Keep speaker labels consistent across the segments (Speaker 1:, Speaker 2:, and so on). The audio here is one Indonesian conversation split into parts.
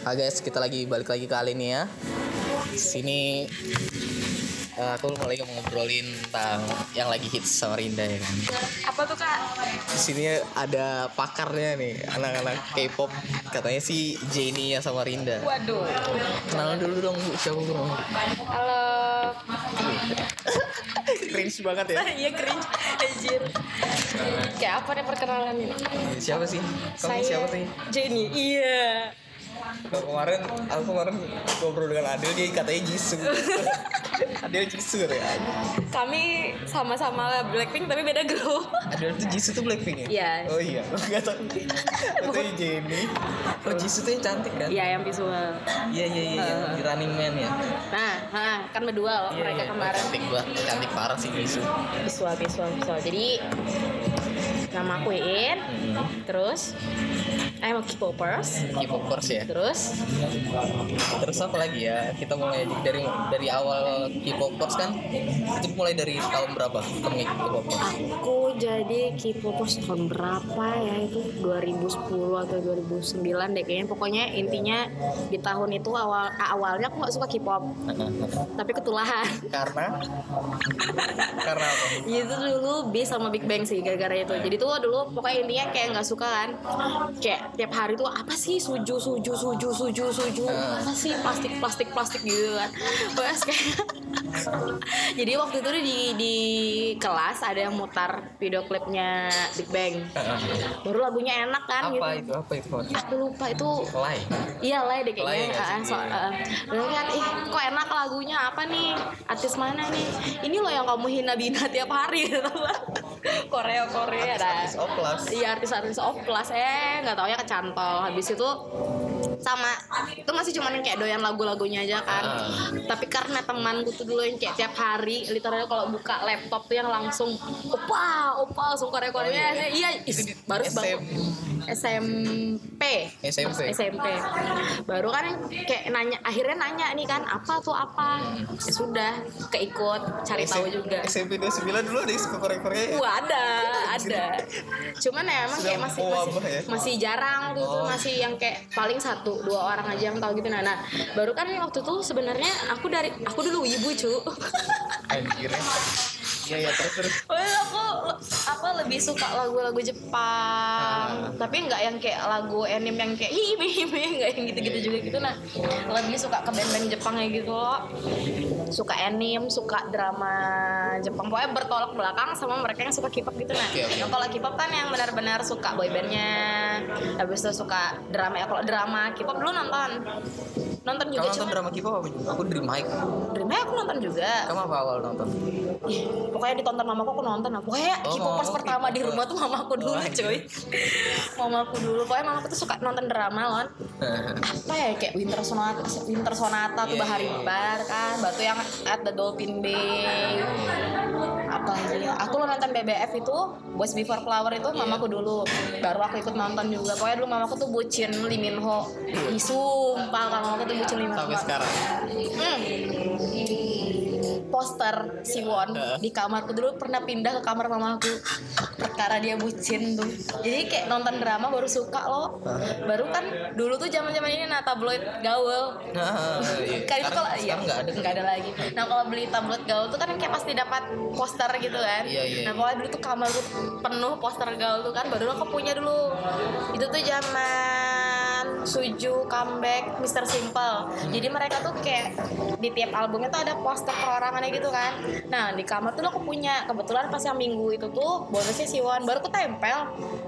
Speaker 1: Hai guys, kita lagi balik lagi ke Alinia. Sini eh, aku mau lagi ngobrolin tentang yang lagi hits sama Rinda ya kan.
Speaker 2: apa tuh kak
Speaker 1: Di sini ada pakarnya nih, anak-anak K-pop. Katanya si Jennie ya sama Rinda.
Speaker 2: waduh
Speaker 1: Kenalan dulu dong Bu, siapa Bu?
Speaker 2: halo
Speaker 1: Cringe banget ya.
Speaker 2: iya cringe anjir kayak apa nih perkenalan ini
Speaker 1: Siapa sih? Kamu siapa sih?
Speaker 2: Jenny iya
Speaker 1: Kalau kemarin aku kemarin ngobrol dengan Adel dia katanya Jisoo. Adel Jisoo ya.
Speaker 2: kami sama-sama Blackpink tapi beda grup
Speaker 1: Adel tuh Jisoo tuh Blackpink ya?
Speaker 2: Iya.
Speaker 1: Oh iya, aku nggak tahu. Itu Jennie. Oh Jisoo tuh yang cantik kan?
Speaker 2: iya yang visual
Speaker 1: Iya iya iya. iya. Di Running Man ya.
Speaker 2: nah nah, kan berdua loh
Speaker 1: Iya,
Speaker 2: mereka
Speaker 1: iya.
Speaker 2: kemarin
Speaker 1: Cantik banget, cantik parah sih Jisoo.
Speaker 2: visual visual visual jadi nama aku Iin
Speaker 1: Mm-hmm.
Speaker 2: terus I'm a K-popers
Speaker 1: K-popers ya.
Speaker 2: terus
Speaker 1: Terus apa lagi ya? Kita mulai dari dari awal K-popers kan? Itu mulai dari tahun berapa? Kamu ngikut K-popers?
Speaker 3: Aku jadi K-popers tahun berapa ya itu 2010 atau 2009 deh kayaknya pokoknya intinya di tahun itu awal ah, awalnya aku nggak suka K-pop tapi ketulahan
Speaker 1: Karena? Karena apa?
Speaker 3: itu dulu B sama Big Bang sih gara-gara itu jadi tuh dulu pokoknya intinya kayak nggak suka kan kayak tiap hari tuh apa sih suju suju suju suju suju
Speaker 1: Ah.
Speaker 3: apa sih plastik plastik plastik gitu kan pokoknya kayak jadi waktu itu di di kelas ada yang mutar video klipnya Big Bang
Speaker 1: Kan
Speaker 3: baru lagunya enak
Speaker 1: Apa
Speaker 3: kan gitu
Speaker 1: itu? Apa itu?
Speaker 3: aku lupa itu
Speaker 1: Lain.
Speaker 3: iya lah deh
Speaker 1: Lay
Speaker 3: kayaknya
Speaker 1: nggak sih? Iya.
Speaker 3: Ah, so, ah. Lalu lihat ih kok enak lagunya apa nih artis mana nih ini loh yang kamu hina bina tiap hari gitu Korea Korea dah
Speaker 1: Artis Oplas.
Speaker 3: iya artis-artis oplas eh nggak tau ya kecantol habis itu sama itu masih cuman kayak doyan lagu-lagunya aja kan
Speaker 1: Ah.
Speaker 3: tapi karena temanku tuh dulu yang kayak tiap hari literally kalau buka laptop tuh yang langsung opa opa langsung korea korea
Speaker 1: Oh, iya.
Speaker 3: iya is-
Speaker 1: Itu di
Speaker 3: baru
Speaker 1: SM.
Speaker 3: baru- SMP
Speaker 1: SMP.
Speaker 3: SMP baru kan kayak nanya akhirnya nanya nih kan apa tuh apa
Speaker 1: Hmm.
Speaker 3: ya sudah keikut cari tahu juga
Speaker 1: SMP 29 dulu ada isu Korea Korea ya?
Speaker 3: Wah ada, ada. Cuman ya emang
Speaker 1: Sedang
Speaker 3: kayak masih
Speaker 1: mewabah
Speaker 3: masih,
Speaker 1: ya?
Speaker 3: masih jarang waktu itu
Speaker 1: Oh.
Speaker 3: masih yang kayak paling satu dua orang aja yang tahu gitu nah, nah baru kan waktu itu sebenarnya aku dari aku dulu ibu cu.
Speaker 1: Anjir. Iya iya terus terus.
Speaker 3: Well, aku le- apa lebih suka lagu-lagu
Speaker 1: Ah.
Speaker 3: Jepang, tapi nggak yang kayak lagu anime yang kayak hime hime nggak yang gitu-gitu juga gitu nah lebih suka ke band-band Jepang ya gitu loh suka anime suka drama Jepang pokoknya bertolak belakang sama mereka yang suka K-pop gitu nah
Speaker 1: Oke, oke.
Speaker 3: Nah, kalau K-pop kan yang benar-benar suka boybandnya habis itu suka drama ya kalau drama K-pop dulu nonton nonton
Speaker 1: Kamu
Speaker 3: juga
Speaker 1: nonton
Speaker 3: cuma
Speaker 1: drama K-pop apa? Aku Dream High.
Speaker 3: drama aku nonton juga
Speaker 1: Kamu apa awal nonton?
Speaker 3: Ih, pokoknya ditonton mamaku aku nonton aku kayak
Speaker 1: Oh,
Speaker 3: K-popers
Speaker 1: mamaku
Speaker 3: pertama di
Speaker 1: K-popers.
Speaker 3: rumah tuh mamaku dulu
Speaker 1: Oh,
Speaker 3: cuy mamaku dulu pokoknya mamaku tuh suka nonton drama lon apa ya kayak Winter Sonata Winter Sonata tuh
Speaker 1: Iya,
Speaker 3: Bahari
Speaker 1: iya, iya.
Speaker 3: Bar kan batu yang at the Dolphin Bay apa lagi ya aku lo nonton BBF itu Boys Before Flower
Speaker 1: Iya.
Speaker 3: itu mamaku dulu baru aku ikut nonton juga pokoknya dulu mamaku tuh bucin Lee Min Ho Ih, sumpah kalau mamaku tuh bucin Lee Min Ho
Speaker 1: Sampai sekarang.
Speaker 3: Hmm. poster Siwon di kamarku dulu pernah pindah ke kamar mamaku perkara dia bucin tuh jadi kayak nonton drama baru suka lo baru kan dulu tuh zaman zaman ini nah tabloid gaul
Speaker 1: Nah, iya.
Speaker 3: kan itu
Speaker 1: Sekarang-
Speaker 3: kalau iya,
Speaker 1: sekarang nggak ada.
Speaker 3: nggak ada lagi nah kalau beli tablet gaul tuh kan kayak pasti dapat poster gitu kan
Speaker 1: Iya, iya,
Speaker 3: nah
Speaker 1: iya.
Speaker 3: pokoknya dulu tuh kamar tuh penuh poster gaul tuh kan baru aku punya dulu itu tuh zaman suju comeback Mr. Simple jadi mereka tuh kayak di tiap albumnya tuh ada poster perorangannya gitu kan nah di kamar tuh aku punya kebetulan pas yang minggu itu tuh bonusnya Siwon baru aku tempel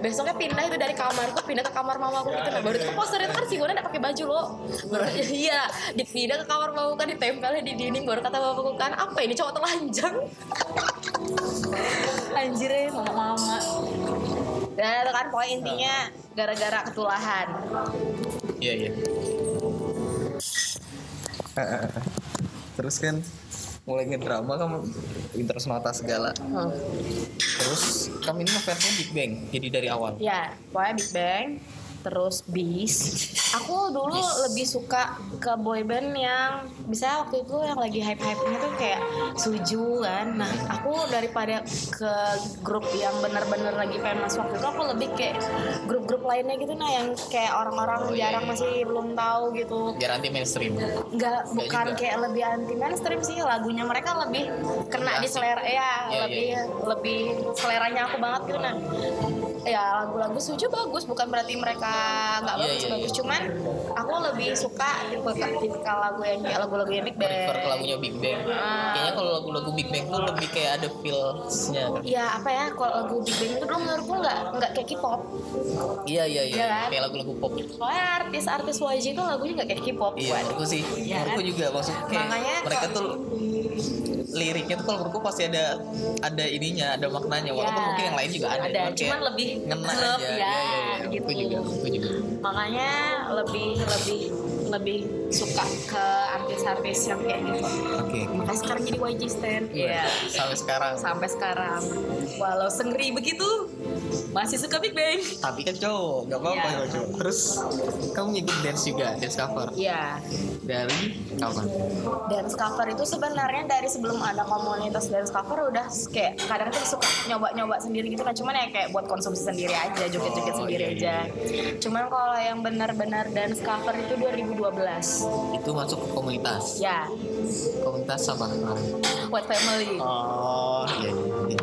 Speaker 3: besoknya pindah itu dari kamarku pindah ke kamar mamaku gitu nah baru itu poster itu kan Siwonnya udah pakai baju loh baru iya dipindah ke kamar mamaku kan ditempelnya di dinding baru kata mamaku kan apa ini cowok telanjang anjir ya mama mama dan kan pokoknya intinya gara-gara ketulahan
Speaker 1: Iya iya. Ah, Terus kan mulai ngedrama kamu Winter Sonata segala.
Speaker 3: Hmm.
Speaker 1: Terus kamu ini ngefansnya Big Bang. Jadi dari awal.
Speaker 3: ya pokoknya Big Bang
Speaker 2: terus Beast
Speaker 3: Aku dulu lebih suka ke boyband yang bisa waktu itu yang lagi hype-hypenya tuh kayak Suju kan. Nah, aku daripada ke grup yang benar-benar lagi famous waktu itu aku lebih kayak grup-grup lainnya gitu nah yang kayak orang-orang
Speaker 1: Oh, iya,
Speaker 3: jarang
Speaker 1: iya.
Speaker 3: masih belum tahu gitu.
Speaker 1: biar anti mainstream
Speaker 3: Enggak, bukan
Speaker 1: Iya juga.
Speaker 3: kayak lebih anti mainstream sih lagunya mereka lebih kena di
Speaker 1: Asik.
Speaker 3: selera ya,
Speaker 1: Iya,
Speaker 3: lebih
Speaker 1: iya,
Speaker 3: lebih seleranya aku banget gitu nah ya lagu-lagu suju bagus bukan berarti mereka nggak
Speaker 1: Iya,
Speaker 3: bagus
Speaker 1: iya,
Speaker 3: bagus
Speaker 1: iya.
Speaker 3: cuman aku lebih suka tipe tipikal lagu yang kayak lagu-lagu yang big band
Speaker 1: prefer ke lagunya Big Bang
Speaker 3: Ah.
Speaker 1: kayaknya kalau lagu-lagu Big Bang tuh lebih kayak ada feelsnya
Speaker 3: ya apa ya kalau lagu big band itu dulu menurutku nggak nggak kayak K-pop
Speaker 1: iya iya iya
Speaker 3: Iya kan?
Speaker 1: kayak lagu-lagu pop
Speaker 3: soalnya artis-artis YG itu lagunya nggak kayak K-pop
Speaker 1: Iya,
Speaker 3: buat
Speaker 1: menurutku sih.
Speaker 3: Iya
Speaker 1: menurutku
Speaker 3: kan?
Speaker 1: juga maksudnya kayak
Speaker 3: Makanya
Speaker 1: mereka
Speaker 3: kok-
Speaker 1: tuh liriknya tuh kalau menurutku pasti ada ada ininya, ada maknanya. Walaupun
Speaker 3: Ya,
Speaker 1: mungkin yang lain juga ada,
Speaker 3: ada,
Speaker 1: kayak
Speaker 3: cuman lebih
Speaker 1: ngena
Speaker 3: klub,
Speaker 1: aja.
Speaker 3: ya,
Speaker 1: Iya, iya, iya.
Speaker 3: gitu.
Speaker 1: Aku juga, aku juga.
Speaker 3: makanya lebih lebih lebih suka ke artis-artis yang kayak gitu
Speaker 1: Oke.
Speaker 3: makanya sekarang jadi YG stan
Speaker 1: Iya. Sampai sekarang.
Speaker 3: sampai sekarang walau sengri begitu masih suka Big Bang
Speaker 1: Tapi kan cowok, gak apa-apa
Speaker 3: Iya.
Speaker 1: kalau cowok. Terus kamu ngikut dance juga, dance cover
Speaker 3: ya
Speaker 1: dari kapan?
Speaker 3: dance cover itu sebenarnya dari sebelum ada komunitas dance cover udah kayak kadang tuh suka nyoba-nyoba sendiri gitu kan cuman ya kayak buat konsumsi sendiri aja joget-joget
Speaker 1: Oh, iya,
Speaker 3: sendiri
Speaker 1: iya,
Speaker 3: aja cuman kalau yang benar-benar dance cover itu 2012
Speaker 1: Itu masuk ke komunitas.
Speaker 3: ya
Speaker 1: Komunitas apa kemarin?
Speaker 3: White Family
Speaker 1: Oh, iya. iya.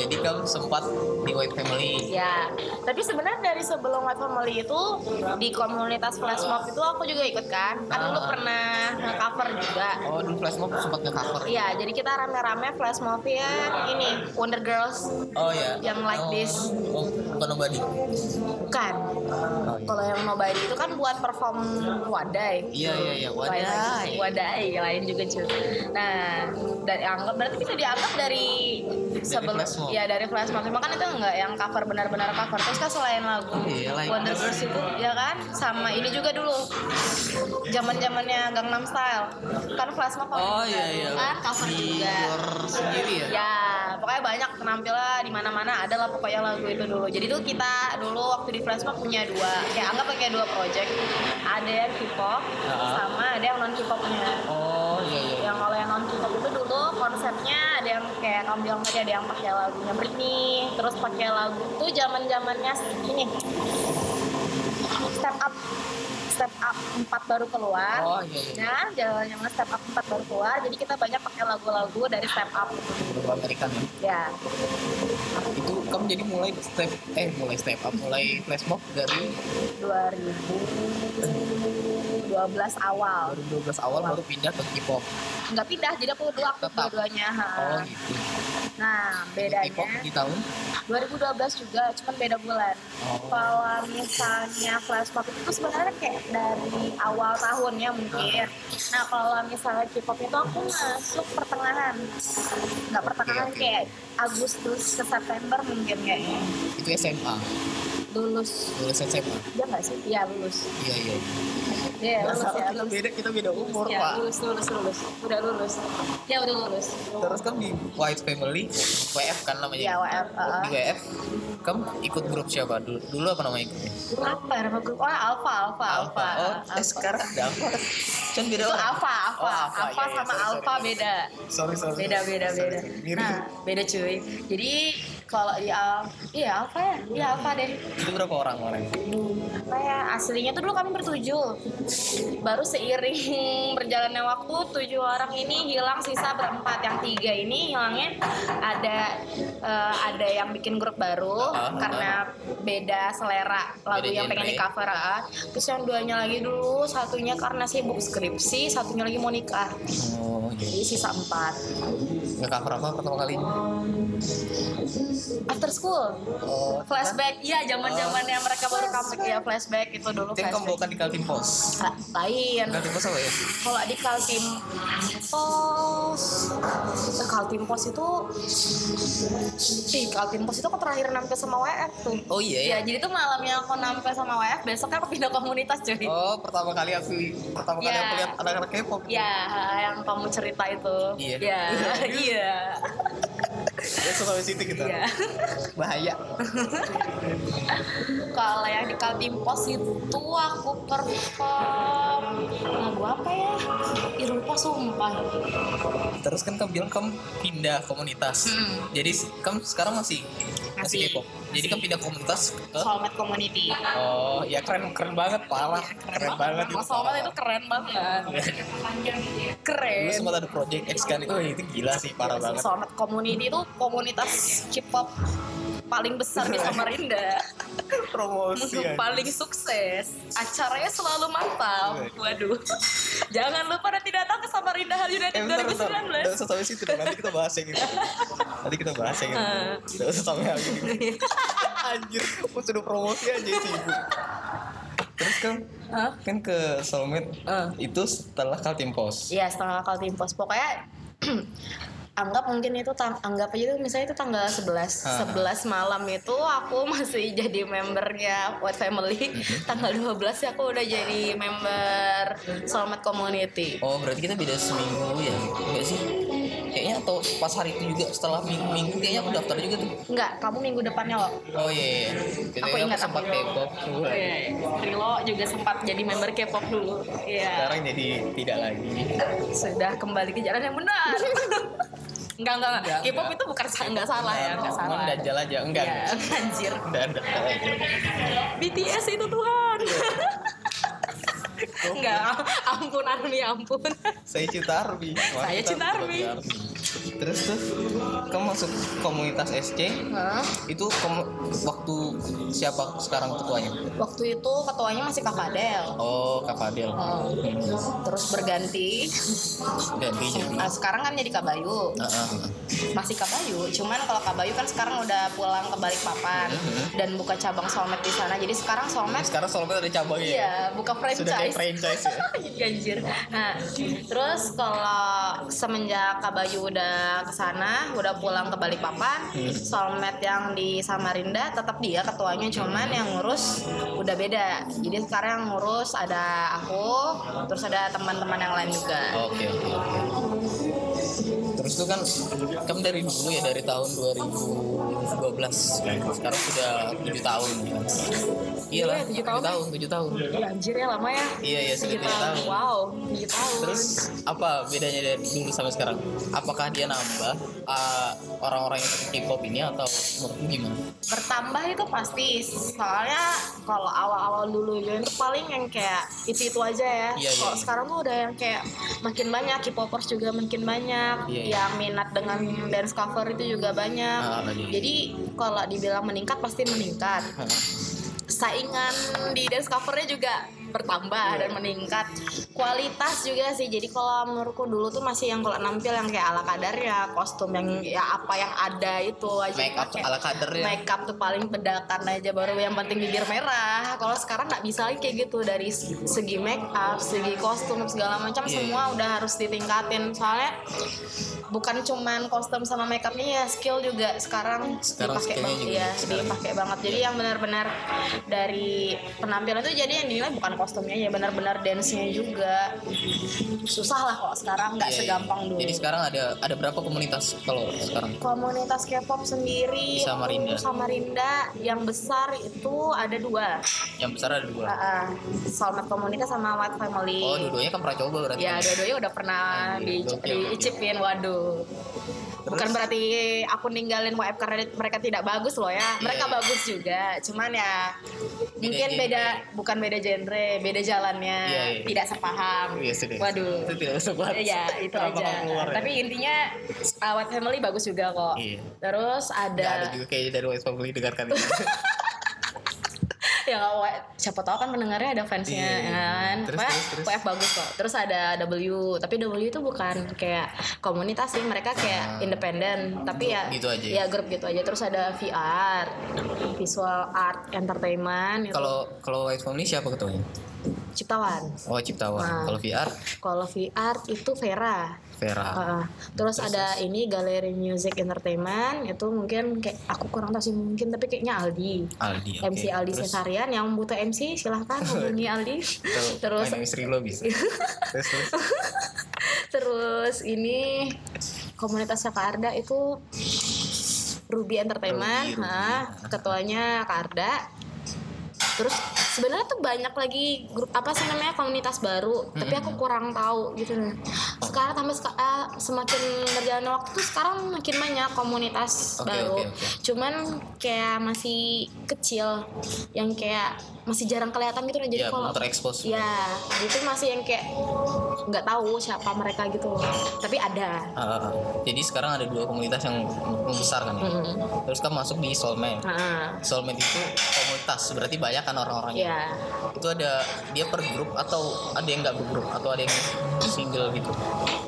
Speaker 1: Jadi kamu sempat di White Family.
Speaker 3: Ya, tapi sebenarnya dari sebelum White Family itu di komunitas flash mob itu aku juga ikut kan. Kan dulu
Speaker 1: Ah.
Speaker 3: pernah cover juga.
Speaker 1: Oh, dulu flash mob sempat nge-cover.
Speaker 3: Iya, jadi kita rame-rame flash mob ya ini Wonder Girls
Speaker 1: Oh ya.
Speaker 3: Yang like
Speaker 1: Oh,
Speaker 3: this.
Speaker 1: Oh, bukan nobody.
Speaker 3: bukan. Kan, Kalau yang nobody itu kan buat perform wadai.
Speaker 1: Iya iya iya.
Speaker 3: Lain lagi.
Speaker 1: Wadai.
Speaker 3: Wadai, iya, lain juga cuy. Nah, dari anggap berarti bisa dianggap dari sebelum
Speaker 1: flash mob.
Speaker 3: ya dari flash mob. Cuma kan itu enggak yang cover benar-benar cover. Terus kan selain lagu
Speaker 1: Iya, like
Speaker 3: Wonder
Speaker 1: this.
Speaker 3: Girls itu ya kan sama ini juga dulu. Zaman-zamannya Gangnam Style. Kan flash mob
Speaker 1: Oh iya iya.
Speaker 3: kan cover
Speaker 1: Di
Speaker 3: juga.
Speaker 1: luar sendiri ya.
Speaker 3: Ya, pokoknya banyak penampilan di mana-mana ada lah pokoknya lagu itu dulu. Jadi tuh kita dulu waktu di Flashmob punya dua, kayak anggap kayak dua project. Ada yang K-pop
Speaker 1: Ah.
Speaker 3: sama ada yang non K-popnya.
Speaker 1: Oh iya iya.
Speaker 3: Yang kalau yang non K-pop itu dulu konsepnya ada yang kayak kamu bilang tadi ada yang pakai lagunya Britney, terus pakai lagu tuh zaman-zamannya ini. Step up Step Up 4 baru keluar.
Speaker 1: Oh iya iya.
Speaker 3: Nah, jalan yang Step Up 4 baru keluar, jadi kita banyak pakai lagu-lagu dari Step Up.
Speaker 1: Beberapa Amerika ya.
Speaker 3: Ya,
Speaker 1: Itu kamu jadi mulai step eh mulai step up mulai flash mob dari
Speaker 3: 2012 awal
Speaker 1: 2012 awal baru pindah ke K-pop. Oh,
Speaker 3: nggak pindah jadi aku dulu aktif
Speaker 1: Tetap.
Speaker 3: dua-duanya ha.
Speaker 1: Oh gitu.
Speaker 3: nah
Speaker 1: K-pop
Speaker 3: bedanya
Speaker 1: di tahun
Speaker 3: 2012 juga cuman beda bulan
Speaker 1: Oh.
Speaker 3: kalau misalnya flashback itu sebenarnya kayak dari awal tahun ya
Speaker 1: Ah.
Speaker 3: mungkin nah kalau misalnya K-pop itu aku masuk pertengahan nggak pertengahan
Speaker 1: Iya, oke.
Speaker 3: kayak Agustus ke September mungkin kayaknya
Speaker 1: itu SMA.
Speaker 3: lulus
Speaker 1: Lulus SMA.
Speaker 3: ya nggak sih ya lulus
Speaker 1: Iya iya.
Speaker 3: ya lulus
Speaker 1: Dasar
Speaker 3: ya
Speaker 1: kita beda kita beda umur
Speaker 3: ya,
Speaker 1: pak.
Speaker 3: lulus lulus lulus udah lulus ya udah lulus
Speaker 1: Terus kamu di White Family, WF kan namanya.
Speaker 3: Iya, WF, uh-uh.
Speaker 1: Di WF, kamu ikut grup siapa dulu? Dulu apa namanya grupnya?
Speaker 3: apa nama grup oh alfa alfa alfa
Speaker 1: Oh,
Speaker 3: Alpha.
Speaker 1: eh, sekarang ada Alpha. Cuman beda
Speaker 3: itu
Speaker 1: orang.
Speaker 3: alfa alfa
Speaker 1: Oh, Alpha,
Speaker 3: alfa
Speaker 1: iya, iya,
Speaker 3: sama
Speaker 1: sorry,
Speaker 3: alfa
Speaker 1: sorry.
Speaker 3: beda
Speaker 1: Sorry, sorry.
Speaker 3: beda beda
Speaker 1: Sorry,
Speaker 3: beda
Speaker 1: sorry. Mirip.
Speaker 3: nah beda cuy jadi kalau di al iya alfa ya iya alfa deh
Speaker 1: Itu berapa orang orang?
Speaker 3: apa ya aslinya tuh dulu kami bertujuh baru seiring berjalannya waktu tujuh orang ini hilang sisa berempat yang tiga ini hilangnya ada eh, ada yang bikin grup baru
Speaker 1: Ah,
Speaker 3: karena beda selera lagu
Speaker 1: Beda
Speaker 3: yang pengen di
Speaker 1: genre.
Speaker 3: cover terus yang duanya lagi dulu satunya karena sibuk skripsi satunya lagi mau nikah
Speaker 1: Oh,
Speaker 3: jadi
Speaker 1: iya.
Speaker 3: sisa empat
Speaker 1: Nggak cover apa pertama kali?
Speaker 3: after school
Speaker 1: Oh,
Speaker 3: flashback iya zaman zamannya mereka baru comeback ya flashback itu dulu
Speaker 1: Itu yang kamu
Speaker 3: flashback
Speaker 1: bawakan kan di Kaltim Pos.
Speaker 3: Ah, lain
Speaker 1: Kaltim Pos apa ya?
Speaker 3: kalau di Kaltim Pos eh, Kaltim Pos itu Ih, Kaltim Pos itu aku terakhir nampil sama WF tuh
Speaker 1: Oh iya ya.
Speaker 3: Ya, jadi tuh malamnya aku nampil sama WF, besoknya aku pindah komunitas cuy
Speaker 1: Oh, pertama kali aku pertama kali
Speaker 3: Iya.
Speaker 1: aku lihat anak-anak K-pop.
Speaker 3: Ya, yang kamu cerita itu
Speaker 1: Iya.
Speaker 3: Ya, iya
Speaker 1: Terus langsung sampai situ kita.
Speaker 2: Iya.
Speaker 1: gitu. Bahaya.
Speaker 3: kalau yang di Kaltim Pos itu aku perform lagu apa ya Irupa sumpah
Speaker 1: Terus kan kamu bilang kamu pindah komunitas.
Speaker 3: Hmm.
Speaker 1: Jadi s- kamu sekarang masih masih
Speaker 3: Masih.
Speaker 1: K-pop. Jadi kamu pindah komunitas ke
Speaker 3: Soulmate Community
Speaker 1: Oh, ya keren keren banget parah. Keren banget itu.
Speaker 3: Kalau Soulmate Iya, itu keren banget keren
Speaker 1: Dulu sempat ada project X kan itu, itu gila sih parah banget.
Speaker 3: Soulmate Community itu komunitas K-pop paling besar di Samarinda
Speaker 1: Promosi. kan. anjing.
Speaker 3: paling sukses acaranya selalu mantap
Speaker 1: Iya.
Speaker 3: waduh jangan lupa nanti datang ke Samarinda Hal United
Speaker 1: Eh, bentar, bentar. Nggak
Speaker 3: 2019
Speaker 1: usah sampai situ dong. Nanti kita bahas yang itu. Nanti kita bahas yang itu.
Speaker 3: Ah.
Speaker 1: Tidak usah sampai hal ini.
Speaker 3: Iya.
Speaker 1: Anjir, aku sudah promosi aja sih ibu. Terus kan,
Speaker 3: Hah?
Speaker 1: kan ke Solmed
Speaker 3: Eh.
Speaker 1: itu setelah Kaltim Pos.
Speaker 3: Iya setengah Kaltim Pos pokoknya anggap mungkin itu tang- anggap aja itu misalnya itu tanggal 11
Speaker 1: Ah.
Speaker 3: 11 malam itu aku masih jadi membernya White Family tanggal 12 ya aku udah jadi member Soulmate Community
Speaker 1: Oh berarti kita beda seminggu ya Enggak sih Kayaknya atau pas hari itu juga setelah minggu-minggu kayaknya aku daftar juga tuh
Speaker 3: Enggak, kamu minggu depannya loh.
Speaker 1: Oh iya iya Ketika
Speaker 3: Aku ingat,
Speaker 1: sempat
Speaker 3: aku- Iya.
Speaker 1: K-pop
Speaker 3: Rilo juga sempat jadi member K-pop dulu. Iya.
Speaker 1: Sekarang jadi tidak lagi
Speaker 3: Sudah kembali ke jalan yang benar. enggak, enggak, enggak.
Speaker 1: Enggak,
Speaker 3: K-pop
Speaker 1: enggak.
Speaker 3: itu bukan sa- enggak salah ya, enggak salah.
Speaker 1: Cuman dajal aja Enggak
Speaker 3: Iya, anjir.
Speaker 1: Enggak ada
Speaker 3: BTS itu Tuhan. Enggak, ampun Army, ampun.
Speaker 1: Saya cinta Army Makanya
Speaker 3: Saya
Speaker 1: kita
Speaker 3: cinta
Speaker 1: harus
Speaker 3: Army.
Speaker 1: bagi Terus tuh Kamu masuk komunitas SC Itu kamu- waktu siapa sekarang ketuanya?
Speaker 3: Waktu itu ketuanya masih Kak Fadel.
Speaker 1: Oh Kak Fadil Hmm.
Speaker 3: Oh. Terus berganti.
Speaker 1: Ganti jadi
Speaker 3: Nah, sekarang kan jadi Kak Bayu.
Speaker 1: Heeh.
Speaker 3: Masih Kak Bayu, cuman kalau Kak Bayu kan sekarang udah pulang ke Balikpapan dan buka cabang Solmed di sana. Jadi sekarang Solmed
Speaker 1: Sekarang Solmed ada cabangnya ya?
Speaker 3: Iya, buka
Speaker 1: Sudah kayak franchise
Speaker 3: franchise.
Speaker 1: ya
Speaker 3: Iya, Anjir. Nah, terus kalau semenjak Kak Bayu udah ke sana, udah pulang ke Balikpapan,
Speaker 1: Hmm.
Speaker 3: Solmed yang di Samarinda tetap dia ketuanya cuman yang ngurus udah beda. Jadi sekarang yang ngurus ada aku, terus ada teman-teman yang lain juga.
Speaker 1: Oke oke. Terus tuh kan kamu dari dulu ya dari tahun 2012 sekarang sudah tujuh tahun. Iya lah
Speaker 3: Iya, tujuh
Speaker 1: tujuh
Speaker 3: tahun.
Speaker 1: tahun tujuh tahun.
Speaker 3: Ih, Anjir ya lama ya.
Speaker 1: Iya iya sudah
Speaker 3: Tiga
Speaker 1: tujuh tahun.
Speaker 3: tahun. Wow, tiga tahun.
Speaker 1: Terus apa bedanya dari dulu sampai sekarang? Apakah dia nambah uh, orang-orang yang suka K-pop ini atau menurutmu gimana?
Speaker 3: bertambah itu pasti soalnya kalau awal-awal dulu join tuh paling yang kayak itu itu aja ya
Speaker 1: Iya, iya,
Speaker 3: kalau
Speaker 1: iya.
Speaker 3: sekarang tuh udah yang kayak makin banyak K-popers juga makin banyak
Speaker 1: Iya, iya.
Speaker 3: yang minat dengan dance cover itu juga banyak
Speaker 1: Ah, iya, iya.
Speaker 3: jadi kalau dibilang meningkat pasti meningkat saingan di dance covernya juga
Speaker 1: Iya.
Speaker 3: bertambah dan meningkat kualitas juga sih jadi kalau menurutku dulu tuh masih yang kalau nampil yang kayak ala kadarnya kostum yang ya apa yang ada itu aja
Speaker 1: Make up
Speaker 3: pakai
Speaker 1: ala kader ya.
Speaker 3: make up tuh paling bedakan aja baru yang penting bibir merah kalau sekarang nggak bisa lagi kayak gitu dari segi make up segi kostum segala macam
Speaker 1: Iya,
Speaker 3: semua udah harus ditingkatin soalnya bukan cuman kostum sama make upnya ya skill juga sekarang,
Speaker 1: Sekarang
Speaker 3: dipakai
Speaker 1: skillnya
Speaker 3: banget
Speaker 1: juga
Speaker 3: ya
Speaker 1: sekarang. Iya.
Speaker 3: dipakai banget jadi yang benar-benar dari penampilan tuh jadi yang dinilai bukan kostumnya ya benar-benar dance-nya juga susah lah kalau sekarang nggak
Speaker 1: Iya, iya.
Speaker 3: segampang dulu
Speaker 1: Jadi sekarang ada ada berapa komunitas kalau sekarang?
Speaker 3: komunitas K-pop
Speaker 1: Di
Speaker 3: sendiri
Speaker 1: Samarinda.
Speaker 3: Samarinda yang besar itu ada dua
Speaker 1: Yang besar ada dua.
Speaker 3: uh, Soulmate Komunitas sama White Family
Speaker 1: Oh, dua-duanya kan pernah coba berarti.
Speaker 3: ya dua-duanya udah pernah di,
Speaker 1: Gokil, gokil.
Speaker 3: diicipin waduh bukan berarti aku ninggalin WF karena mereka tidak bagus loh ya mereka
Speaker 1: iya.
Speaker 3: bagus juga cuman ya mungkin
Speaker 1: genre.
Speaker 3: beda bukan beda genre beda jalannya
Speaker 1: Iya, iya.
Speaker 3: tidak sepaham
Speaker 1: Iya sudah.
Speaker 3: waduh
Speaker 1: Itu tidak usah bahas.
Speaker 3: Iya, itu
Speaker 1: Kenapa
Speaker 3: aja.
Speaker 1: kamu keluar ya?
Speaker 3: Tapi intinya Awat Family bagus juga kok.
Speaker 1: Iya.
Speaker 3: Terus ada,
Speaker 1: Nggak ada juga kayaknya dari West Family dengarkan ini.
Speaker 3: ya nggak, Wa- siapa tahu kan pendengarnya ada fansnya
Speaker 1: Iya, iya, iya.
Speaker 3: kan.
Speaker 1: Terus,
Speaker 3: Pokoknya
Speaker 1: terus, terus.
Speaker 3: WF bagus kok. Terus ada W, tapi W itu bukan kayak komunitas sih, mereka kayak independen, tapi ya
Speaker 1: Ah. Gitu aja ya?
Speaker 3: Ya grup gitu aja. Terus ada VR, Visual Art Entertainment gitu. itu
Speaker 1: Kalau kalau West Family siapa ketuanya?
Speaker 3: Ciptawan.
Speaker 1: Oh Ciptawan.
Speaker 3: Nah.
Speaker 1: Kalau VR
Speaker 3: Kalau VR itu Vera.
Speaker 1: Vera.
Speaker 3: Heeh. terus ada ini Galeri Music Entertainment itu mungkin kayak aku kurang tahu sih mungkin tapi kayaknya Aldi.
Speaker 1: Aldi. oke.
Speaker 3: MC Aldi
Speaker 1: Terus
Speaker 3: Cesarian yang butuh MC silahkan hubungi Aldi.
Speaker 1: kalau
Speaker 3: terus
Speaker 1: main istri lo bisa. terus terus.
Speaker 3: terus ini komunitasnya Kak Arda itu Ruby
Speaker 1: Ruby,
Speaker 3: Entertainment,
Speaker 1: Ruby.
Speaker 3: Hah, ketuanya Karda. Terus sebenarnya tuh banyak lagi grup apa sih namanya komunitas baru, tapi aku kurang tahu gitu. loh. Sekarang tambah seka- eh, semakin berjalannya waktu tuh sekarang makin banyak komunitas
Speaker 1: Oke,
Speaker 3: baru.
Speaker 1: oke, oke.
Speaker 3: Cuman kayak masih kecil, yang kayak masih jarang kelihatan gitu loh. Jadi
Speaker 1: ya
Speaker 3: kalau
Speaker 1: belum terekspos
Speaker 3: Ya, itu masih yang kayak nggak tahu siapa mereka gitu loh. Tapi ada.
Speaker 1: Ah, jadi sekarang ada dua komunitas yang membesar kan ya?
Speaker 3: Mm.
Speaker 1: terus kan masuk di soulmate
Speaker 3: Ah,
Speaker 1: soulmate itu komunitas berarti banyak kan orang-orangnya
Speaker 3: ya.
Speaker 1: itu ada dia per grup atau ada yang nggak bergrup atau ada yang single gitu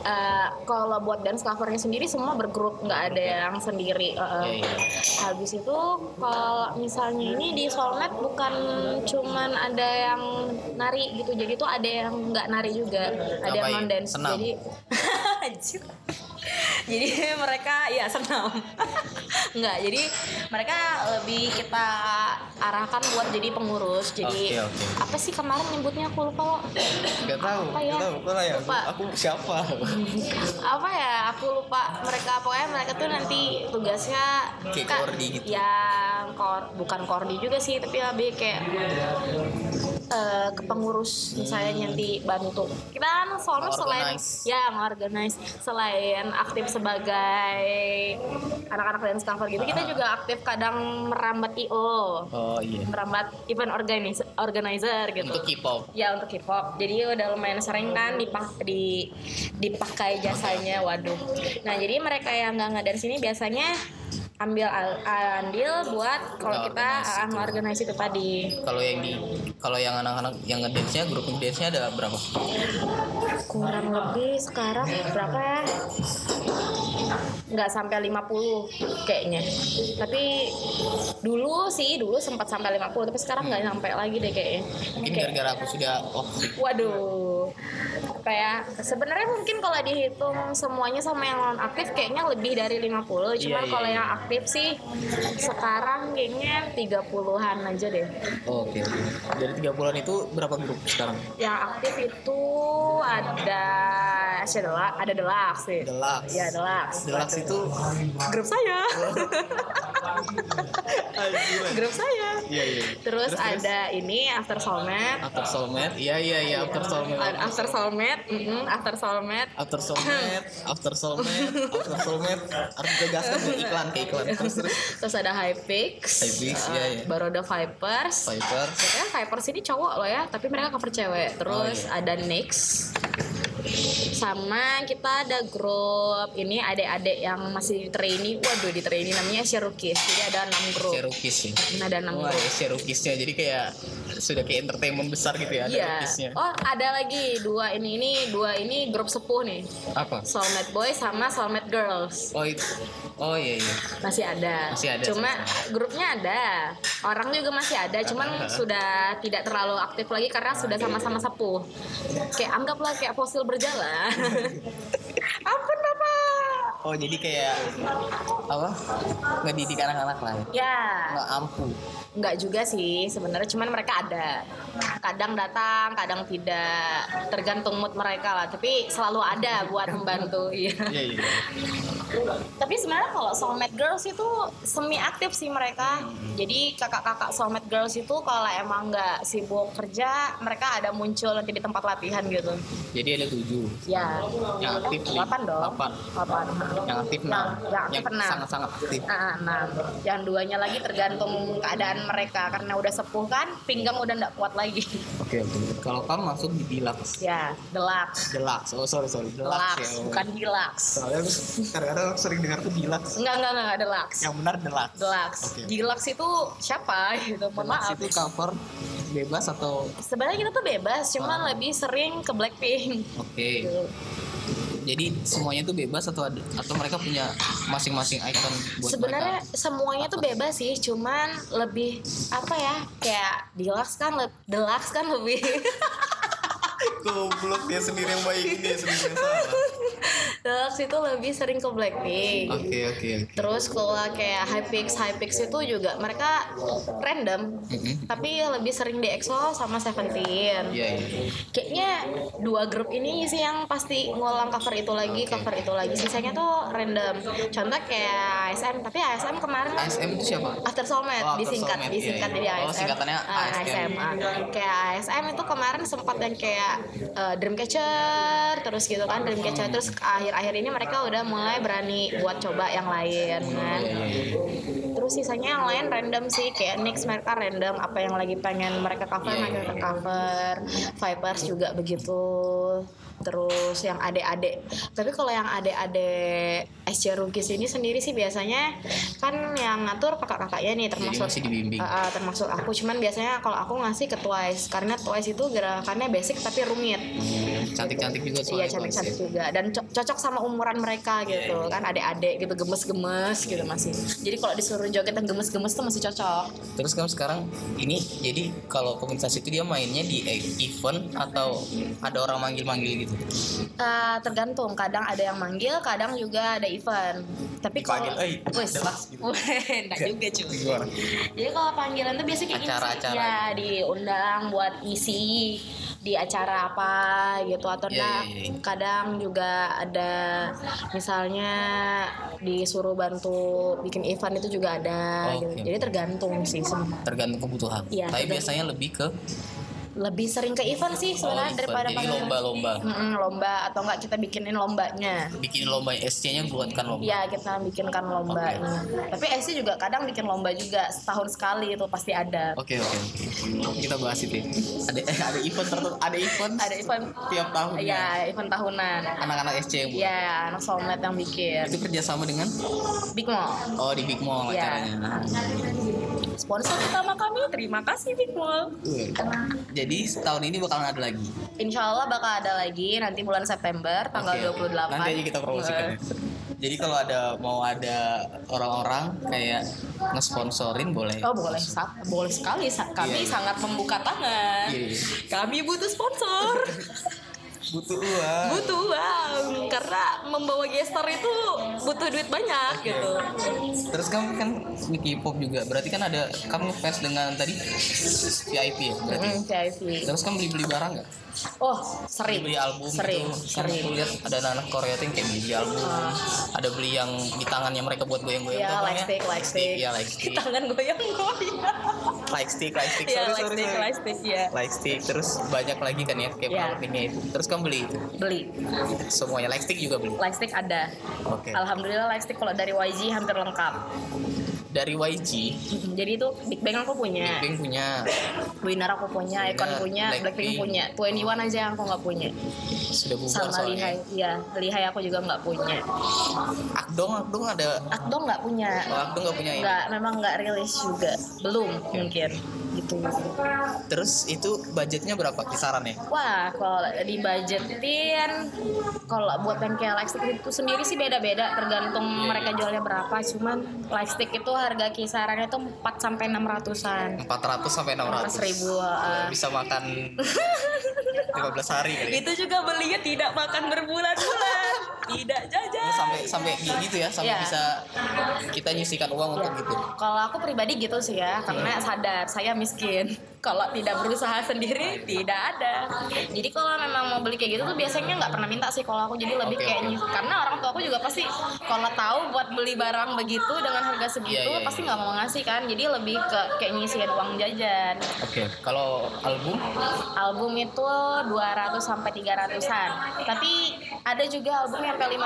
Speaker 3: Eh, kalau buat dance covernya sendiri semua bergrup, nggak ada yang sendiri. eh,
Speaker 1: ya,
Speaker 3: eh.
Speaker 1: ya.
Speaker 3: Habis itu kalau misalnya ini di Solmed bukan cuman ada yang nari gitu, jadi tuh ada yang nggak nari juga, ada yang
Speaker 1: Ngapain?
Speaker 3: non dance.
Speaker 1: Senam.
Speaker 3: Jadi Anjir. jadi mereka ya senam. nggak, jadi mereka lebih kita arahkan buat jadi pengurus. Jadi
Speaker 1: Oke, oke.
Speaker 3: apa sih kemarin nyebutnya aku lupa kok.
Speaker 4: Gak tahu,
Speaker 3: Apa ya?
Speaker 4: gak tahu. Kok lah ya?
Speaker 3: Lupa.
Speaker 4: Aku siapa?
Speaker 3: apa ya aku lupa mereka pokoknya mereka tuh nanti tugasnya
Speaker 1: Kayak
Speaker 3: Kak,
Speaker 1: koordi gitu.
Speaker 3: ya kor bukan kordi juga sih tapi lebih kayak eh, ke pengurus misalnya nanti bantu kita kan soalnya selain
Speaker 1: Organize.
Speaker 3: ya organize selain aktif sebagai anak-anak dance cover gitu kita juga aktif kadang merambat io
Speaker 1: oh iya
Speaker 3: merambat event organizer organizer gitu
Speaker 1: untuk K-pop
Speaker 3: Ya untuk K-pop. Jadi udah lumayan sering kan dipak di dipakai jasanya. Waduh. Nah jadi mereka yang nggak nggak dari sini biasanya ambil al- andil buat kalau kita
Speaker 1: Nge-organize
Speaker 3: ah, nge-organize itu tadi.
Speaker 1: kalau yang di kalau yang anak-anak yang ngedance nya grup ngedance nya ada berapa
Speaker 3: Kurang lebih sekarang berapa ya? Nggak sampai 50 kayaknya. Tapi dulu sih dulu sempat sampai 50 tapi sekarang nggak sampai lagi deh kayaknya.
Speaker 1: mungkin
Speaker 3: Kayak-
Speaker 1: gara-gara aku sudah oh
Speaker 3: Waduh. Kayak sebenarnya mungkin kalau dihitung semuanya sama yang non aktif kayaknya lebih dari 50. Cuman
Speaker 1: Iya, iya,
Speaker 3: kalau
Speaker 1: iya.
Speaker 3: yang aktif sih sekarang kayaknya 30-an aja deh.
Speaker 4: Oh,
Speaker 1: oke dari tiga bulan itu berapa grup sekarang
Speaker 3: Yang aktif itu ada Shadow, ada Deluxe sih.
Speaker 1: Deluxe
Speaker 3: Ya, Deluxe.
Speaker 1: Deluxe itu
Speaker 3: Grup saya.
Speaker 1: Oh.
Speaker 3: Grup saya.
Speaker 1: iya iya
Speaker 3: Terus, ada ini After Soulmate.
Speaker 1: after soulmate iya iya iya after soulmate
Speaker 3: Ada After Soulmate, mm-mm, After Soulmate.
Speaker 1: after soulmate after soulmate after soulmate harus digaskan ke iklan ke iklan terus terus
Speaker 3: Terus ada Hypix.
Speaker 1: Hypix,
Speaker 3: Eh,
Speaker 1: iya, iya.
Speaker 3: Baru ada Vipers.
Speaker 1: Viper
Speaker 3: Sebenarnya Vipers ini cowok loh ya, tapi mereka cover cewek. Terus
Speaker 1: Oh,
Speaker 3: ada Nyx. Sama kita ada grup ini adik-adik yang masih trainee. Waduh, di trainee namanya Cherokee. Jadi ada 6 grup.
Speaker 1: Cherokee sih
Speaker 3: Nah, ada 6
Speaker 1: Oh,
Speaker 3: grup.
Speaker 1: ada Cherokee-nya jadi kayak sudah kayak entertainment besar gitu ya ada
Speaker 3: Iya.
Speaker 1: Cherokee-nya.
Speaker 3: Oh, ada lagi dua ini ini dua ini grup sepuh nih.
Speaker 1: Apa?
Speaker 3: Soulmate Boy sama Soulmate Girls.
Speaker 1: Oh itu. Oh iya iya.
Speaker 3: Masih ada.
Speaker 1: Masih ada,
Speaker 3: Cuma
Speaker 1: sama-sama.
Speaker 3: grupnya ada. Orang juga masih ada, cuman sudah tidak terlalu aktif lagi karena sudah sama-sama sepuh. Kayak anggaplah kayak fosil berjalan. Ampun Bapak.
Speaker 1: Oh jadi kayak apa? Ngedidik anak-anak lah. ya.
Speaker 3: Ya,
Speaker 1: Nggak ampuh.
Speaker 3: nggak juga sih sebenarnya, cuman mereka ada. Kadang datang, kadang tidak. Tergantung mood mereka lah, tapi selalu ada buat membantu. Iya.
Speaker 1: Iya iya.
Speaker 3: tapi sebenarnya kalau soulmate girls itu semi aktif sih mereka
Speaker 1: Hmm.
Speaker 3: jadi kakak-kakak soulmate girls itu kalau emang nggak sibuk kerja mereka ada muncul nanti di tempat latihan gitu
Speaker 1: Jadi ada tujuh.
Speaker 3: ya
Speaker 1: Yang aktif lima.
Speaker 3: delapan dong
Speaker 1: Delapan.
Speaker 3: Delapan.
Speaker 1: Yang aktif
Speaker 3: Yang-
Speaker 1: enam.
Speaker 3: yang aktif enam.
Speaker 1: sangat-sangat aktif.
Speaker 3: Ah, enam. yang duanya lagi tergantung keadaan mereka karena udah sepuh kan pinggang udah nggak kuat lagi
Speaker 1: Oke oke. Kalau kamu masuk di deluxe.
Speaker 3: ya deluxe
Speaker 1: Deluxe. Oh sorry sorry. Deluxe.
Speaker 3: deluxe
Speaker 1: ya.
Speaker 3: bukan deluxe
Speaker 4: Soalnya aku kadang-kadang aku sering dengar tuh bilang
Speaker 3: enggak enggak enggak deluxe
Speaker 1: Yang benar deluxe.
Speaker 3: deluxe
Speaker 1: Oke.
Speaker 3: deluxe itu siapa gitu mohon
Speaker 1: Deluxe
Speaker 3: maaf
Speaker 1: itu cover bebas atau
Speaker 3: sebenarnya kita tuh bebas cuman
Speaker 1: Ah.
Speaker 3: lebih sering ke Blackpink
Speaker 1: oke. Jadi semuanya itu bebas atau ada, atau mereka punya masing-masing icon buat
Speaker 3: sebenarnya
Speaker 1: mereka?
Speaker 3: semuanya tuh bebas sih cuman lebih apa ya kayak deluxe kan le- deluxe kan lebih
Speaker 4: Goblok dia sendiri yang baik Dia sendiri yang salah
Speaker 3: Deluxe itu lebih sering ke Blackpink.
Speaker 1: Ah.
Speaker 4: Oke oke oke.
Speaker 3: Terus kalau kayak Hypix, Hypix itu juga mereka random.
Speaker 4: Mm-mm.
Speaker 3: Tapi lebih sering di EXO sama Seventeen.
Speaker 4: Iya iya.
Speaker 3: Kayaknya dua grup ini sih yang pasti ngulang cover itu lagi, cover itu lagi. Sisanya tuh random. Contoh kayak ASM, tapi ASM kemarin kan
Speaker 4: ASM itu siapa?
Speaker 3: After Soulmate,
Speaker 4: Oh, After
Speaker 3: disingkat,
Speaker 4: Soulmate, iya,
Speaker 3: disingkat
Speaker 4: iya.
Speaker 3: jadi ASM.
Speaker 4: Oh, singkatannya
Speaker 3: Ah,
Speaker 4: ASM.
Speaker 3: ah. Kayak ASM itu kemarin sempat yang kayak eh, Dreamcatcher, terus gitu kan Dreamcatcher. Terus akhir-akhir ini mereka udah mulai berani buat coba yang lain
Speaker 1: Iya,
Speaker 3: kan.
Speaker 4: Iya,
Speaker 3: Terus sisanya yang lain random sih, kayak Nix mereka random apa yang lagi pengen mereka cover,
Speaker 4: Iya, iya,
Speaker 3: mereka
Speaker 4: iya.
Speaker 3: cover. Vipers juga begitu. Terus yang adik-adik. Tapi kalau yang adik-adik SC Rugis ini sendiri sih biasanya kan yang ngatur kakak-kakaknya nih
Speaker 4: Jadi
Speaker 3: termasuk
Speaker 4: masih dibimbing.
Speaker 3: Uh, uh, termasuk aku cuman biasanya kalau aku ngasih ke Twice karena Twice itu gerakannya basic tapi rumit
Speaker 1: Mm,
Speaker 4: Cantik-cantik juga
Speaker 3: iya
Speaker 4: soalnya. Iya,
Speaker 3: cantik-cantik juga dan co- cocok sama umuran mereka gitu kan adik-adik gitu gemes-gemes gitu masih jadi kalau disuruh joget yang gemes-gemes tuh masih cocok
Speaker 1: Terus kamu sekarang ini jadi kalau komunitas itu dia mainnya di e- event atau ada orang manggil-manggil gitu.
Speaker 3: Uh, tergantung kadang ada yang manggil kadang juga ada event tapi kalau
Speaker 4: Dipanggil, "Eh,
Speaker 3: Wes.
Speaker 4: ada mas," gitu.
Speaker 3: Weh, enggak juga cuy
Speaker 4: Gimana?
Speaker 3: jadi kalau panggilan tuh biasanya kayak gini sih
Speaker 1: Acara-acara.
Speaker 3: ya diundang buat isi di acara apa gitu atau
Speaker 1: Iya,
Speaker 3: enggak
Speaker 1: iya, iya.
Speaker 3: kadang juga ada misalnya disuruh bantu bikin event itu juga ada
Speaker 1: Oke.
Speaker 3: gitu. jadi tergantung sih sebenarnya.
Speaker 1: Tergantung kebutuhan.
Speaker 3: Iya,
Speaker 1: Tapi
Speaker 3: tergantung.
Speaker 1: biasanya lebih ke
Speaker 3: lebih sering ke event sih
Speaker 1: oh,
Speaker 3: sebenarnya
Speaker 1: event.
Speaker 3: daripada
Speaker 1: jadi
Speaker 3: panggilan.
Speaker 1: lomba-lomba.
Speaker 3: Mm-mm, lomba atau enggak kita bikinin lombanya
Speaker 1: Bikin lomba SC-nya buatkan lomba.
Speaker 3: Iya kita bikinkan lomba Tapi SC juga kadang bikin lomba juga setahun sekali itu pasti ada.
Speaker 4: Oke oke oke. Kita bahas itu. ya. Ada ada event tertentu. Ada event.
Speaker 3: Ada event
Speaker 4: tiap tahun.
Speaker 3: Iya event tahunan.
Speaker 4: Anak-anak SC yang buat.
Speaker 3: Iya anak soulmate yang bikin.
Speaker 4: Itu kerjasama dengan
Speaker 3: Big Mall.
Speaker 4: Oh di Big Mall
Speaker 3: Iya.
Speaker 4: acaranya.
Speaker 3: Sponsor utama kami terima kasih Big Mall.
Speaker 4: Iya. Jadi tahun ini bakalan ada lagi.
Speaker 3: Insya Allah bakal ada lagi nanti bulan September tanggal
Speaker 4: Oke, oke.
Speaker 3: 28.
Speaker 4: Nanti aja kita promosikan. ya. Jadi kalau ada mau ada orang-orang kayak ngesponsorin boleh.
Speaker 3: Oh boleh, sa- boleh sekali. Sa-
Speaker 4: Iya.
Speaker 3: Kami sangat membuka tangan.
Speaker 4: Iya, iya.
Speaker 3: Kami butuh sponsor,
Speaker 4: Butuh uang.
Speaker 3: butuh uang karena membawa gestar itu butuh duit banyak gitu.
Speaker 4: Terus kamu kan Mickey Pop juga. Berarti kan ada kamu fans dengan tadi VIP ya berarti.
Speaker 3: Mm, VIP.
Speaker 4: Terus kamu beli-beli barang nggak?
Speaker 3: Oh sering.
Speaker 1: beli album
Speaker 3: sering,
Speaker 1: gitu
Speaker 3: sering.
Speaker 1: sering lihat ada anak-anak Korea tuh yang kayak beli album ada beli yang di tangannya mereka buat goyang-goyang
Speaker 3: Iya,
Speaker 1: tuh,
Speaker 3: like
Speaker 1: namanya?
Speaker 3: stick, like stick.
Speaker 1: kan ya. iya like stick
Speaker 3: Tangan goyang-goyang.
Speaker 1: like stick like stick
Speaker 3: Iya,
Speaker 1: sorry,
Speaker 3: like
Speaker 1: sorry,
Speaker 3: stick,
Speaker 1: sorry.
Speaker 3: like stick ya.
Speaker 1: Like stick terus banyak lagi kan ya kayak
Speaker 3: Iya.
Speaker 1: produknya itu terus kamu beli itu
Speaker 3: Beli.
Speaker 1: semuanya like stick juga beli
Speaker 3: Lightstick ada.
Speaker 1: oke
Speaker 3: Alhamdulillah lightstick kalau dari YG hampir lengkap.
Speaker 1: dari YG
Speaker 3: Jadi itu Big Bang aku punya,
Speaker 1: Blackpink punya
Speaker 3: Winner aku punya, Icon
Speaker 1: Winner,
Speaker 3: punya, Blackpink
Speaker 1: Iya, Blackpink.
Speaker 3: punya. 21 aja yang aku nggak punya.
Speaker 1: sudah bubar
Speaker 3: Sama Lihai,
Speaker 1: soalnya
Speaker 3: iya, Lihai aku juga nggak punya.
Speaker 1: Akdong Akdong ada
Speaker 3: Akdong nggak punya.
Speaker 1: oh, Akdong nggak punya ini
Speaker 3: Nggak, memang nggak rilis juga. Belum mungkin. Gitu.
Speaker 1: terus itu budgetnya berapa ya? kisarannya
Speaker 3: Wah, kalau dibudgetin, kalau buat yang kayak lightstick itu sendiri sih beda-beda tergantung mereka jualnya berapa. Cuman lightstick itu harga kisarannya tuh 4 sampai 600-an.
Speaker 1: 400 sampai 600
Speaker 3: ribu, ah.
Speaker 1: bisa makan 15 hari kali ya.
Speaker 3: Itu juga belinya tidak makan berbulan-bulan, tidak jajan.
Speaker 1: Oh, sampai sampai gitu ya sampai
Speaker 3: Iya.
Speaker 1: bisa kita nyisikan uang untuk gitu
Speaker 3: Kalau aku pribadi gitu sih ya, karena
Speaker 1: Iya.
Speaker 3: sadar saya miskin. Kalau tidak berusaha sendiri tidak ada. Jadi kalau memang mau beli kayak gitu tuh biasanya nggak pernah minta sih kalau aku jadi lebih
Speaker 1: Oke,
Speaker 3: kayak
Speaker 1: oke.
Speaker 3: nyis- karena orang tua aku juga pasti kalau tahu buat beli barang begitu dengan harga segitu
Speaker 1: Iya, iya, iya.
Speaker 3: pasti nggak mau ngasih kan. Jadi lebih ke kayak nyisihin uang jajan.
Speaker 1: oke kalau album
Speaker 3: Album itu 200 sampai 300-an. Tapi ada juga album yang sampai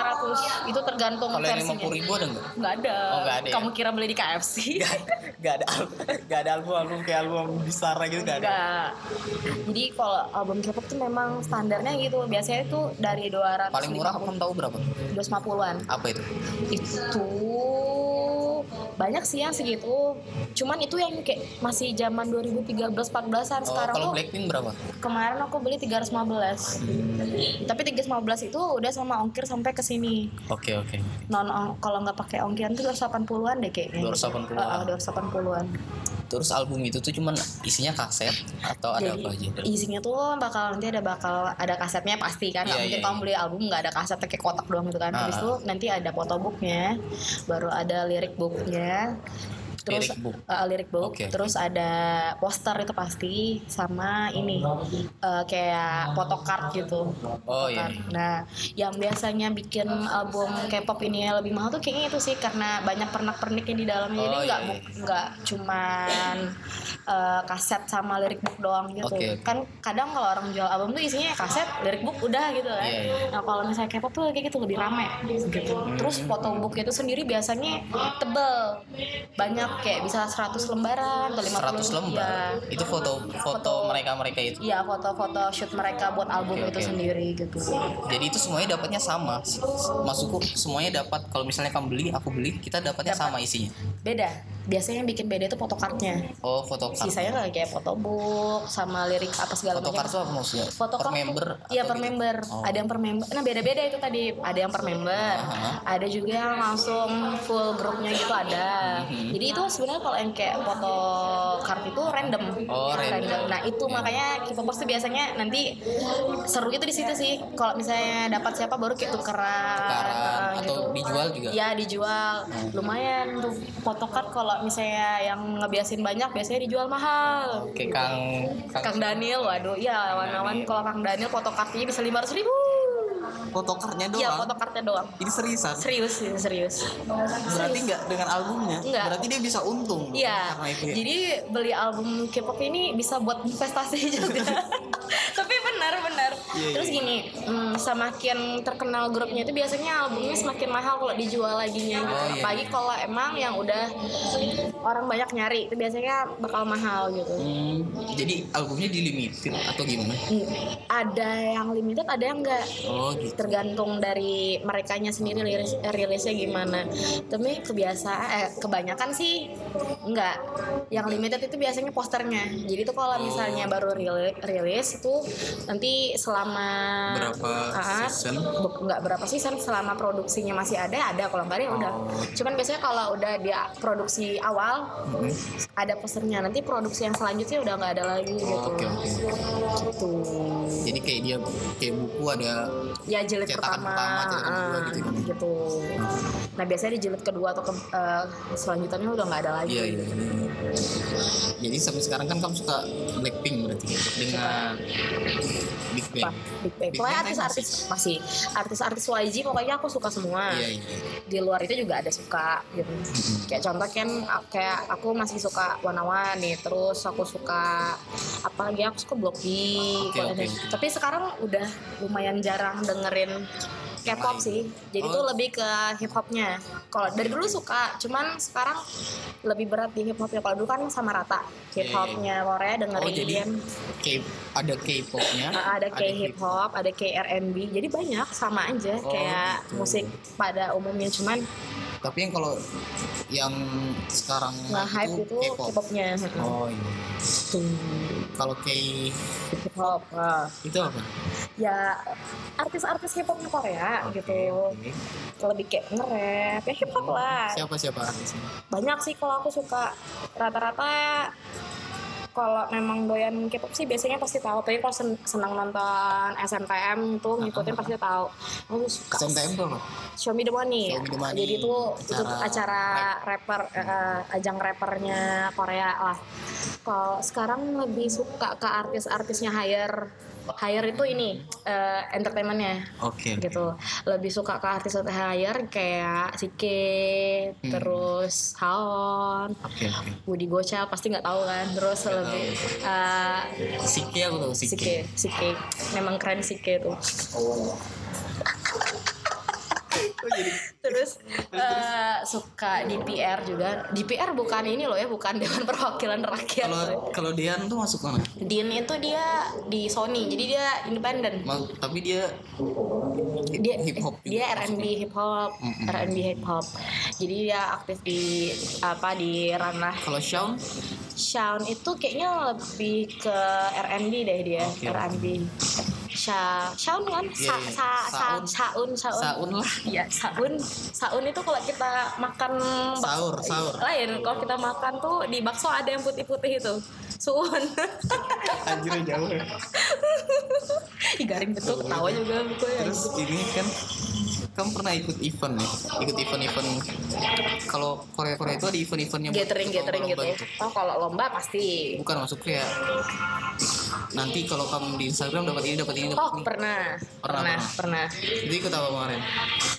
Speaker 3: 500. Itu tergantung
Speaker 1: kalau yang lima
Speaker 3: versinya.
Speaker 1: ribu ada nggak
Speaker 3: Nggak ada.
Speaker 1: Oh, nggak ada ya?
Speaker 3: Kamu kira beli di KFC?
Speaker 1: nggak ada album nggak ada album album kayak album besar gitu nggak ada
Speaker 3: Enggak. Jadi kalau album K-pop tuh memang standarnya gitu. Biasanya itu dari 200
Speaker 1: paling murah kamu tahu berapa
Speaker 3: 250-an.
Speaker 1: apa itu
Speaker 3: Itu banyak sih yang segitu cuman itu yang kayak masih zaman 2013 14an
Speaker 1: Oh,
Speaker 3: Kan sekarang
Speaker 1: kalau
Speaker 3: tuh
Speaker 1: Blackpink berapa?
Speaker 3: kemarin aku beli 315 tapi 315 itu udah sama ongkir sampai ke sini
Speaker 1: Oke oke.
Speaker 3: non ong- kalau nggak pakai ongkiran tuh 280-an deh kayaknya
Speaker 1: 280-an.
Speaker 3: Heeh, 280-an
Speaker 1: Terus album itu tuh cuman isinya kaset atau ada
Speaker 3: Jadi,
Speaker 1: apa aja?
Speaker 3: isinya tuh bakal nanti ada bakal ada kasetnya pasti kan nggak
Speaker 1: Iya,
Speaker 3: mungkin
Speaker 1: iya,
Speaker 3: kamu beli album nggak ada kaset kayak kotak doang gitu kan
Speaker 1: Ah.
Speaker 3: habis itu nanti ada photobooknya baru ada lirik booknya terus
Speaker 1: Lyric book.
Speaker 3: eh, lyric book
Speaker 1: Oke, oke.
Speaker 3: terus ada poster itu pasti sama ini eh, kayak photocard gitu
Speaker 1: Oh iya.
Speaker 3: Kan. Nah, yang biasanya bikin album K-pop ini lebih mahal tuh kayaknya itu sih karena banyak pernak-perniknya di dalamnya. Jadi
Speaker 1: Oh,
Speaker 3: nggak
Speaker 1: iya,
Speaker 3: bu- nggak cuman eh, kaset sama lirik book doang gitu.
Speaker 1: Oke, oke.
Speaker 3: Kan kadang kalau orang jual album tuh isinya kaset, lirik book udah gitu kan.
Speaker 1: Iya, iya. Hmm.
Speaker 3: Nah, kalau misalnya K-pop tuh kayak gitu lebih rame gitu. Terus foto book itu sendiri biasanya tebel. Banyak kayak bisa 100 lembaran atau 50
Speaker 1: 100 lembar.
Speaker 3: Iya.
Speaker 1: Itu foto foto
Speaker 3: Foto.
Speaker 1: mereka-mereka itu.
Speaker 3: Iya, foto-foto shoot mereka buat album
Speaker 1: Oke,
Speaker 3: itu
Speaker 1: oke.
Speaker 3: sendiri gitu.
Speaker 1: Jadi itu semuanya dapatnya sama. S- s- Maksudku semuanya dapat kalau misalnya kamu beli, aku beli, kita dapatnya
Speaker 3: Dapat.
Speaker 1: sama isinya.
Speaker 3: beda biasanya yang bikin beda itu fotokartnya
Speaker 1: Oh, foto card.
Speaker 3: sisanya nggak kayak fotobook sama lirik apa segala
Speaker 1: Foto card
Speaker 3: macam
Speaker 1: tuh apa maksudnya?
Speaker 3: Fotokart
Speaker 1: per
Speaker 3: tuh-
Speaker 1: member.
Speaker 3: iya
Speaker 1: atau
Speaker 3: per
Speaker 1: gitu?
Speaker 3: member
Speaker 1: Oh.
Speaker 3: ada yang per member nah beda beda itu tadi ada yang per member
Speaker 1: Aha.
Speaker 3: ada juga yang langsung full grupnya gitu ada
Speaker 1: Uh-huh.
Speaker 3: jadi itu sebenarnya kalau yang kayak foto card itu random
Speaker 1: Oh, random.
Speaker 3: nah itu makanya K-popers tuh biasanya nanti seru gitu di situ sih kalau misalnya dapat siapa baru kayak tukeran,
Speaker 1: Tukaran,
Speaker 3: eh,
Speaker 1: atau dijual juga?
Speaker 3: Iya dijual lumayan tuh photocard kalau misalnya yang ngebiasin banyak biasanya dijual mahal
Speaker 1: Kayak Kang
Speaker 3: Kang Daniel, waduh, iya lawan-lawan kalau Kang Daniel fotokartnya bisa lima ratus ribu.
Speaker 4: Foto cardnya doang.
Speaker 3: Iya fotokartnya doang.
Speaker 4: Ini seriusan.
Speaker 3: Serius, ini serius.
Speaker 4: Berarti nggak dengan albumnya.
Speaker 3: Nggak.
Speaker 4: Berarti dia bisa untung.
Speaker 3: Iya.
Speaker 4: Karena itu ya.
Speaker 3: Jadi beli album K-pop ini bisa buat investasi juga. Tapi benar-benar.
Speaker 4: Iya,
Speaker 3: Terus
Speaker 4: iya.
Speaker 3: gini, hmm, semakin terkenal grupnya itu biasanya albumnya semakin mahal kalau dijual laginya.
Speaker 1: Oh, iya.
Speaker 3: Apalagi kalau emang yang udah orang banyak nyari itu biasanya bakal mahal gitu.
Speaker 1: Hmm, jadi albumnya di limited atau gimana?
Speaker 3: Hmm, Ada yang limited, ada yang enggak.
Speaker 1: Oh gitu.
Speaker 3: tergantung dari merekanya sendiri rilis- rilisnya gimana. Tapi kebiasaan eh kebanyakan sih enggak. Yang limited itu biasanya posternya. Jadi itu kalau misalnya baru rili- rilis itu nanti selama
Speaker 1: Berapa
Speaker 3: Ah,
Speaker 1: season?
Speaker 3: bu- nggak berapa season selama produksinya masih ada ada kalau nggak ada ya udah.
Speaker 1: Oh.
Speaker 3: Cuman biasanya kalau udah dia produksi awal
Speaker 1: Hmm,
Speaker 3: ada posternya. Nanti produksi yang selanjutnya udah nggak ada lagi gitu.
Speaker 1: Oh, Oke oke.
Speaker 3: Gitu
Speaker 1: Jadi kayak dia kayak buku ada
Speaker 3: ya jilid
Speaker 1: Cetakan
Speaker 3: pertama,
Speaker 1: pertama, cetakan kedua
Speaker 3: ah,
Speaker 1: gitu ya.
Speaker 3: gitu. Nah biasanya di jilid kedua atau ke, eh, selanjutnya udah nggak ada lagi.
Speaker 1: iya iya. Jadi sampai sekarang kan kamu suka Blackpink berarti dengan Big Bang.
Speaker 3: Apa? Big Bang.
Speaker 1: Big
Speaker 3: eh, Pokoknya
Speaker 1: Bang
Speaker 3: artis-artis masih artis-artis YG pokoknya aku suka semua.
Speaker 1: Iya iya.
Speaker 3: Di luar itu juga ada suka gitu. Kayak contoh kan a- kayak aku masih suka Wanawan nih, terus aku suka apa lagi aku suka Block B.
Speaker 1: Oke,
Speaker 3: kalau
Speaker 1: oke,
Speaker 3: ada-
Speaker 1: oke.
Speaker 3: Tapi sekarang udah lumayan jarang dengerin
Speaker 1: Lain.
Speaker 3: K-pop sih. Jadi
Speaker 1: Oh.
Speaker 3: tuh lebih ke hip hopnya. Kalau dari dulu suka, cuman sekarang lebih berat di hip hop ya. Kalau dulu kan sama rata hip hopnya Korea
Speaker 1: Iya,
Speaker 3: dengerin.
Speaker 1: Oh jadi K ada K-popnya.
Speaker 3: Uh, ada kayak hip hop, ada kayak R&B, jadi banyak sama aja
Speaker 1: Oh,
Speaker 3: kayak
Speaker 1: gitu.
Speaker 3: musik pada umumnya cuman
Speaker 1: Tapi yang kalau yang sekarang
Speaker 3: nggak Nah, hype itu
Speaker 1: Nah, gitu. K-pop.
Speaker 3: K-popnya Heeh.
Speaker 1: Oh iya. Kalau K
Speaker 3: hip hop. uh.
Speaker 1: itu apa?
Speaker 3: Ya artis-artis hip hopnya Korea gitu,
Speaker 1: Oke. Oh,
Speaker 3: lebih kayak nge-rap, ya hip hop lah.
Speaker 1: Siapa siapa artisnya?
Speaker 3: Banyak sih kalau aku suka rata-rata kalau memang doyan K-pop sih biasanya pasti tahu. Tapi kalau sen- senang nonton SMTM tuh ngikutin pasti tahu. Aku suka.
Speaker 1: SMTM tuh apa?
Speaker 3: Show Me the Money.
Speaker 1: Show Me the Money.
Speaker 3: Jadi itu itu
Speaker 1: Acara
Speaker 3: acara rapper eh, ajang rappernya Korea lah. Kalau sekarang lebih suka ke artis-artisnya higher higher itu ini eh, entertainmentnya
Speaker 1: Oke.
Speaker 3: gitu lebih suka ke artis higher kayak Sike
Speaker 1: Hmm.
Speaker 3: terus Haon
Speaker 1: Oke oke.
Speaker 3: Woody Gocha pasti nggak tahu kan terus lebih eh,
Speaker 1: Sike aku tahu Sike.
Speaker 3: Sike Sike memang keren Sike tuh
Speaker 1: Oh.
Speaker 4: Oh, jadi
Speaker 3: terus eh, suka DPR juga DPR bukan ini loh ya bukan Dewan Perwakilan Rakyat
Speaker 1: Kalau
Speaker 3: loh.
Speaker 1: kalau Dian tuh masuk mana?
Speaker 3: Din itu dia di Sony jadi dia independen
Speaker 1: Ma- tapi dia
Speaker 3: dia
Speaker 1: hip hop juga.
Speaker 3: dia R&B hip hop
Speaker 1: Mm-mm.
Speaker 3: R&B hip hop jadi dia aktif di apa di ranah
Speaker 1: Kalau Shaun
Speaker 3: Shawn itu kayaknya lebih ke R&B deh dia
Speaker 1: Oke.
Speaker 3: R&B Sha Shawn kan
Speaker 1: Iya,
Speaker 3: sa,
Speaker 1: iya.
Speaker 3: sa, sa, Saun Saun
Speaker 1: Saun lah.
Speaker 3: Iya, saun. Saun itu kalau kita makan bakso iya,
Speaker 1: Sahur, sahur.
Speaker 3: lain, kalau kita makan tuh di bakso ada yang putih-putih itu. Suun.
Speaker 1: Anjir jauh. ya.
Speaker 3: Ih, garing betul ketawa juga ya. gue.
Speaker 1: Terus ini kan kamu pernah ikut event ya? Ikut event-event kalau Korea Korea itu ada event-eventnya buat
Speaker 3: Gathering,
Speaker 1: ikut
Speaker 3: gathering
Speaker 1: lomba-lomba
Speaker 3: gitu. Oh, kalau lomba pasti.
Speaker 1: Bukan masuk kayak nanti kalau kamu di Instagram dapat ini dapat ini dapat
Speaker 3: Oh,
Speaker 1: ini.
Speaker 3: pernah. Pernah, pernah.
Speaker 1: Jadi ikut apa kemarin?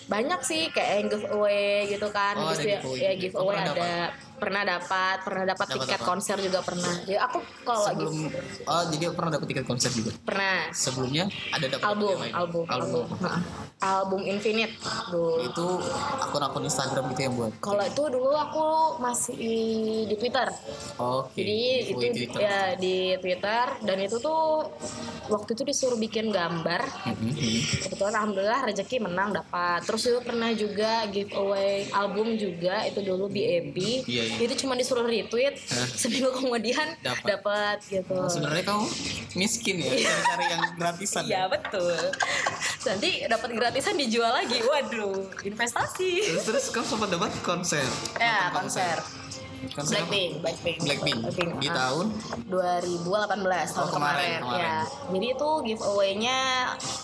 Speaker 3: Banyak sih kayak yang giveaway gitu kan.
Speaker 1: Oh,
Speaker 3: Terus
Speaker 1: ada
Speaker 3: ya,
Speaker 1: giveaway.
Speaker 3: ya giveaway
Speaker 1: Oh, pernah
Speaker 3: ada pernah dapat, pernah dapat
Speaker 1: Dapat
Speaker 3: tiket
Speaker 1: apa?
Speaker 3: konser juga pernah. Jadi aku kalau lagi
Speaker 1: Sebelum
Speaker 3: gitu.
Speaker 1: oh jadi aku pernah dapat tiket konser juga.
Speaker 3: pernah
Speaker 1: Sebelumnya ada dapat
Speaker 3: album,
Speaker 1: yang lain.
Speaker 3: album,
Speaker 1: Iya, album. Iya.
Speaker 3: album. Heeh. Album Infinite. Duh.
Speaker 1: Itu akun-akun Instagram gitu yang buat.
Speaker 3: Kalau itu dulu aku masih di Twitter.
Speaker 1: Oke.
Speaker 3: Jadi itu
Speaker 1: Follow Twitter.
Speaker 3: ya di Twitter dan itu tuh waktu itu disuruh bikin gambar.
Speaker 1: Mhm.
Speaker 3: Kebetulan alhamdulillah rezeki menang dapat. Terus itu pernah juga giveaway album juga itu dulu BAP.
Speaker 1: Iya, iya.
Speaker 3: Itu cuma disuruh retweet.
Speaker 1: Hah?
Speaker 3: Seminggu kemudian
Speaker 1: Dapat.
Speaker 3: dapat gitu.
Speaker 1: Sebenarnya kamu miskin ya cari-cari yang gratisan. ya?
Speaker 3: Iya betul. Nanti dapat gratisan dijual lagi. Waduh, investasi.
Speaker 1: Terus, terus kamu sempat dapat konser.
Speaker 3: Ya,
Speaker 1: Nonton
Speaker 3: konser.
Speaker 1: Konser apa?
Speaker 3: Blackpink, Blackpink.
Speaker 1: Kan Blackpink. Di
Speaker 3: ah.
Speaker 1: tahun
Speaker 3: 2018 tahun
Speaker 1: Oh,
Speaker 3: kemarin,
Speaker 1: kemarin,
Speaker 3: ya. Jadi itu giveaway-nya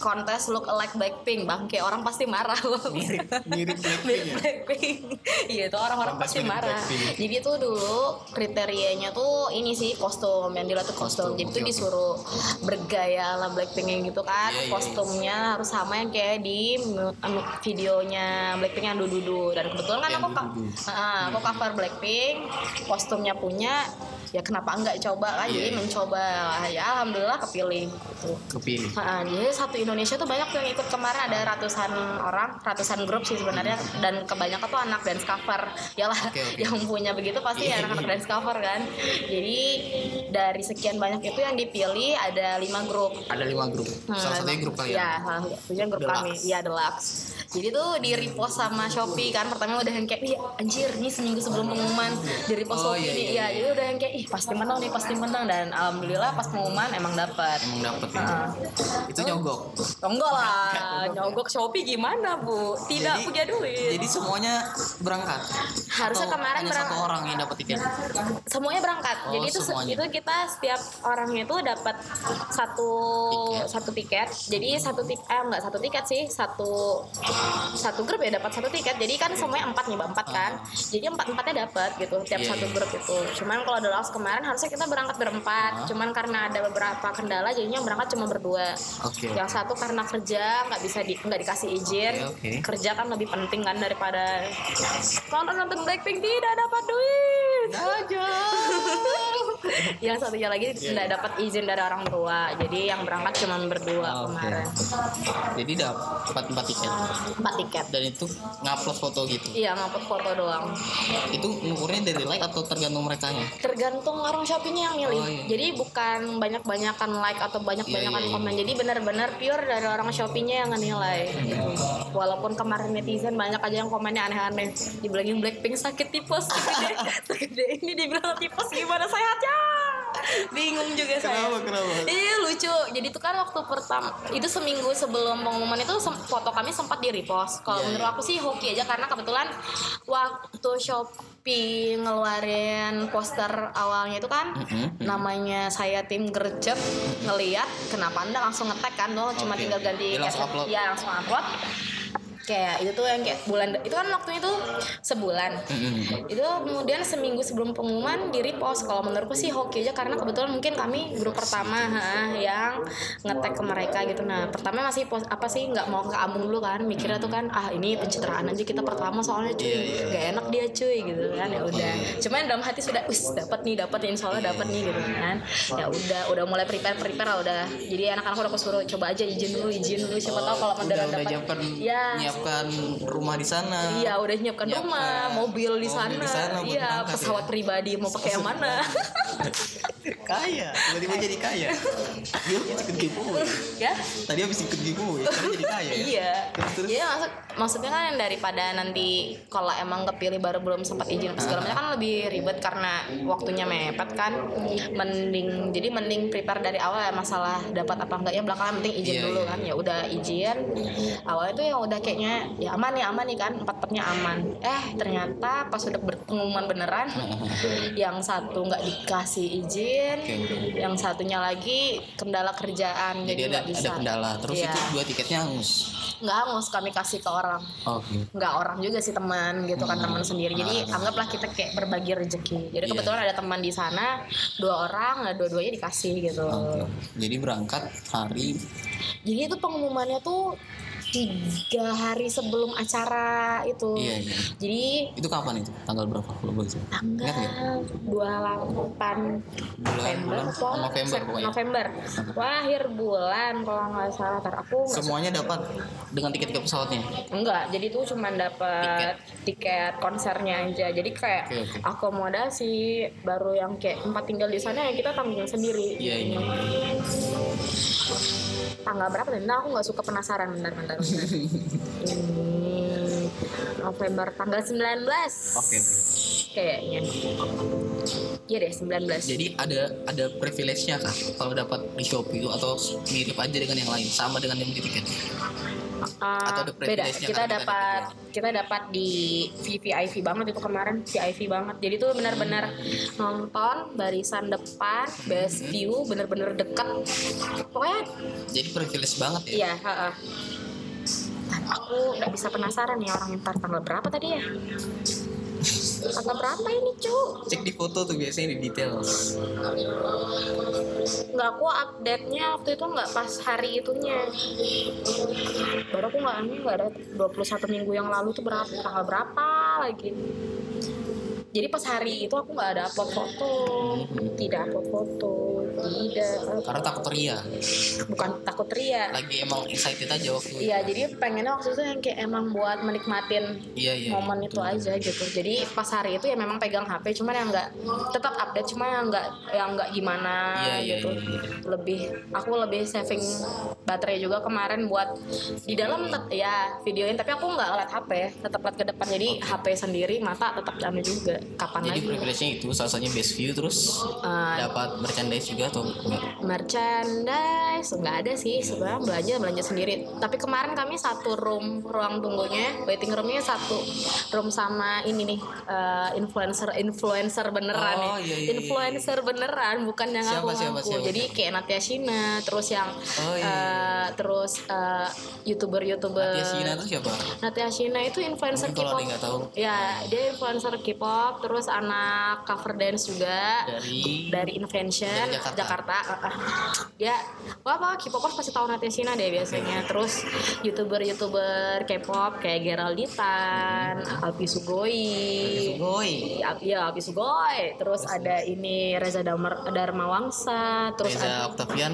Speaker 3: kontes look alike Blackpink. Bangke orang pasti marah loh.
Speaker 1: mirip mirip Blackpink ya.
Speaker 3: Blackpink. Iya, itu orang-orang
Speaker 1: Kontes
Speaker 3: pasti
Speaker 1: mirip
Speaker 3: marah.
Speaker 1: Blackpink.
Speaker 3: Jadi itu dulu kriterianya tuh ini sih kostum yang dilihat tuh kostum.
Speaker 1: Kostum,
Speaker 3: Jadi
Speaker 1: oke,
Speaker 3: tuh
Speaker 1: oke.
Speaker 3: disuruh bergaya ala Blackpink yang gitu kan.
Speaker 1: Iya, iya, iya.
Speaker 3: Kostumnya harus sama yang kayak di mu- mu- videonya Blackpink yang dududu dan kebetulan kan
Speaker 1: Yang
Speaker 3: aku ka-
Speaker 1: Dududu.
Speaker 3: Ah, aku
Speaker 1: Hmm.
Speaker 3: cover Blackpink, kostumnya punya ya kenapa enggak coba kan
Speaker 1: Iya,
Speaker 3: jadi
Speaker 1: iya.
Speaker 3: mencoba ya alhamdulillah kepilih gitu.
Speaker 1: Kepilih.
Speaker 3: Heeh, jadi satu Indonesia tuh banyak tuh yang ikut kemarin ada ratusan orang, ratusan grup sih sebenarnya dan kebanyakan tuh anak dance cover. Yalah
Speaker 1: Oke, oke.
Speaker 3: yang punya begitu pasti
Speaker 1: Iya,
Speaker 3: anak-anak
Speaker 1: iya.
Speaker 3: dance cover kan. Jadi dari sekian banyak itu yang dipilih ada lima grup.
Speaker 1: Ada lima grup. Salah satunya grup ya? kalian.
Speaker 3: Hmm, Iya, salah satunya grup
Speaker 1: Deluxe.
Speaker 3: kami. Iya, Deluxe. Jadi tuh di repost sama Shopee kan pertama udah yang kayak "Ih, anjir nih seminggu sebelum pengumuman di repost
Speaker 1: Oh,
Speaker 3: Shopee.
Speaker 1: iya,
Speaker 3: nih."
Speaker 1: iya,
Speaker 3: Iya,
Speaker 1: iya.
Speaker 3: jadi udah yang kayak ih pasti menang nih, pasti menang dan alhamdulillah pas pengumuman emang dapat.
Speaker 1: Emang dapet ya.
Speaker 3: Heeh. Hmm.
Speaker 1: Itu nyogok.
Speaker 3: Oh, Enggak lah, nyogok Shopee gimana bu? Tidak
Speaker 1: Jadi-
Speaker 3: punya duit.
Speaker 1: Jadi semuanya berangkat.
Speaker 3: Harusnya
Speaker 1: Atau
Speaker 3: kemarin
Speaker 1: hanya satu
Speaker 3: berangkat.
Speaker 1: orang yang dapat tiket.
Speaker 3: semuanya berangkat.
Speaker 1: Oh,
Speaker 3: jadi itu se-
Speaker 1: semuanya.
Speaker 3: itu kita setiap orangnya itu dapat satu
Speaker 1: Tiket.
Speaker 3: satu tiket. Jadi satu tiket eh enggak satu tiket sih, satu satu grup ya dapat satu tiket. Jadi kan semuanya empat nih, Mbak, empat kan. Jadi empat-empatnya dapat gitu tiap
Speaker 1: Ah. Iya,
Speaker 3: satu
Speaker 1: iya.
Speaker 3: grup itu. Cuman kalau The Lost kemarin harusnya kita berangkat berempat.
Speaker 1: Ah.
Speaker 3: Cuman karena ada beberapa kendala jadinya berangkat cuma berdua.
Speaker 1: Oke.
Speaker 3: Yang satu karena kerja nggak bisa di, nggak dikasih izin.
Speaker 1: Iya, Oke, oke.
Speaker 3: Kerja kan lebih penting kan daripada nonton nonton Blackpink tidak dapat duit.
Speaker 1: Nah.
Speaker 3: Aja. yang satunya
Speaker 1: Iya,
Speaker 3: lagi tidak dapat izin dari orang tua. Jadi yang berangkat cuma berdua
Speaker 1: Ah, Oke.
Speaker 3: kemarin.
Speaker 1: Jadi dapat empat tiket.
Speaker 3: Empat tiket.
Speaker 1: Dan itu ngupload foto gitu.
Speaker 3: Iya ngapot foto doang.
Speaker 1: Itu ngukurnya dari like atau tergantung mereka nya?
Speaker 3: Tergantung orang shoppingnya yang milih.
Speaker 1: Oh, iya.
Speaker 3: Jadi bukan banyak-banyakan like atau banyak-banyakan
Speaker 1: Iya, iya, iya, iya.
Speaker 3: komen. Jadi benar-benar pure dari orang shoppingnya yang ngenilai. gitu. Walaupun kemarin netizen banyak aja yang komennya aneh-aneh. Dibilangin Blackpink sakit tipes. Segede, segede ini dibilang tipes gimana sehatnya? Bingung juga saya.
Speaker 1: Kenapa, kenapa?
Speaker 3: Iya lucu. Jadi itu kan waktu pertama itu seminggu sebelum pengumuman itu sem- foto kami sempat di repost. Kalau
Speaker 1: Iya,
Speaker 3: menurut
Speaker 1: iya.
Speaker 3: aku sih hoki aja karena kebetulan waktu Shopee ngeluarin poster awalnya itu kan
Speaker 1: Mhm.
Speaker 3: namanya saya tim gercep ngeliat kenapa anda langsung ngetek kan tuh cuma
Speaker 1: Oke,
Speaker 3: tinggal
Speaker 1: oke.
Speaker 3: ganti
Speaker 1: Dia langsung
Speaker 3: caption.
Speaker 1: upload.
Speaker 3: Iya, langsung upload kayak itu tuh yang kayak bulan itu kan waktunya itu sebulan
Speaker 1: Mhm.
Speaker 3: itu kemudian seminggu sebelum pengumuman di repost kalau menurutku sih hoki aja karena kebetulan mungkin kami grup pertama ha, yang ngetek ke mereka gitu nah pertama masih pos apa sih nggak mau ke Ambung dulu kan mikirnya tuh kan ah ini pencitraan aja kita pertama soalnya cuy nggak enak dia cuy gitu kan ya udah cuman dalam hati sudah us dapat nih dapat insya Allah dapat nih gitu kan ya udah udah mulai prepare prepare lah udah jadi anak-anak udah aku suruh coba aja izin dulu izin dulu siapa tahu kalau
Speaker 1: Oh, Udah-
Speaker 3: mendadak
Speaker 1: udah
Speaker 3: dapat
Speaker 1: japan
Speaker 3: ya
Speaker 1: nyiapkan rumah di sana.
Speaker 3: Iya, udah nyiapkan
Speaker 1: Nyiapkan
Speaker 3: rumah, mobil di
Speaker 1: mobil
Speaker 3: sana.
Speaker 1: di sana buat
Speaker 3: Iya,
Speaker 1: berangkat
Speaker 3: pesawat
Speaker 1: ya.
Speaker 3: pribadi mau pakai yang mana?
Speaker 1: Kaya, tiba-tiba jadi kaya. Dia habis Iya, ikut giveaway.
Speaker 3: ya.
Speaker 1: Tadi habis ikut giveaway, sekarang jadi kaya. ya?
Speaker 3: Iya.
Speaker 1: Terus terus.
Speaker 3: Iya, maksud maksudnya kan daripada nanti kalau emang kepilih baru belum sempat izin apa
Speaker 1: Ah.
Speaker 3: segala macam kan lebih ribet karena waktunya mepet kan. Mending jadi mending prepare dari awal ya masalah dapat apa enggaknya belakangan penting izin
Speaker 1: Iya,
Speaker 3: dulu
Speaker 1: iya,
Speaker 3: kan. Ya udah izin. Awalnya tuh yang udah kayaknya ya aman ya aman nih kan, empat petnya aman. Eh, ternyata pas udah ber- pengumuman beneran yang satu nggak dikasih izin,
Speaker 1: Oke.
Speaker 3: yang satunya lagi kendala kerjaan
Speaker 1: Jadi
Speaker 3: jadi,
Speaker 1: ada
Speaker 3: nggak bisa.
Speaker 1: ada kendala. Terus
Speaker 3: Iya.
Speaker 1: itu dua tiketnya hangus.
Speaker 3: nggak harus kami kasih ke orang
Speaker 1: Oke.
Speaker 3: nggak orang juga sih teman gitu kan teman sendiri jadi anggaplah kita kayak berbagi
Speaker 1: Hmm.
Speaker 3: rezeki jadi
Speaker 1: Ah, Iya.
Speaker 3: kebetulan ada teman di sana dua orang nah dua-duanya dikasih gitu
Speaker 1: Oke. Jadi berangkat hari
Speaker 3: jadi itu pengumumannya tuh tiga hari sebelum acara itu
Speaker 1: Iya, iya.
Speaker 3: jadi
Speaker 1: itu kapan itu? Tanggal berapa kalau boleh tahu? Ingat nggak?
Speaker 3: tanggal 28 November
Speaker 1: bulan
Speaker 3: atau
Speaker 1: November pokoknya.
Speaker 3: November Wah, akhir bulan kalau nggak salah ntar aku nggak
Speaker 1: Semuanya dapat dengan tiket-tiket pesawatnya.
Speaker 3: Enggak, jadi tuh cuman dapat tiket. konsernya aja. Jadi kayak
Speaker 1: Oke, oke.
Speaker 3: akomodasi baru yang kayak tempat tinggal di sana yang kita tanggung sendiri.
Speaker 1: Iya, iya.
Speaker 3: Tanggal berapa dan nah, aku nggak suka penasaran bentar bentar. bentar. Ini November tanggal 19.
Speaker 1: Oke.
Speaker 3: Kayaknya. Iya deh, 19.
Speaker 1: Jadi ada ada privilege-nya kah kalau dapat di Shopee itu atau mirip aja dengan yang lain, sama dengan yang di tiket?
Speaker 3: Ah,
Speaker 1: atau ada
Speaker 3: beda.
Speaker 1: privilege-nya
Speaker 3: Kita
Speaker 1: karena kita
Speaker 3: dapat
Speaker 1: ada
Speaker 3: kita dapat di VIP banget itu kemarin VIP banget. Jadi tuh benar-benar nonton barisan depan,
Speaker 1: Hmm.
Speaker 3: best view, benar-benar dekat. Pokoknya
Speaker 1: Jadi privilege banget ya.
Speaker 3: iya, heeh. Aku nggak bisa penasaran ya orang ntar tanggal berapa tadi ya? Tanggal berapa ini cu?
Speaker 1: Cek di foto tuh biasanya di detail.
Speaker 3: Nggak aku update-nya waktu itu nggak pas hari itunya. Baru aku nggak nggak ada 21 minggu yang lalu tuh berapa tanggal berapa lagi. Jadi pas hari itu aku nggak ada upload foto,
Speaker 1: Mhm.
Speaker 3: tidak upload foto, tidak.
Speaker 1: Karena takut ria.
Speaker 3: Bukan takut ria.
Speaker 1: Lagi emang excited aja waktu itu.
Speaker 3: Iya, jadi pengennya waktu itu yang kayak emang buat menikmatin
Speaker 1: Iya, iya.
Speaker 3: momen itu aja gitu jadi pas hari itu ya memang pegang HP cuman yang nggak tetap update cuman yang nggak yang nggak gimana
Speaker 1: Iya, iya,
Speaker 3: gitu
Speaker 1: iya, iya.
Speaker 3: lebih aku lebih saving baterai juga kemarin buat di dalam tet- ya videoin tapi aku nggak liat HP tetap liat ke depan jadi HP sendiri mata tetap anu juga kapan
Speaker 1: Jadi
Speaker 3: lagi
Speaker 1: privilege-nya itu salah satunya best view terus
Speaker 3: Eh,
Speaker 1: dapat merchandise juga atau enggak?
Speaker 3: merchandise nggak ada sih sebenarnya belanja belanja sendiri tapi kemarin kami satu room ruang tunggunya waiting roomnya satu room sama ini nih eh, influencer influencer beneran
Speaker 1: Oh, iya,
Speaker 3: ya
Speaker 1: iya, iya.
Speaker 3: influencer beneran bukan yang
Speaker 1: Siapa,
Speaker 3: aku
Speaker 1: siapa,
Speaker 3: ngaku
Speaker 1: siapa,
Speaker 3: jadi
Speaker 1: siapa?
Speaker 3: kayak Natia Shina terus yang
Speaker 1: Oh, iya,
Speaker 3: eh,
Speaker 1: iya.
Speaker 3: terus eh, youtuber youtuber
Speaker 1: Natia Shina itu siapa?
Speaker 3: Natia Shina itu influencer
Speaker 1: Mungkin kalau ada
Speaker 3: K-pop
Speaker 1: yang nggak tahu.
Speaker 3: ya dia influencer K-pop terus anak cover dance juga
Speaker 1: Dari
Speaker 3: dari Invention
Speaker 1: Dari
Speaker 3: Jakarta.
Speaker 1: Jakarta.
Speaker 3: ah, ah. Ya, wah apa K-popers pasti tahu Natia Shina deh
Speaker 1: Iya.
Speaker 3: biasanya. Terus YouTuber-YouTuber K-pop kayak Geralditan, Alpi Sugoi.
Speaker 1: Hmm. Sugoi.
Speaker 3: Ya, ya Alpi Sugoi. Terus ada ini Reza Damar, Darmawangsa, terus
Speaker 1: Reza
Speaker 3: ada
Speaker 1: Octavian.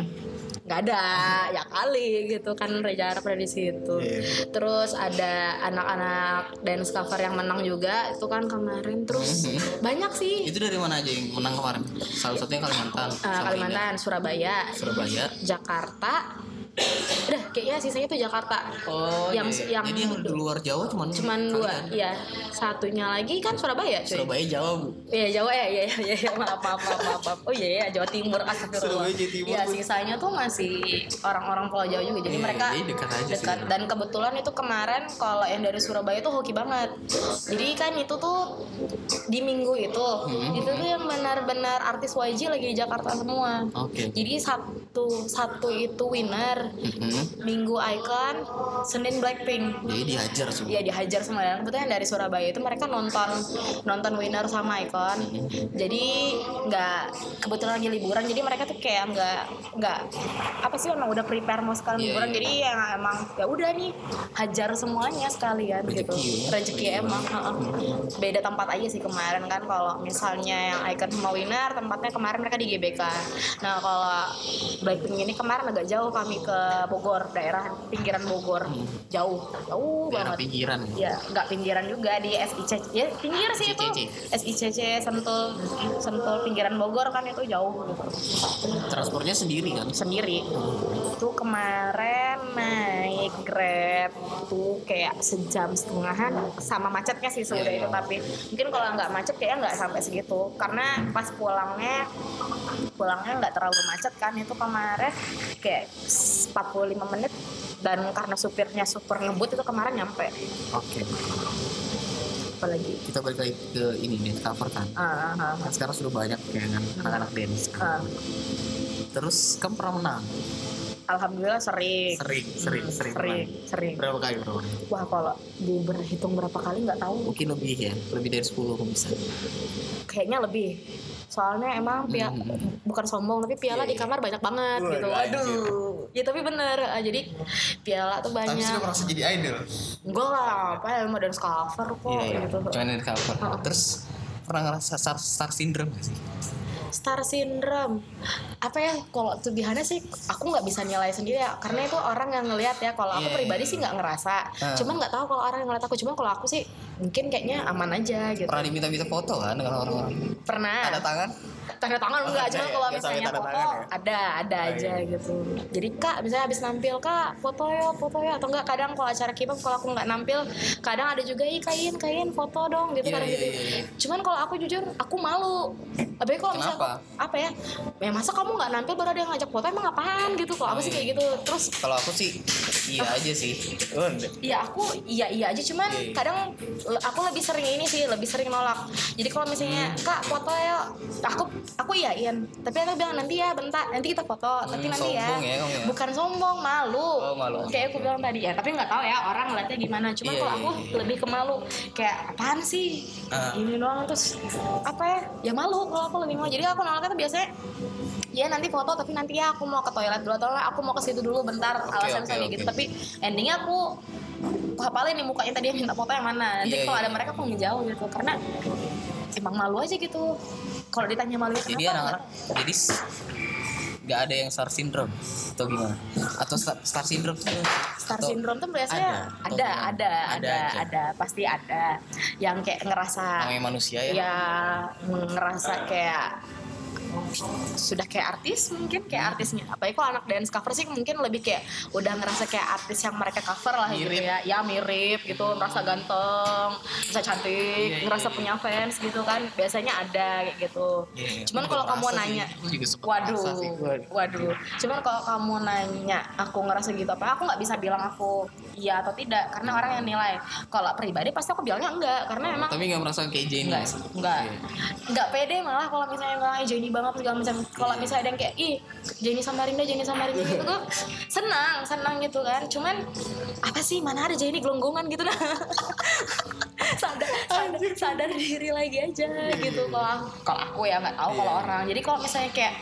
Speaker 3: nggak ada ya kali gitu kan Reza Arab ada di situ
Speaker 1: Iya.
Speaker 3: terus ada anak-anak dance cover yang menang juga itu kan kemarin terus banyak
Speaker 1: Hmm.
Speaker 3: sih
Speaker 1: Mhm. Itu dari mana aja yang menang kemarin? Salah satunya Kalimantan.
Speaker 3: Eh,
Speaker 1: sama
Speaker 3: Kalimantan Surabaya
Speaker 1: Indah. Surabaya.
Speaker 3: Jakarta udah kayaknya sisanya tuh Jakarta
Speaker 1: Oh,
Speaker 3: yang
Speaker 1: iya, iya.
Speaker 3: yang
Speaker 1: jadi yang di luar Jawa cuman
Speaker 3: cuman dua ya satunya lagi kan Surabaya cuy
Speaker 1: Surabaya Jawa bu.
Speaker 3: Iya Jawa ya, iya iya iya maaf maaf maaf maaf. maaf. Oh iya iya Jawa Timur astagfirullah.
Speaker 1: Surabaya, Jawa Timur,
Speaker 3: Iya
Speaker 1: Bu.
Speaker 3: sisanya tuh masih orang-orang Pulau Jawa juga. Jadi
Speaker 1: Iya,
Speaker 3: mereka
Speaker 1: jadi dekat aja sih.
Speaker 3: dekat. dan kebetulan itu kemarin kalau yang dari Surabaya tuh hoki banget. Jadi kan itu tuh di minggu itu
Speaker 1: Hmm.
Speaker 3: itu tuh yang benar-benar artis YG lagi di Jakarta semua.
Speaker 1: Oke.
Speaker 3: Jadi satu satu itu winner.
Speaker 1: Mm-mm.
Speaker 3: Minggu Icon, Senin Blackpink.
Speaker 1: Mhm. Jadi dihajar semua.
Speaker 3: Iya dihajar sama dan kebetulan yang dari Surabaya itu mereka nonton nonton winner sama Icon. Jadi nggak kebetulan lagi liburan jadi mereka tuh kayak nggak nggak apa sih emang udah prepare mau
Speaker 1: Iya,
Speaker 3: sekali liburan
Speaker 1: iya.
Speaker 3: jadi ya emang ya udah nih hajar semuanya sekalian gitu.
Speaker 1: Rezeki ya.
Speaker 3: Rezeki emang. heeh. Beda tempat aja sih kemarin kan kalau misalnya yang Icon semua winner tempatnya kemarin mereka di GBK nah kalau Blackpink ini kemarin agak jauh kami ke Bogor daerah pinggiran Bogor jauh jauh
Speaker 1: Hmm. Daerah
Speaker 3: banget
Speaker 1: pinggiran.
Speaker 3: ya nggak pinggiran juga di SICC ya pinggir sih itu
Speaker 1: SICC.
Speaker 3: SICC Sentul Sentul pinggiran Bogor kan itu jauh gitu
Speaker 1: Transportnya sendiri kan?
Speaker 3: sendiri itu kemarin naik grab tuh kayak sejam setengahan sama macetnya sih sudah
Speaker 1: Iya,
Speaker 3: itu
Speaker 1: iya.
Speaker 3: tapi mungkin kalau nggak macet kayaknya nggak sampai segitu karena pas pulangnya pulangnya nggak terlalu macet kan itu kemarin kayak 45 menit dan karena supirnya super ngebut itu kemarin nyampe
Speaker 1: Oke.
Speaker 3: apalagi
Speaker 1: Kita balik lagi ke ini nih cover kan.
Speaker 3: ah, ah,
Speaker 1: Kan sekarang sudah banyak kan anak-anak dance.
Speaker 3: ah, ah.
Speaker 1: Terus kamu pernah menang?
Speaker 3: alhamdulillah sering
Speaker 1: Sering, sering, sering.
Speaker 3: sering, sering.
Speaker 1: Berapa kali berapa? kali?
Speaker 3: wah kalau diberhitung berapa kali nggak tahu
Speaker 1: Mungkin lebih ya, lebih dari 10 kok bisa.
Speaker 3: kayaknya lebih soalnya emang pia-
Speaker 1: Hmm.
Speaker 3: bukan sombong tapi
Speaker 1: Iya,
Speaker 3: piala di kamar banyak banget
Speaker 1: Waduh,
Speaker 3: gitu
Speaker 1: anjir.
Speaker 3: aduh ya tapi bener ah, jadi piala tuh
Speaker 4: Tapi sudah
Speaker 3: banyak
Speaker 4: merasa jadi idol.
Speaker 3: enggak lah apa ya modern cover kok
Speaker 1: Iya, iya.
Speaker 3: gitu
Speaker 1: Cuman dari cover.
Speaker 3: Oh.
Speaker 1: Terus pernah ngerasa star, star syndrome gak sih?
Speaker 3: star syndrome apa ya kalau tubihannya sih aku nggak bisa nilai sendiri ya karena itu orang yang ngelihat ya kalau aku
Speaker 1: Iya,
Speaker 3: pribadi
Speaker 1: iya.
Speaker 3: sih nggak ngerasa
Speaker 1: Ah.
Speaker 3: cuman nggak tahu kalau orang yang ngeliat aku cuman kalau aku sih mungkin kayaknya aman aja gitu
Speaker 1: Pernah diminta-minta foto kan dengan orang-orang?
Speaker 3: pernah
Speaker 1: Tanda tangan?
Speaker 3: tanda tangan enggak
Speaker 1: ada ya?
Speaker 3: cuma kalau
Speaker 1: Nggak sampai
Speaker 3: misalnya
Speaker 1: tanda
Speaker 3: foto
Speaker 1: tangan ya?
Speaker 3: ada ada
Speaker 1: Oh,
Speaker 3: aja
Speaker 1: iya.
Speaker 3: gitu jadi kak misalnya habis nampil kak foto ya foto ya atau enggak kadang kalau acara kipap kalau aku nggak nampil kadang ada juga ih kain kain foto dong
Speaker 1: Iya,
Speaker 3: gitu kadang
Speaker 1: iya,
Speaker 3: gitu
Speaker 1: iya, iya.
Speaker 3: cuman kalau aku jujur aku malu tapi kalau misalnya
Speaker 1: Kenapa?
Speaker 3: aku- apa ya ya masa kamu nggak nampil baru ada yang ngajak foto emang apaan gitu kalau aku
Speaker 1: Oh,
Speaker 3: sih
Speaker 1: iya.
Speaker 3: kayak gitu terus
Speaker 1: Kalau aku sih iya aja sih. Oh,
Speaker 3: Iya aku iya iya aja cuman
Speaker 1: Iya, iya.
Speaker 3: kadang le- aku lebih sering ini sih lebih sering nolak. Jadi kalau misalnya
Speaker 1: Hmm.
Speaker 3: kak foto ya aku aku iyain. Tapi aku bilang nanti ya bentar nanti kita foto. Tapi
Speaker 1: Hmm,
Speaker 3: nanti ya.
Speaker 1: sombong ya kamu ya.
Speaker 3: Bukan sombong malu.
Speaker 1: Oh, malu.
Speaker 3: Kayak aku bilang tadi ya. Tapi nggak tahu ya orang ngeliatnya gimana. Cuman
Speaker 1: Iya,
Speaker 3: kalau
Speaker 1: iya,
Speaker 3: aku
Speaker 1: iya.
Speaker 3: lebih ke malu. Kayak apaan sih?
Speaker 1: Ah.
Speaker 3: Ini doang terus apa ya? Ya malu kalau aku lebih malu. Jadi aku nolaknya tuh biasanya ya nanti foto tapi nanti ya aku mau ke toilet dulu atau aku mau ke situ dulu bentar
Speaker 1: Oke,
Speaker 3: alasan
Speaker 1: oke,
Speaker 3: saya
Speaker 1: oke.
Speaker 3: gitu tapi endingnya aku aku hafalin nih mukanya tadi yang minta foto yang mana nanti
Speaker 1: Iya,
Speaker 3: kalau
Speaker 1: iya.
Speaker 3: ada mereka aku ngejauh gitu karena emang malu aja gitu kalau ditanya malu ya, kenapa
Speaker 1: jadi anak-anak jadi s- nggak ada yang star syndrome atau gimana? Atau star, star syndrome tuh?
Speaker 3: Star
Speaker 1: atau-
Speaker 3: syndrome tuh
Speaker 1: Ada,
Speaker 3: biasanya
Speaker 1: atau
Speaker 3: ada ada
Speaker 1: gimana?
Speaker 3: ada
Speaker 1: Ada
Speaker 3: ada,
Speaker 1: aja.
Speaker 3: pasti ada yang kayak ngerasa
Speaker 1: namanya manusia ya.
Speaker 3: ya ngerasa kayak sudah kayak artis mungkin kayak artisnya apalagi kalau anak dance cover sih mungkin lebih kayak udah ngerasa kayak artis yang mereka cover lah
Speaker 1: Mirip.
Speaker 3: gitu ya ya mirip gitu ngerasa ganteng ngerasa cantik
Speaker 1: Iya, iya,
Speaker 3: ngerasa
Speaker 1: iya.
Speaker 3: punya fans gitu kan biasanya ada kayak gitu
Speaker 1: Iya, iya.
Speaker 3: cuman
Speaker 1: Aku
Speaker 3: kalau
Speaker 1: juga
Speaker 3: kamu
Speaker 1: merasa sih.
Speaker 3: nanya
Speaker 1: Aku juga sempat
Speaker 3: Waduh,
Speaker 1: merasa sih.
Speaker 3: waduh. Cuman kalau kamu nanya, aku ngerasa gitu apa? Aku nggak bisa bilang aku iya atau tidak karena orang yang nilai. Kalau pribadi pasti aku bilangnya enggak karena emang
Speaker 1: Tapi nggak merasa kayak Jenny.
Speaker 3: Enggak,
Speaker 1: sih.
Speaker 3: enggak.
Speaker 1: Iya.
Speaker 3: Enggak pede malah kalau misalnya bilang "Eh, Jenny banget segala macam. Kalau misalnya ada yang kayak ih Jenny sama Rinda, Jenny sama Rinda gitu tuh senang, senang gitu kan. Cuman apa sih mana ada Jenny gelonggongan gitu dah. sadar, sadar, sadar diri lagi aja gitu kalau aku- kalau aku ya nggak tahu kalau
Speaker 1: Iya.
Speaker 3: orang. Jadi kalau misalnya kayak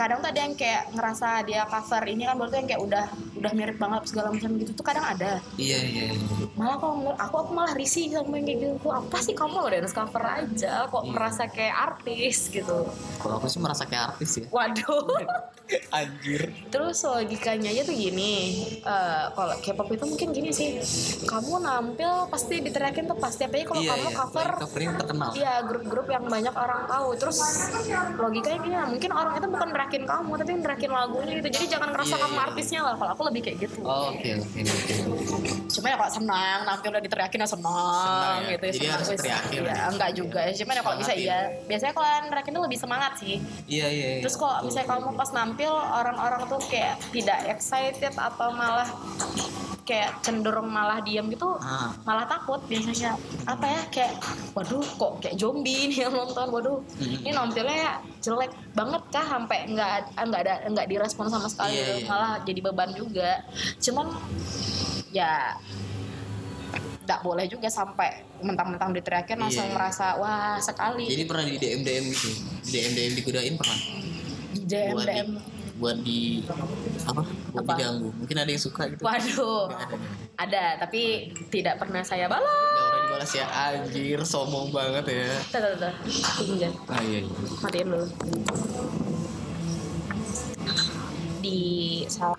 Speaker 3: kadang tuh ada yang kayak ngerasa dia cover ini kan berarti yang kayak udah udah mirip banget segala macam gitu tuh kadang ada
Speaker 1: Iya iya. iya.
Speaker 3: malah kalau menurut aku aku malah risih sama yang kayak gitu Aku, apa sih kamu lo dance cover aja kok
Speaker 1: Iya.
Speaker 3: merasa kayak artis gitu
Speaker 1: Kalau aku sih merasa kayak artis ya.
Speaker 3: waduh
Speaker 1: Anjir.
Speaker 3: terus logikanya aja tuh gini eh, kalau K-pop itu mungkin gini sih kamu nampil pasti diteriakin tuh pasti apalagi kalau
Speaker 1: iya
Speaker 3: kamu
Speaker 1: iya.
Speaker 3: cover
Speaker 1: Lagi covernya terkenal.
Speaker 3: Iya grup-grup yang banyak orang tahu Terus logikanya gini lah Mungkin orang itu bukan nerakin kamu Tapi nerakin lagunya gitu Jadi jangan ngerasa
Speaker 1: Iya,
Speaker 3: kamu
Speaker 1: iya.
Speaker 3: artisnya lah Kalau aku lebih kayak gitu
Speaker 1: Oke oke oke.
Speaker 3: cuma ya kalau senang nampil udah diteriakin ya senang
Speaker 1: Senang ya.
Speaker 3: gitu ya
Speaker 1: Jadi
Speaker 3: senang
Speaker 1: harus
Speaker 3: terus.
Speaker 1: teriakin. gitu.
Speaker 3: ya enggak juga ya cuma ya kalau bisa
Speaker 1: Semangat
Speaker 3: iya biasanya kalau yang nerakin tuh lebih semangat sih
Speaker 1: Iya iya. iya.
Speaker 3: terus kalau misalnya kamu pas nampil orang-orang tuh kayak tidak excited atau malah kayak cenderung malah diam gitu
Speaker 1: Ah.
Speaker 3: malah takut biasanya apa ya kayak waduh kok kayak zombie nih yang nonton waduh
Speaker 1: Mhm.
Speaker 3: ini nampilnya jelek banget kah sampai nggak ah, nggak ada nggak direspon sama sekali
Speaker 1: Iya,
Speaker 3: gitu.
Speaker 1: iya.
Speaker 3: malah jadi beban juga cuman ya nggak boleh juga sampai mentang-mentang diteriakin langsung
Speaker 1: Iya.
Speaker 3: merasa wah sekali
Speaker 1: Jadi pernah di DM DM gitu. Di DM DM dikudain pernah.
Speaker 3: di DM
Speaker 1: buat di buat di apa? Buat
Speaker 3: Apa?
Speaker 1: diganggu. Mungkin ada yang suka gitu.
Speaker 3: waduh
Speaker 1: Ada.
Speaker 3: ada tapi tidak pernah saya balas
Speaker 1: Ada orang balas ya anjir sombong banget ya
Speaker 5: Tuh, tuh, tuh. Pinjam.
Speaker 1: ah iya iya.
Speaker 5: Matiin dulu. Di sal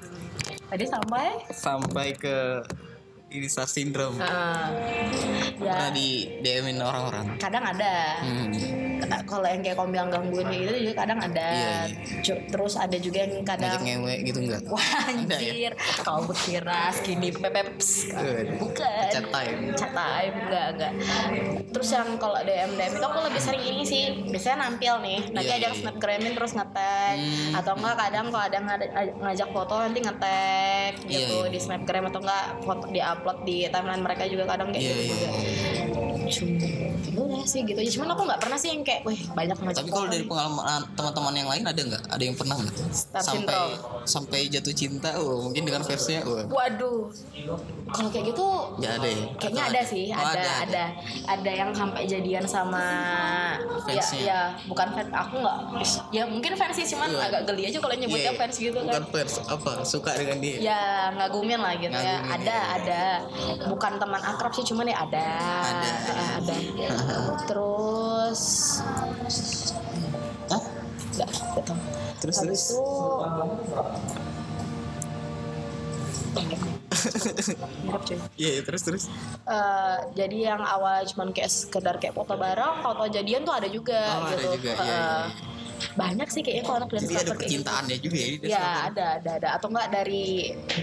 Speaker 5: Tadi sampai
Speaker 1: sampai ke Inisar
Speaker 3: Ah,
Speaker 1: Syndrome
Speaker 5: Heeh.
Speaker 3: iya.
Speaker 5: ya
Speaker 1: pernah di DM-in orang-orang
Speaker 5: kadang ada
Speaker 1: hmm.
Speaker 5: Kena- kalau yang kayak kamu bilang gangguin kayak gitu juga kadang ada
Speaker 1: Iya,
Speaker 5: Ju- terus ada juga yang
Speaker 1: ngajak
Speaker 5: kadang
Speaker 1: ngewe gitu enggak
Speaker 5: wah
Speaker 1: Ada ya?
Speaker 5: anjir kau berkira skinny pepeps bukan
Speaker 1: Chat time.
Speaker 5: chat time enggak enggak
Speaker 3: Terus yang kalau DM DM itu aku lebih sering ini sih. Biasanya nampil nih. Nanti
Speaker 1: Iya,
Speaker 3: ada yang
Speaker 1: iya.
Speaker 3: snapgramin terus ngetek
Speaker 1: Hmm.
Speaker 3: atau enggak kadang kalau ada yang ngada- ngajak foto nanti ngetek
Speaker 1: Iya,
Speaker 3: gitu
Speaker 1: iya.
Speaker 3: di snapgram atau enggak foto di-upload di timeline mereka juga kadang kayak
Speaker 1: Iya,
Speaker 3: gitu
Speaker 1: iya,
Speaker 3: juga. Cuma udah sih gitu. Cuman aku nggak pernah sih yang kayak, wah banyak ngajak
Speaker 1: tapi kalau
Speaker 3: foto
Speaker 1: dari
Speaker 3: nih."
Speaker 1: pengalaman ah, teman-teman yang lain ada nggak ada yang pernah nggak
Speaker 3: Star
Speaker 1: sampai
Speaker 3: syndrome.
Speaker 1: sampai jatuh cinta oh mungkin dengan versinya oh
Speaker 3: Waduh. Kalau kayak gitu
Speaker 1: nggak ada ya
Speaker 3: kayaknya
Speaker 1: Atau
Speaker 3: ada sih,
Speaker 1: Oh,
Speaker 3: ada, ada, ada, yang sampai jadian sama ya,
Speaker 1: Fansnya.
Speaker 3: ya bukan fans, aku nggak, ya mungkin fans sih cuman
Speaker 1: Iya.
Speaker 3: agak geli aja kalau nyebutnya
Speaker 1: Iya,
Speaker 3: fans gitu
Speaker 1: bukan
Speaker 3: kan.
Speaker 1: fans apa suka dengan dia
Speaker 3: Ya ngagumin lah gitu ya,
Speaker 1: Ngagumin,
Speaker 3: ada,
Speaker 1: iya.
Speaker 3: ada, bukan teman akrab sih cuman ya ada,
Speaker 1: Ada.
Speaker 3: Eh, ada. Terus,
Speaker 1: Hah?
Speaker 3: nggak, nggak tahu.
Speaker 1: terus terus
Speaker 3: Habis itu Mirip, cuy.
Speaker 1: iya iya, terus terus
Speaker 3: Eh, jadi yang awalnya cuman kayak sekedar kayak foto bareng, foto jadian tuh ada juga
Speaker 1: Oh, ada
Speaker 3: gitu.
Speaker 1: juga, iya,
Speaker 3: Eh,
Speaker 1: iya, iya.
Speaker 3: Banyak sih kayaknya kalau anak
Speaker 1: jadi
Speaker 3: dan
Speaker 1: ada
Speaker 3: kayak gitu.
Speaker 1: percintaannya juga ya di Dance
Speaker 3: Ya
Speaker 1: Cover.
Speaker 3: ada, ada, ada. Atau enggak dari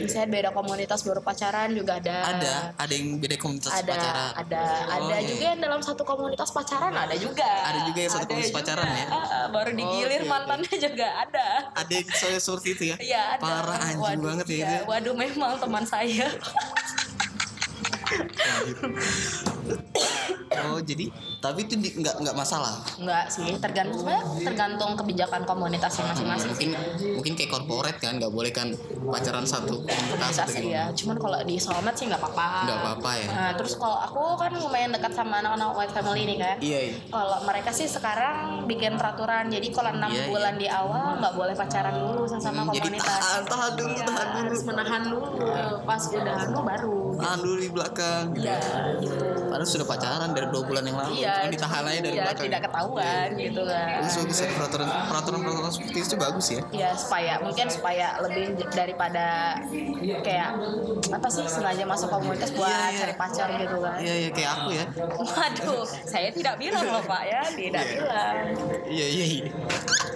Speaker 3: misalnya beda komunitas baru pacaran juga ada.
Speaker 1: ada ada yang beda komunitas
Speaker 3: Ada,
Speaker 1: pacaran
Speaker 3: ada,
Speaker 1: Oh,
Speaker 3: ada
Speaker 1: iya,
Speaker 3: juga
Speaker 1: iya.
Speaker 3: yang dalam satu komunitas pacaran ada juga.
Speaker 1: Ada juga yang satu
Speaker 3: Ada
Speaker 1: komunitas
Speaker 3: juga.
Speaker 1: pacaran ya?
Speaker 3: Ah, ah, baru
Speaker 1: Oke,
Speaker 3: digilir
Speaker 1: oke.
Speaker 3: mantannya juga ada.
Speaker 1: ada yang soalnya seperti itu ya
Speaker 3: Iya ada.
Speaker 1: parah anjing
Speaker 3: Waduh,
Speaker 1: banget ya,
Speaker 3: iya.
Speaker 1: itu ya.
Speaker 3: Waduh memang teman saya.
Speaker 1: oh jadi tapi itu di- nggak nggak masalah
Speaker 3: Enggak sih, tergantung sebenarnya tergantung kebijakan komunitasnya masing-masing.
Speaker 1: mungkin mungkin kayak corporate kan nggak boleh kan pacaran satu komunitas gitu.
Speaker 3: Bisa
Speaker 1: atau
Speaker 3: sih
Speaker 1: gimana
Speaker 3: ya, cuman kalau di Solmed sih nggak apa-apa.
Speaker 1: Nggak apa-apa ya.
Speaker 3: Nah, terus kalau aku kan lumayan dekat sama anak-anak white family nih kan.
Speaker 1: iya iya
Speaker 3: Kalau mereka sih sekarang bikin peraturan, jadi kalau enam
Speaker 1: Iya,
Speaker 3: bulan di awal nggak boleh pacaran dulu sama
Speaker 1: Hmm, jadi
Speaker 3: komunitas.
Speaker 1: tahan tahan dulu
Speaker 3: Iya,
Speaker 1: tahan dulu Iya.
Speaker 3: harus menahan dulu, pas udah anu baru.
Speaker 1: tahan dulu di belakang gitu.
Speaker 3: Iya, gitu.
Speaker 1: Padahal sudah pacaran dari dua bulan yang lalu,
Speaker 3: Iya,
Speaker 1: cuma ditahan aja dari
Speaker 3: iya,
Speaker 1: belakang. ya. Iya.
Speaker 3: tidak ketahuan gitu kan.
Speaker 1: Terus bagus ya, peraturan peraturan peraturan seperti itu bagus ya.
Speaker 3: ya supaya mungkin supaya lebih j- daripada kayak apa sih sengaja masuk komunitas buat
Speaker 1: Iya, iya.
Speaker 3: cari pacar gitu kan
Speaker 1: Iya iya kayak aku ya.
Speaker 3: waduh saya tidak bilang loh pak ya tidak
Speaker 1: Iya.
Speaker 3: bilang
Speaker 1: Iya iya iya.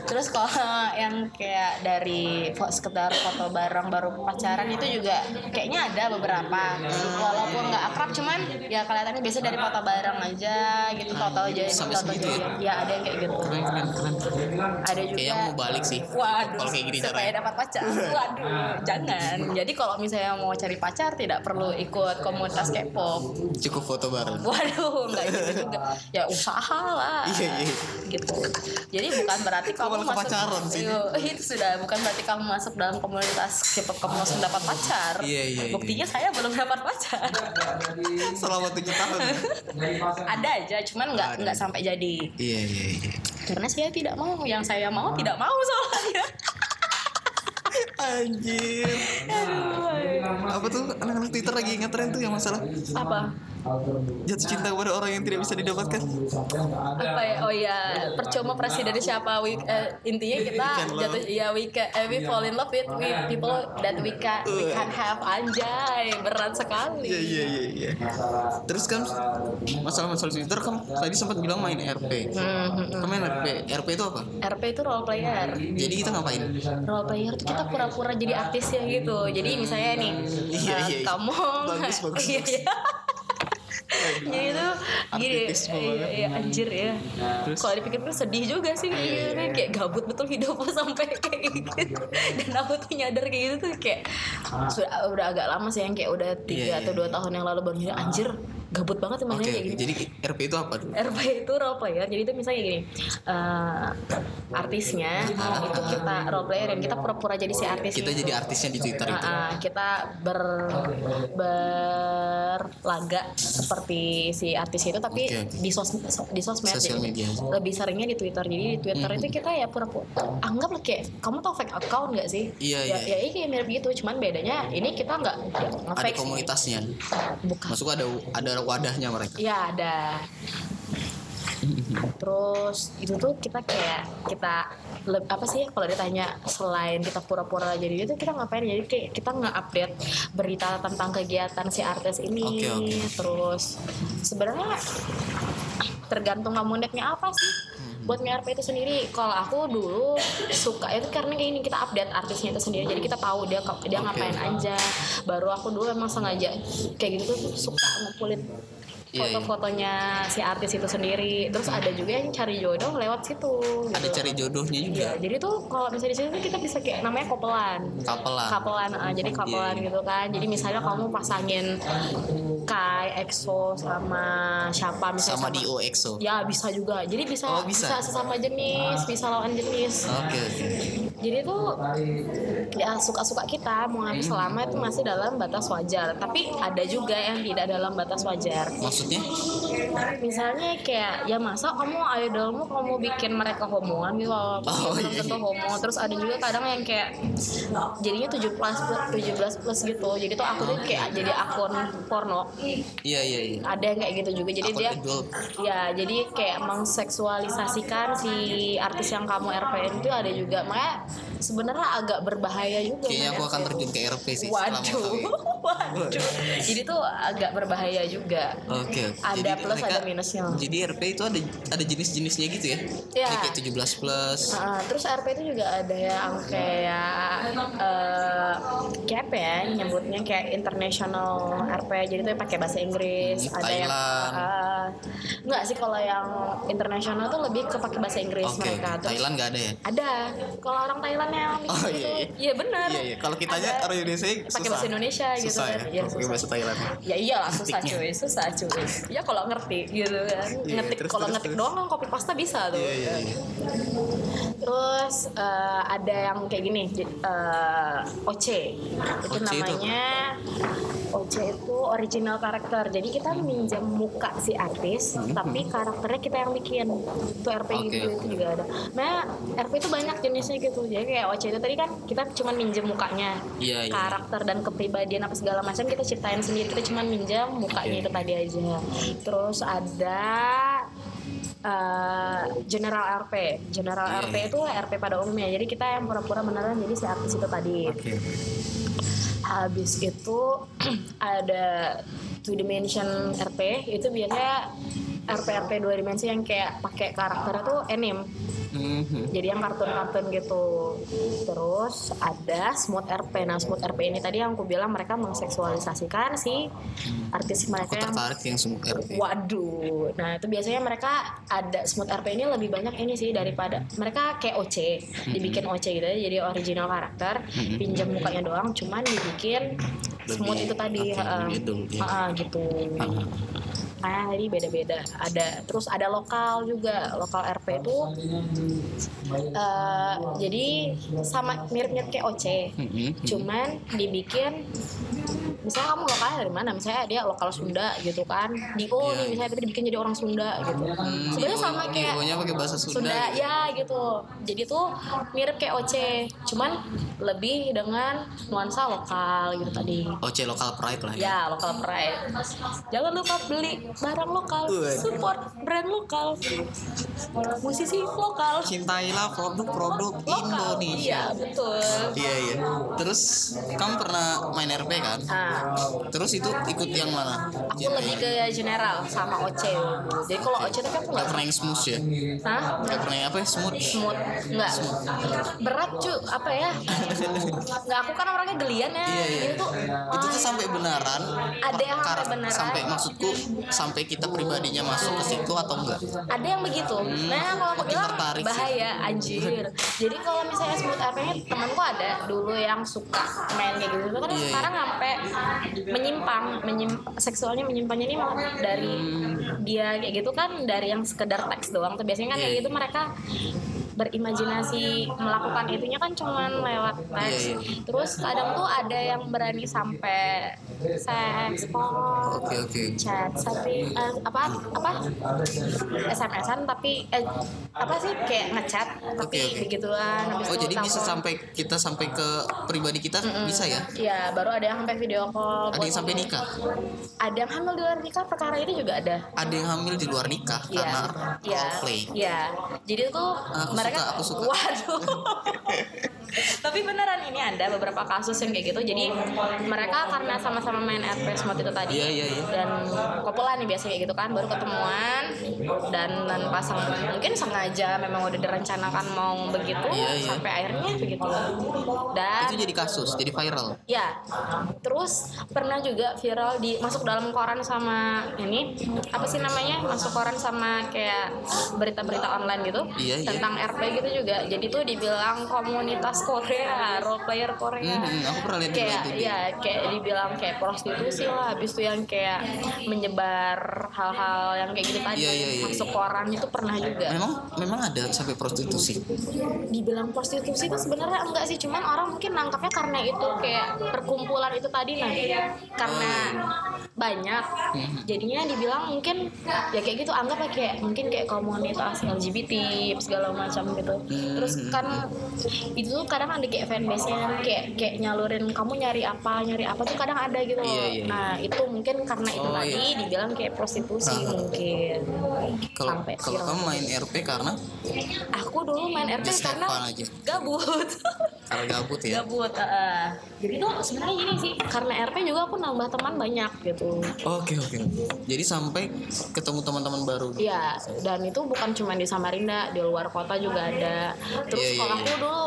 Speaker 3: terus kalau yang kayak dari fo- sekedar foto bareng baru pacaran itu juga kayaknya ada beberapa walaupun nggak akrab cuman ya kelihatannya biasa dari foto bareng aja gitu foto jadi
Speaker 1: Iya, sampai
Speaker 3: foto
Speaker 1: segitu
Speaker 3: jadi
Speaker 1: ya?
Speaker 3: ya ada yang kayak gitu
Speaker 1: Keren keren keren.
Speaker 3: ada juga
Speaker 1: Kayaknya mau balik sih.
Speaker 3: Iya. Waduh,
Speaker 1: Kalau kayak gini
Speaker 3: supaya
Speaker 1: caranya.
Speaker 3: dapat pacar. Waduh, jangan. Jadi kalau misalnya mau cari pacar tidak perlu ikut komunitas K-pop.
Speaker 1: Cukup foto bareng.
Speaker 3: Waduh, nggak gitu juga. Ya usaha lah.
Speaker 1: Iya, iya.
Speaker 3: Gitu. Jadi bukan berarti kamu
Speaker 1: malah ke
Speaker 3: masuk
Speaker 1: pacaran sih?
Speaker 3: Iya, itu sudah bukan berarti kamu masuk dalam komunitas K-pop kamu langsung dapat pacar.
Speaker 1: Iya, iya, iya.
Speaker 3: Buktinya saya belum dapat pacar.
Speaker 1: Selama tujuh tahun.
Speaker 3: Ada aja, cuman nggak nggak sampai jadi.
Speaker 1: Iya iya iya.
Speaker 3: Karena saya tidak mau yang saya mau tidak mau soalnya.
Speaker 1: Anjir. Apa tuh anak-anak Twitter lagi ngetren tuh yang masalah
Speaker 3: Apa?
Speaker 1: jatuh cinta kepada orang yang tidak bisa didapatkan.
Speaker 3: apa ya oh ya percuma presiden siapa we, eh, intinya kita
Speaker 1: Weekend Iya, love. Iya.
Speaker 3: jatuh ya we ca- eh, we fall in love with we people that we can we can have anjay
Speaker 1: Iya
Speaker 3: berat sekali
Speaker 1: iya iya iya. Terus kan masalah-masalah Twitter kan tadi sempat bilang main
Speaker 3: Hmm,
Speaker 1: RP. Kamu main RP. RP itu apa?
Speaker 3: RP itu role player
Speaker 1: Jadi kita ngapain?
Speaker 3: role player tuh kita pura-pura jadi artis ya gitu jadi misalnya nih
Speaker 1: Iya,
Speaker 3: eh,
Speaker 1: iya, iya.
Speaker 3: kamu
Speaker 1: Bagus, bagus,
Speaker 3: Iya,
Speaker 1: bagus.
Speaker 3: iya. jadi itu gini
Speaker 1: Artitisme
Speaker 3: iya,
Speaker 1: banget. Nah,
Speaker 3: iya, anjir ya
Speaker 1: Terus? Iya,
Speaker 3: kalau dipikir-pikir sedih juga sih kayak gitu kan. kayak gabut betul hidup lo sampai kayak gitu
Speaker 1: iya,
Speaker 3: dan aku tuh nyadar kayak gitu tuh kayak sudah udah agak lama sih yang kayak udah
Speaker 1: Ah.
Speaker 3: tiga
Speaker 1: Iya, iya. Ah.
Speaker 3: atau dua tahun yang lalu baru nyadar anjir gabut banget
Speaker 1: Oke,
Speaker 3: emangnya kayak gitu.
Speaker 1: oke.
Speaker 3: gini
Speaker 1: jadi RP itu apa dulu?
Speaker 3: RP itu role player jadi itu misalnya gini eh, artisnya itu kita role player dan kita pura-pura jadi si artis
Speaker 1: Kita
Speaker 3: gitu.
Speaker 1: jadi artisnya di Twitter itu.
Speaker 3: Ah, ah, kita ber berlaga seperti si artis itu tapi
Speaker 1: Oke, oke.
Speaker 3: di sosmed di sosmed
Speaker 1: Sosial
Speaker 3: jadi
Speaker 1: media.
Speaker 3: lebih seringnya di Twitter jadi di Twitter itu kita ya pura-pura anggaplah kayak kamu tau fake account nggak sih
Speaker 1: Iya,
Speaker 3: ya,
Speaker 1: iya.
Speaker 3: ya ini kayak mirip gitu cuman bedanya ini kita nggak ya,
Speaker 1: Ada
Speaker 3: nge-fake sih.
Speaker 1: komunitasnya.
Speaker 3: bukan
Speaker 1: Masuk ada ada wadahnya mereka.
Speaker 3: Iya ada. Terus itu tuh kita kayak kita leb- apa sih ya, kalau ditanya selain kita pura-pura jadi itu kita ngapain? Jadi kayak kita nge-update berita tentang kegiatan si artis ini.
Speaker 1: Oke, oke.
Speaker 3: Terus sebenarnya tergantung kamu niatnya apa sih
Speaker 1: Hmm.
Speaker 3: buat MRP itu sendiri kalau aku dulu suka itu karena kayak ini kita update artisnya itu sendiri jadi kita tahu dia ke- dia
Speaker 1: Oke.
Speaker 3: ngapain aja baru aku dulu emang sengaja kayak gitu tuh suka ngumpulin
Speaker 1: Iya, iya.
Speaker 3: foto-fotonya si artis itu sendiri terus ada juga yang cari jodoh lewat situ gitu.
Speaker 1: Ada cari jodohnya juga.
Speaker 3: Iya, jadi tuh kalau misalnya di sini tuh kita bisa kayak namanya kopelan
Speaker 1: Kapelan.
Speaker 3: kapelan ah, jadi kapelan
Speaker 1: Iya.
Speaker 3: gitu kan jadi misalnya kamu pasangin Kai EXO sama siapa misalnya
Speaker 1: Sama di OXO. Oke,
Speaker 3: ya bisa juga jadi bisa
Speaker 1: Oh, bisa. Ah.
Speaker 3: sesama jenis bisa lawan jenis
Speaker 1: oke.
Speaker 3: jadi tuh ya suka-suka kita mau ngapain
Speaker 1: Hmm.
Speaker 3: selama itu masih dalam batas wajar tapi ada juga yang tidak dalam batas wajar
Speaker 1: Maksudnya?
Speaker 3: misalnya kayak ya masa kamu idolmu kamu bikin mereka homoan gitu loh
Speaker 1: Oh,
Speaker 3: belum
Speaker 1: iya,
Speaker 3: tentu
Speaker 1: iya.
Speaker 3: homo terus ada juga kadang yang kayak jadinya 7 plus 17 plus gitu jadi tuh aku tuh kayak jadi akun porno
Speaker 1: Iya, iya, iya.
Speaker 3: ada yang kayak gitu juga jadi
Speaker 1: Akun
Speaker 3: dia
Speaker 1: adult.
Speaker 3: ya jadi kayak mengseksualisasikan si artis yang kamu RPN itu ada juga makanya sebenarnya agak berbahaya juga
Speaker 1: Kayaknya aku
Speaker 3: Mas.
Speaker 1: akan terjun ke RP sih. setelah mau
Speaker 3: waduh
Speaker 1: kawin.
Speaker 3: waduh jadi tuh agak berbahaya juga
Speaker 1: Oke, oke.
Speaker 3: Ada plus, ada minusnya.
Speaker 1: Jadi RP itu ada ada jenis-jenisnya gitu ya?
Speaker 3: Iya.
Speaker 1: Jadi Kayak 17 plus.
Speaker 3: Ah, terus RP itu juga ada yang kayak eh kayak apa ya nyebutnya kayak international RP jadi tuh yang pakai bahasa Inggris
Speaker 1: Hmm,
Speaker 3: ada yang
Speaker 1: Thailand.
Speaker 3: ah, enggak sih kalau yang internasional tuh lebih ke pakai bahasa Inggris
Speaker 1: Oke,
Speaker 3: mereka
Speaker 1: oke.
Speaker 3: Terus
Speaker 1: Thailand nggak ada ya?
Speaker 3: ada kalau orang Thailand yang bikin
Speaker 1: Oh,
Speaker 3: gitu.
Speaker 1: iya, iya.
Speaker 3: benar
Speaker 1: Iya, iya. Kalau kitanya
Speaker 3: Ada.
Speaker 1: orang Indonesia
Speaker 3: pakai bahasa Indonesia gitu
Speaker 1: Susah
Speaker 3: kan.
Speaker 1: ya?
Speaker 3: Iya,
Speaker 1: Pakai
Speaker 3: susah.
Speaker 1: bahasa Thailand.
Speaker 3: ya iyalah susah
Speaker 1: Ngetiknya.
Speaker 3: cuy susah cuy ya kalau ngerti gitu kan
Speaker 1: Iya,
Speaker 3: ngetik
Speaker 1: terus,
Speaker 3: kalau
Speaker 1: terus,
Speaker 3: ngetik
Speaker 1: terus.
Speaker 3: doang kan copy pasta bisa tuh
Speaker 1: Iya, iya, iya.
Speaker 3: Terus eh, ada yang kayak gini, j- eh, OC. Itu
Speaker 1: OC itu
Speaker 3: namanya OC itu original karakter. Jadi kita minjam muka si artis, tapi karakternya kita yang bikin. Itu RP
Speaker 1: Hmm. Oke,
Speaker 3: gitu itu
Speaker 1: oke.
Speaker 3: juga ada. Nah, RP itu banyak jenisnya gitu. Jadi kayak OC itu tadi kan kita cuman minjem mukanya.
Speaker 1: Iya, iya.
Speaker 3: Karakter dan kepribadian apa segala macam kita ciptain sendiri. Kita cuman minjam mukanya
Speaker 1: Oke.
Speaker 3: itu tadi aja. Terus ada eh, general RP. General
Speaker 1: Iya,
Speaker 3: RP
Speaker 1: iya.
Speaker 3: Eh, itu RP pada umumnya. Jadi kita yang pura-pura beneran jadi si artis itu tadi.
Speaker 1: Oke.
Speaker 3: Habis itu ada two dimension RP. Itu biasanya RP RP dua dimensi yang kayak pakai karakternya tuh anime.
Speaker 1: Mhm.
Speaker 3: Jadi yang kartun-kartun gitu. Terus ada smooth RP. Nah, smooth RP ini tadi yang aku bilang mereka mengseksualisasikan si
Speaker 1: Aku
Speaker 3: artis mereka yang
Speaker 1: tertarik yang semua RP.
Speaker 3: Waduh, nah itu biasanya mereka ada smooth RP ini lebih banyak ini sih daripada mereka kayak OC,
Speaker 1: Mm-hmm.
Speaker 3: dibikin OC gitu ya, jadi original karakter, pinjam mukanya doang, cuman dibikin smooth
Speaker 1: Lebih-
Speaker 3: itu tadi,
Speaker 1: oke,
Speaker 3: heeh.
Speaker 1: lebih Ah. adult, ya.
Speaker 3: Heeh, gitu.
Speaker 1: Heeh.
Speaker 3: Nah, jadi beda-beda. Ada terus ada lokal juga, lokal RP itu eh, jadi sama mirip-mirip kayak OC,
Speaker 1: Mhm.
Speaker 3: cuman dibikin misalnya kamu lokalnya dari mana misalnya dia lokal Sunda gitu kan Dio
Speaker 1: Iya,
Speaker 3: nih
Speaker 1: iya.
Speaker 3: misalnya tapi dibikin jadi orang Sunda gitu
Speaker 1: Hmm,
Speaker 3: sebenarnya sama
Speaker 1: Dio-
Speaker 3: kayak
Speaker 1: Dionya pakai bahasa Sunda gitu.
Speaker 3: ya gitu jadi tuh mirip kayak OC cuman lebih dengan nuansa lokal gitu tadi
Speaker 1: OC Oh, lokal pride lah ya.
Speaker 3: ya lokal pride jangan lupa beli barang lokal
Speaker 1: Waduh.
Speaker 3: support brand lokal musisi lokal
Speaker 1: Cintailah produk-produk
Speaker 3: lokal
Speaker 1: Iya, Indonesia.
Speaker 3: iya betul
Speaker 1: Iya iya. Terus kamu pernah main RP kan?
Speaker 3: nah
Speaker 1: Terus itu ikut yang mana?
Speaker 3: aku lebih
Speaker 1: iya.
Speaker 3: ke general sama OC jadi kalau OC tapi aku
Speaker 1: Gak
Speaker 3: nggak
Speaker 1: pernah yang smooth ya?
Speaker 3: Hah?
Speaker 1: Gak pernah yang apa ya? Smooth?
Speaker 3: Smooth. Nggak. Berat cu, apa ya? Nggak, aku kan orangnya gelian ya.
Speaker 1: Iya iya.
Speaker 3: Itu tuh,
Speaker 1: Itu tuh
Speaker 3: wah,
Speaker 1: sampai beneran.
Speaker 3: Ada yang sampai
Speaker 1: karak-
Speaker 3: beneran.
Speaker 1: Sampai maksudku sampai kita pribadinya masuk ke situ atau enggak?
Speaker 3: ada yang begitu. Nah, kalau aku
Speaker 1: Hmm. Makin
Speaker 3: bilang
Speaker 1: tertarik sih.
Speaker 3: bahaya anjir. Jadi kalau misalnya smooth RP-nya temanku ada dulu yang suka main kayak gitu. Kan
Speaker 1: Iya,
Speaker 3: sekarang sampai menyimpang, menyimpang seksualnya menyimpangnya ini malah
Speaker 1: Hmm.
Speaker 3: dari dia kayak gitu kan dari yang sekedar teks doang. Tuh biasanya kan
Speaker 1: Iya,
Speaker 3: kayak
Speaker 1: iya.
Speaker 3: gitu mereka berimajinasi melakukan itunya kan cuman lewat teks.
Speaker 1: Iya,
Speaker 3: Terus kadang tuh ada yang berani sampai seks, pol,
Speaker 1: Oke oke.
Speaker 3: chat tapi eh, apa apa SMS-an tapi eh, apa sih kayak ngechat
Speaker 1: Oke,
Speaker 3: tapi
Speaker 1: oke.
Speaker 3: begituan habis
Speaker 1: Oh
Speaker 3: itu
Speaker 1: jadi bisa
Speaker 3: telepon.
Speaker 1: sampai kita sampai ke pribadi kita bisa ya?
Speaker 3: Iya, baru ada yang sampai video call.
Speaker 1: Ada
Speaker 3: buat
Speaker 1: yang sampai
Speaker 3: ngomong.
Speaker 1: nikah,
Speaker 3: Ada yang hamil di luar nikah, perkara itu juga ada.
Speaker 1: ada yang hamil di luar nikah
Speaker 3: Iya.
Speaker 1: karena
Speaker 3: Iya.
Speaker 1: roleplay.
Speaker 3: Iya. Jadi tuh
Speaker 1: Aku
Speaker 3: mereka
Speaker 1: suka, aku suka.
Speaker 3: waduh. Tapi beneran ini ada beberapa kasus yang kayak gitu. Jadi mereka karena sama-sama main FPS mode itu tadi.
Speaker 1: Iya iya iya.
Speaker 3: dan kopolan nih biasanya kayak gitu kan baru ketemuan dan tanpa sang mungkin sengaja memang udah direncanakan mau begitu
Speaker 1: Iya, iya.
Speaker 3: sampai akhirnya begitu dan
Speaker 1: Itu jadi kasus, jadi viral.
Speaker 3: Ya, terus pernah juga viral di masuk dalam koran sama ini apa sih namanya masuk koran sama kayak berita-berita online gitu
Speaker 1: Iya, iya.
Speaker 3: tentang RP gitu juga. Jadi tuh dibilang komunitas Korea, role player Korea.
Speaker 1: Hmm, aku pernah lihat juga
Speaker 3: Kayak
Speaker 1: itu.
Speaker 3: ya kayak dibilang kayak prostitusi lah, habis itu yang kayak menyebar hal-hal yang kayak gitu tadi
Speaker 1: Iya, iya, iya,
Speaker 3: masuk
Speaker 1: iya.
Speaker 3: koran itu pernah juga
Speaker 1: Memang memang ada sampai prostitusi.
Speaker 3: dibilang prostitusi itu sebenarnya enggak sih cuman orang mungkin nangkapnya karena itu kayak perkumpulan itu tadi nah karena banyak
Speaker 1: Hmm.
Speaker 3: jadinya dibilang mungkin ya kayak gitu anggaplah kayak mungkin kayak komunitas LGBT segala macam gitu terus
Speaker 1: Hmm.
Speaker 3: kan itu tuh kadang ada kayak fanbase nya kayak kayak nyalurin kamu nyari apa nyari apa tuh kadang ada gitu loh
Speaker 1: Iya, iya, iya.
Speaker 3: nah itu mungkin karena itu
Speaker 1: Oh,
Speaker 3: tadi dibilang kayak prostitusi
Speaker 1: Ah.
Speaker 3: mungkin
Speaker 1: Kalau
Speaker 3: Sampai iya.
Speaker 1: kalau
Speaker 3: viral.
Speaker 1: kamu main RP karena
Speaker 3: aku dulu main RP
Speaker 1: Just have
Speaker 3: Iya, karena
Speaker 1: fun aja.
Speaker 3: gabut
Speaker 1: karena gabut ya.
Speaker 3: gabut eh. jadi tuh sebenarnya gini sih karena RP juga aku nambah teman banyak gitu
Speaker 1: Oke oke. Jadi sampai ketemu teman-teman baru.
Speaker 3: Iya, dan itu bukan cuma di Samarinda, di luar kota juga ada. Terus
Speaker 1: Iya, iya,
Speaker 3: kalau
Speaker 1: iya.
Speaker 3: aku dulu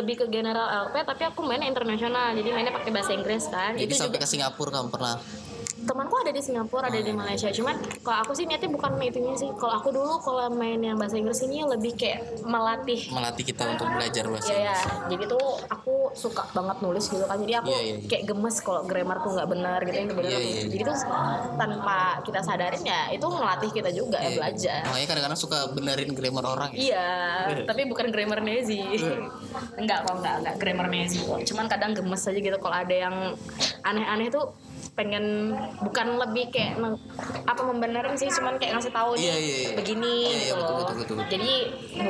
Speaker 3: lebih ke general LP, tapi aku mainnya internasional, jadi mainnya pakai bahasa Inggris kan.
Speaker 1: Jadi
Speaker 3: itu
Speaker 1: sampai Ah.
Speaker 3: juga
Speaker 1: ke Singapura kamu pernah.
Speaker 3: temanku ada di Singapura, ada di Malaysia. Cuman kalau aku sih niatnya bukan itunya sih. Kalau aku dulu kalau main yang bahasa Inggris ini lebih kayak melatih
Speaker 1: melatih kita untuk belajar bahasa
Speaker 3: Iya ya,
Speaker 1: Inggris.
Speaker 3: jadi tuh aku suka banget nulis gitu kan. Jadi aku
Speaker 1: Iya, iya, iya.
Speaker 3: kayak gemes kalau grammarku nggak benar gitu yang benar.
Speaker 1: Iya, iya, iya.
Speaker 3: Jadi tuh tanpa kita sadarin ya itu melatih kita juga ya
Speaker 1: Iya.
Speaker 3: belajar.
Speaker 1: Makanya kadang-kadang suka benerin grammar orang ya.
Speaker 3: Iya, tapi bukan grammar Nezi.
Speaker 1: Hmm.
Speaker 3: enggak kok, enggak, enggak grammar Nezi kok. Cuman kadang gemes aja gitu kalau ada yang aneh-aneh tuh pengen bukan lebih kayak neng- apa membenerin sih cuman kayak ngasih tahu nih
Speaker 1: Iya, iya, iya.
Speaker 3: begini
Speaker 1: Iya, iya,
Speaker 3: gitu
Speaker 1: betul,
Speaker 3: loh.
Speaker 1: betul, betul, betul.
Speaker 3: Jadi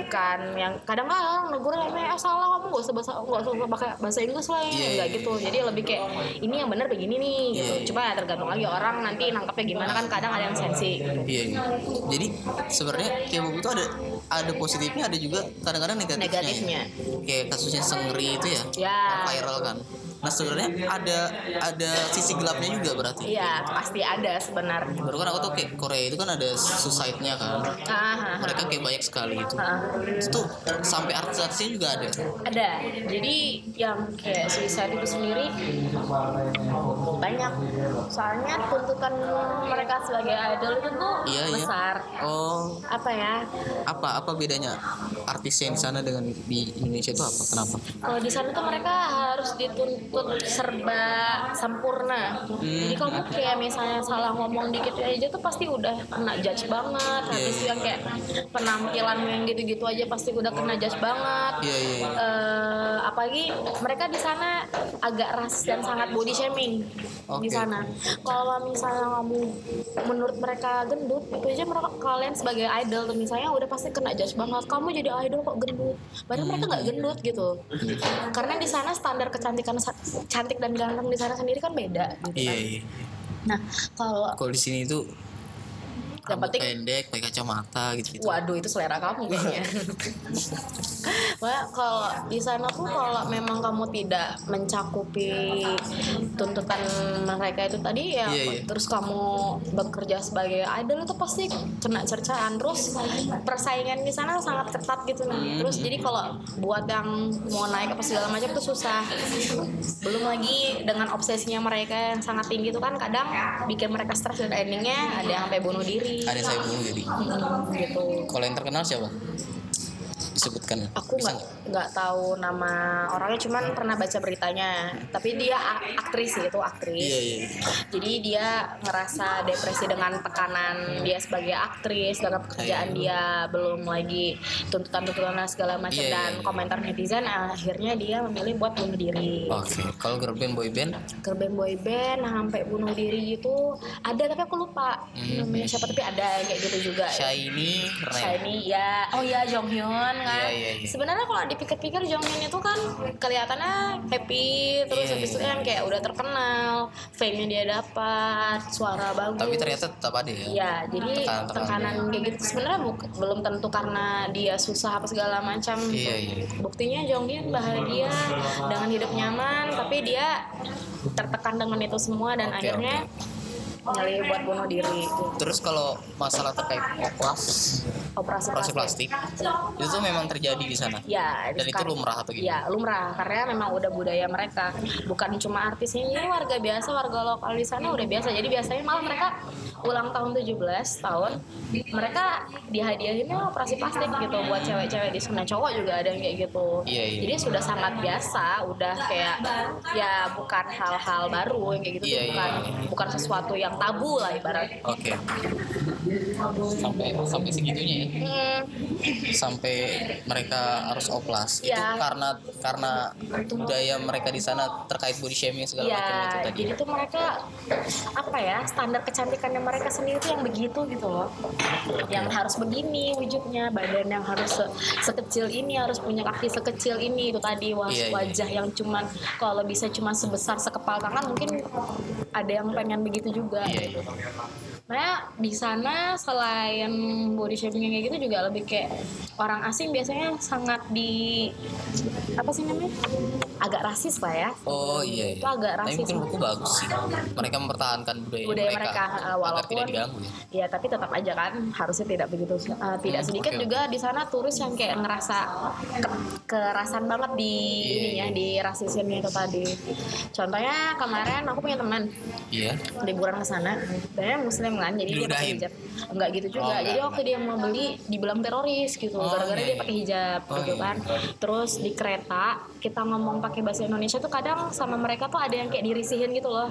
Speaker 3: bukan yang kadang kan orang negur yang eh salah kamu gak usah bahasa nggak usah pakai bahasa Inggris lah ya
Speaker 1: Iya,
Speaker 3: enggak
Speaker 1: iya,
Speaker 3: gitu. Jadi lebih kayak ini yang bener begini nih
Speaker 1: Iya,
Speaker 3: gitu.
Speaker 1: iya.
Speaker 3: Cuma ya tergantung lagi orang nanti nangkapnya gimana kan kadang ada yang sensi.
Speaker 1: Iya. iya. Jadi sebenarnya K-pop itu ada ada positifnya ada juga kadang-kadang negatifnya. ya.
Speaker 3: Negatifnya.
Speaker 1: Kayak kasusnya Seungri itu ya.
Speaker 3: Ya.
Speaker 1: Yang viral kan. Nah sebenarnya ada ada sisi gelapnya juga berarti.
Speaker 3: Iya, pasti ada sebenarnya.
Speaker 1: Baru kan aku tuh kayak Korea itu kan ada suicide-nya kan.
Speaker 3: Ah, ah, ah.
Speaker 1: Mereka kayak banyak sekali gitu.
Speaker 3: Ah.
Speaker 1: Itu tuh sampai artis-artisnya juga ada.
Speaker 3: ada jadi yang kayak suicide itu sendiri banyak soalnya tuntutan mereka sebagai idol itu tuh
Speaker 1: Iya, iya.
Speaker 3: besar
Speaker 1: Oh,
Speaker 3: apa ya
Speaker 1: apa apa bedanya artisnya di sana dengan di Indonesia itu apa? Kenapa?
Speaker 3: kalau di sana tuh mereka harus dituntut serba sempurna
Speaker 1: Hmm,
Speaker 3: jadi kamu kayak misalnya salah ngomong dikit aja tuh pasti udah kena judge banget habis
Speaker 1: iya.
Speaker 3: yang kayak penampilan yang gitu-gitu aja pasti udah kena judge banget
Speaker 1: Iya iya. iya.
Speaker 3: eh apalagi mereka di sana agak ras dan sangat body shaming
Speaker 1: Oke.
Speaker 3: di sana. Kalau misalnya kamu menurut mereka gendut, itu aja mereka kalian sebagai idol tuh misalnya udah pasti kena judge banget. Kamu jadi idol kok gendut? Padahal mereka nggak gendut gitu. Karena di sana standar kecantikan sa- cantik dan ganteng di sana sendiri kan beda. Gitu.
Speaker 1: Iya iya.
Speaker 3: Nah kalau
Speaker 1: Kalau di sini itu
Speaker 3: yang
Speaker 1: rambut
Speaker 3: penting
Speaker 1: pendek, pakai kacamata gitu gitu.
Speaker 3: Waduh itu selera kamu kayaknya. Wah kalau di sana tuh kalau memang kamu tidak mencakupi tuntutan mereka itu tadi
Speaker 1: Iya,
Speaker 3: ya,
Speaker 1: iya.
Speaker 3: terus kamu bekerja sebagai idol itu pasti kena cercaan. Terus persaingan di sana sangat ketat gitu
Speaker 1: Hmm.
Speaker 3: nih. Terus jadi kalau buat yang mau naik apa segala macam tuh susah. Belum lagi dengan obsesinya mereka yang sangat tinggi itu kan kadang bikin mereka stres dan endingnya ada yang sampai bunuh diri.
Speaker 1: Ada yang saya bunuh diri.
Speaker 3: Mm, gitu.
Speaker 1: Kalau yang terkenal siapa? Di disebutkan?
Speaker 3: aku nggak nggak tahu nama orangnya cuman pernah baca beritanya tapi dia a- aktris gitu aktris
Speaker 1: Iya iya.
Speaker 3: jadi dia ngerasa depresi dengan tekanan dia sebagai aktris dengan
Speaker 1: Iya.
Speaker 3: pekerjaan dia belum lagi tuntutan-tuntutan dan segala macam
Speaker 1: Iya, iya,
Speaker 3: dan
Speaker 1: iya.
Speaker 3: komentar netizen akhirnya dia memilih buat bunuh diri
Speaker 1: Oke. Kalau girl band boy band
Speaker 3: Gerben boy band sampai bunuh diri gitu ada tapi aku lupa
Speaker 1: Hmm.
Speaker 3: namanya siapa tapi ada kayak gitu juga
Speaker 1: Shiny Ren.
Speaker 3: Shiny ya oh ya Jonghyun kan
Speaker 1: Iya, iya, iya.
Speaker 3: sebenarnya kalau dipikir-pikir Jonghyun itu kan kelihatannya happy
Speaker 1: Iya,
Speaker 3: terus habis itu
Speaker 1: iya.
Speaker 3: kan kayak udah terkenal fame-nya dia dapat suara bagus
Speaker 1: Tapi ternyata tetap ada ya.
Speaker 3: Iya, jadi
Speaker 1: Tekanan-
Speaker 3: tekanan, kayak gitu sebenarnya buk- belum tentu karena dia susah apa segala macam.
Speaker 1: Iya, iya.
Speaker 3: Buktinya Jonghyun bahagia dengan hidup nyaman, tapi dia tertekan dengan itu semua dan
Speaker 1: Oke,
Speaker 3: akhirnya nyali buat bunuh diri. gitu.
Speaker 1: Terus kalau masalah terkait oplas,
Speaker 3: Operasi,
Speaker 1: operasi plastik, itu tuh memang terjadi di sana.
Speaker 3: Ya,
Speaker 1: Dan itu
Speaker 3: sekarang-
Speaker 1: lumrah atau gimana?
Speaker 3: Ya, lumrah karena memang udah budaya mereka. Bukan cuma artisnya, ini warga biasa, warga lokal di sana udah biasa. Jadi biasanya malah mereka ulang tahun 17 tahun, mereka dihadiahinnya operasi plastik gitu buat cewek-cewek di sana. Cowok juga ada yang kayak gitu.
Speaker 1: Iya, iya.
Speaker 3: Jadi sudah sangat biasa, udah kayak ya bukan hal-hal baru yang kayak gitu, tuh,
Speaker 1: Iya, iya,
Speaker 3: bukan
Speaker 1: iya.
Speaker 3: bukan sesuatu yang tabu lah ibarat.
Speaker 1: Oke. Sampai sampai segitunya ya.
Speaker 3: Hmm,
Speaker 1: Sampai mereka harus oplas. Itu
Speaker 3: Iya.
Speaker 1: karena karena budaya mereka di sana terkait body shaming segala
Speaker 3: Iya,
Speaker 1: macam itu tadi. ya?
Speaker 3: jadi tuh mereka apa ya standar kecantikannya mereka sendiri tuh yang begitu gitu loh, yang harus begini wujudnya, badan yang harus se- sekecil ini, harus punya kaki sekecil ini itu tadi wah-
Speaker 1: Iya, iya,
Speaker 3: wajah yang cuman kalau bisa cuma sebesar sekepal tangan mungkin ada yang pengen begitu juga.
Speaker 1: Iya, iya.
Speaker 3: Nah di sana selain body shaming kayak gitu juga lebih kayak orang asing biasanya sangat di apa sih namanya agak rasis lah ya
Speaker 1: Oh iya, iya.
Speaker 3: Itu agak
Speaker 1: Tapi
Speaker 3: rasis.
Speaker 1: mungkin buku bagus sih. Mereka mempertahankan budaya,
Speaker 3: budaya mereka, eh,
Speaker 1: agar
Speaker 3: walaupun
Speaker 1: tidak diganggu ya.
Speaker 3: ya tapi tetap aja kan harusnya tidak begitu eh, tidak
Speaker 1: Hmm,
Speaker 3: sedikit
Speaker 1: oke, oke.
Speaker 3: juga di sana turis yang kayak ngerasa ke- kerasan banget di
Speaker 1: Iya,
Speaker 3: ini ya
Speaker 1: iya.
Speaker 3: di rasismnya itu tadi contohnya kemarin aku punya teman
Speaker 1: Iya.
Speaker 3: liburan ke sana dia muslim kan jadi dia pakai
Speaker 1: Diludahin.
Speaker 3: hijab enggak gitu
Speaker 1: Oh,
Speaker 3: juga
Speaker 1: enggak,
Speaker 3: jadi waktu dia mau beli dibilang teroris gitu
Speaker 1: Oh,
Speaker 3: gara-gara
Speaker 1: iya,
Speaker 3: dia
Speaker 1: iya.
Speaker 3: pakai hijab
Speaker 1: Oh,
Speaker 3: gitu
Speaker 1: iya.
Speaker 3: kan terus di kereta kita ngomong pakai bahasa Indonesia tuh kadang sama mereka tuh ada yang kayak dirisihin gitu loh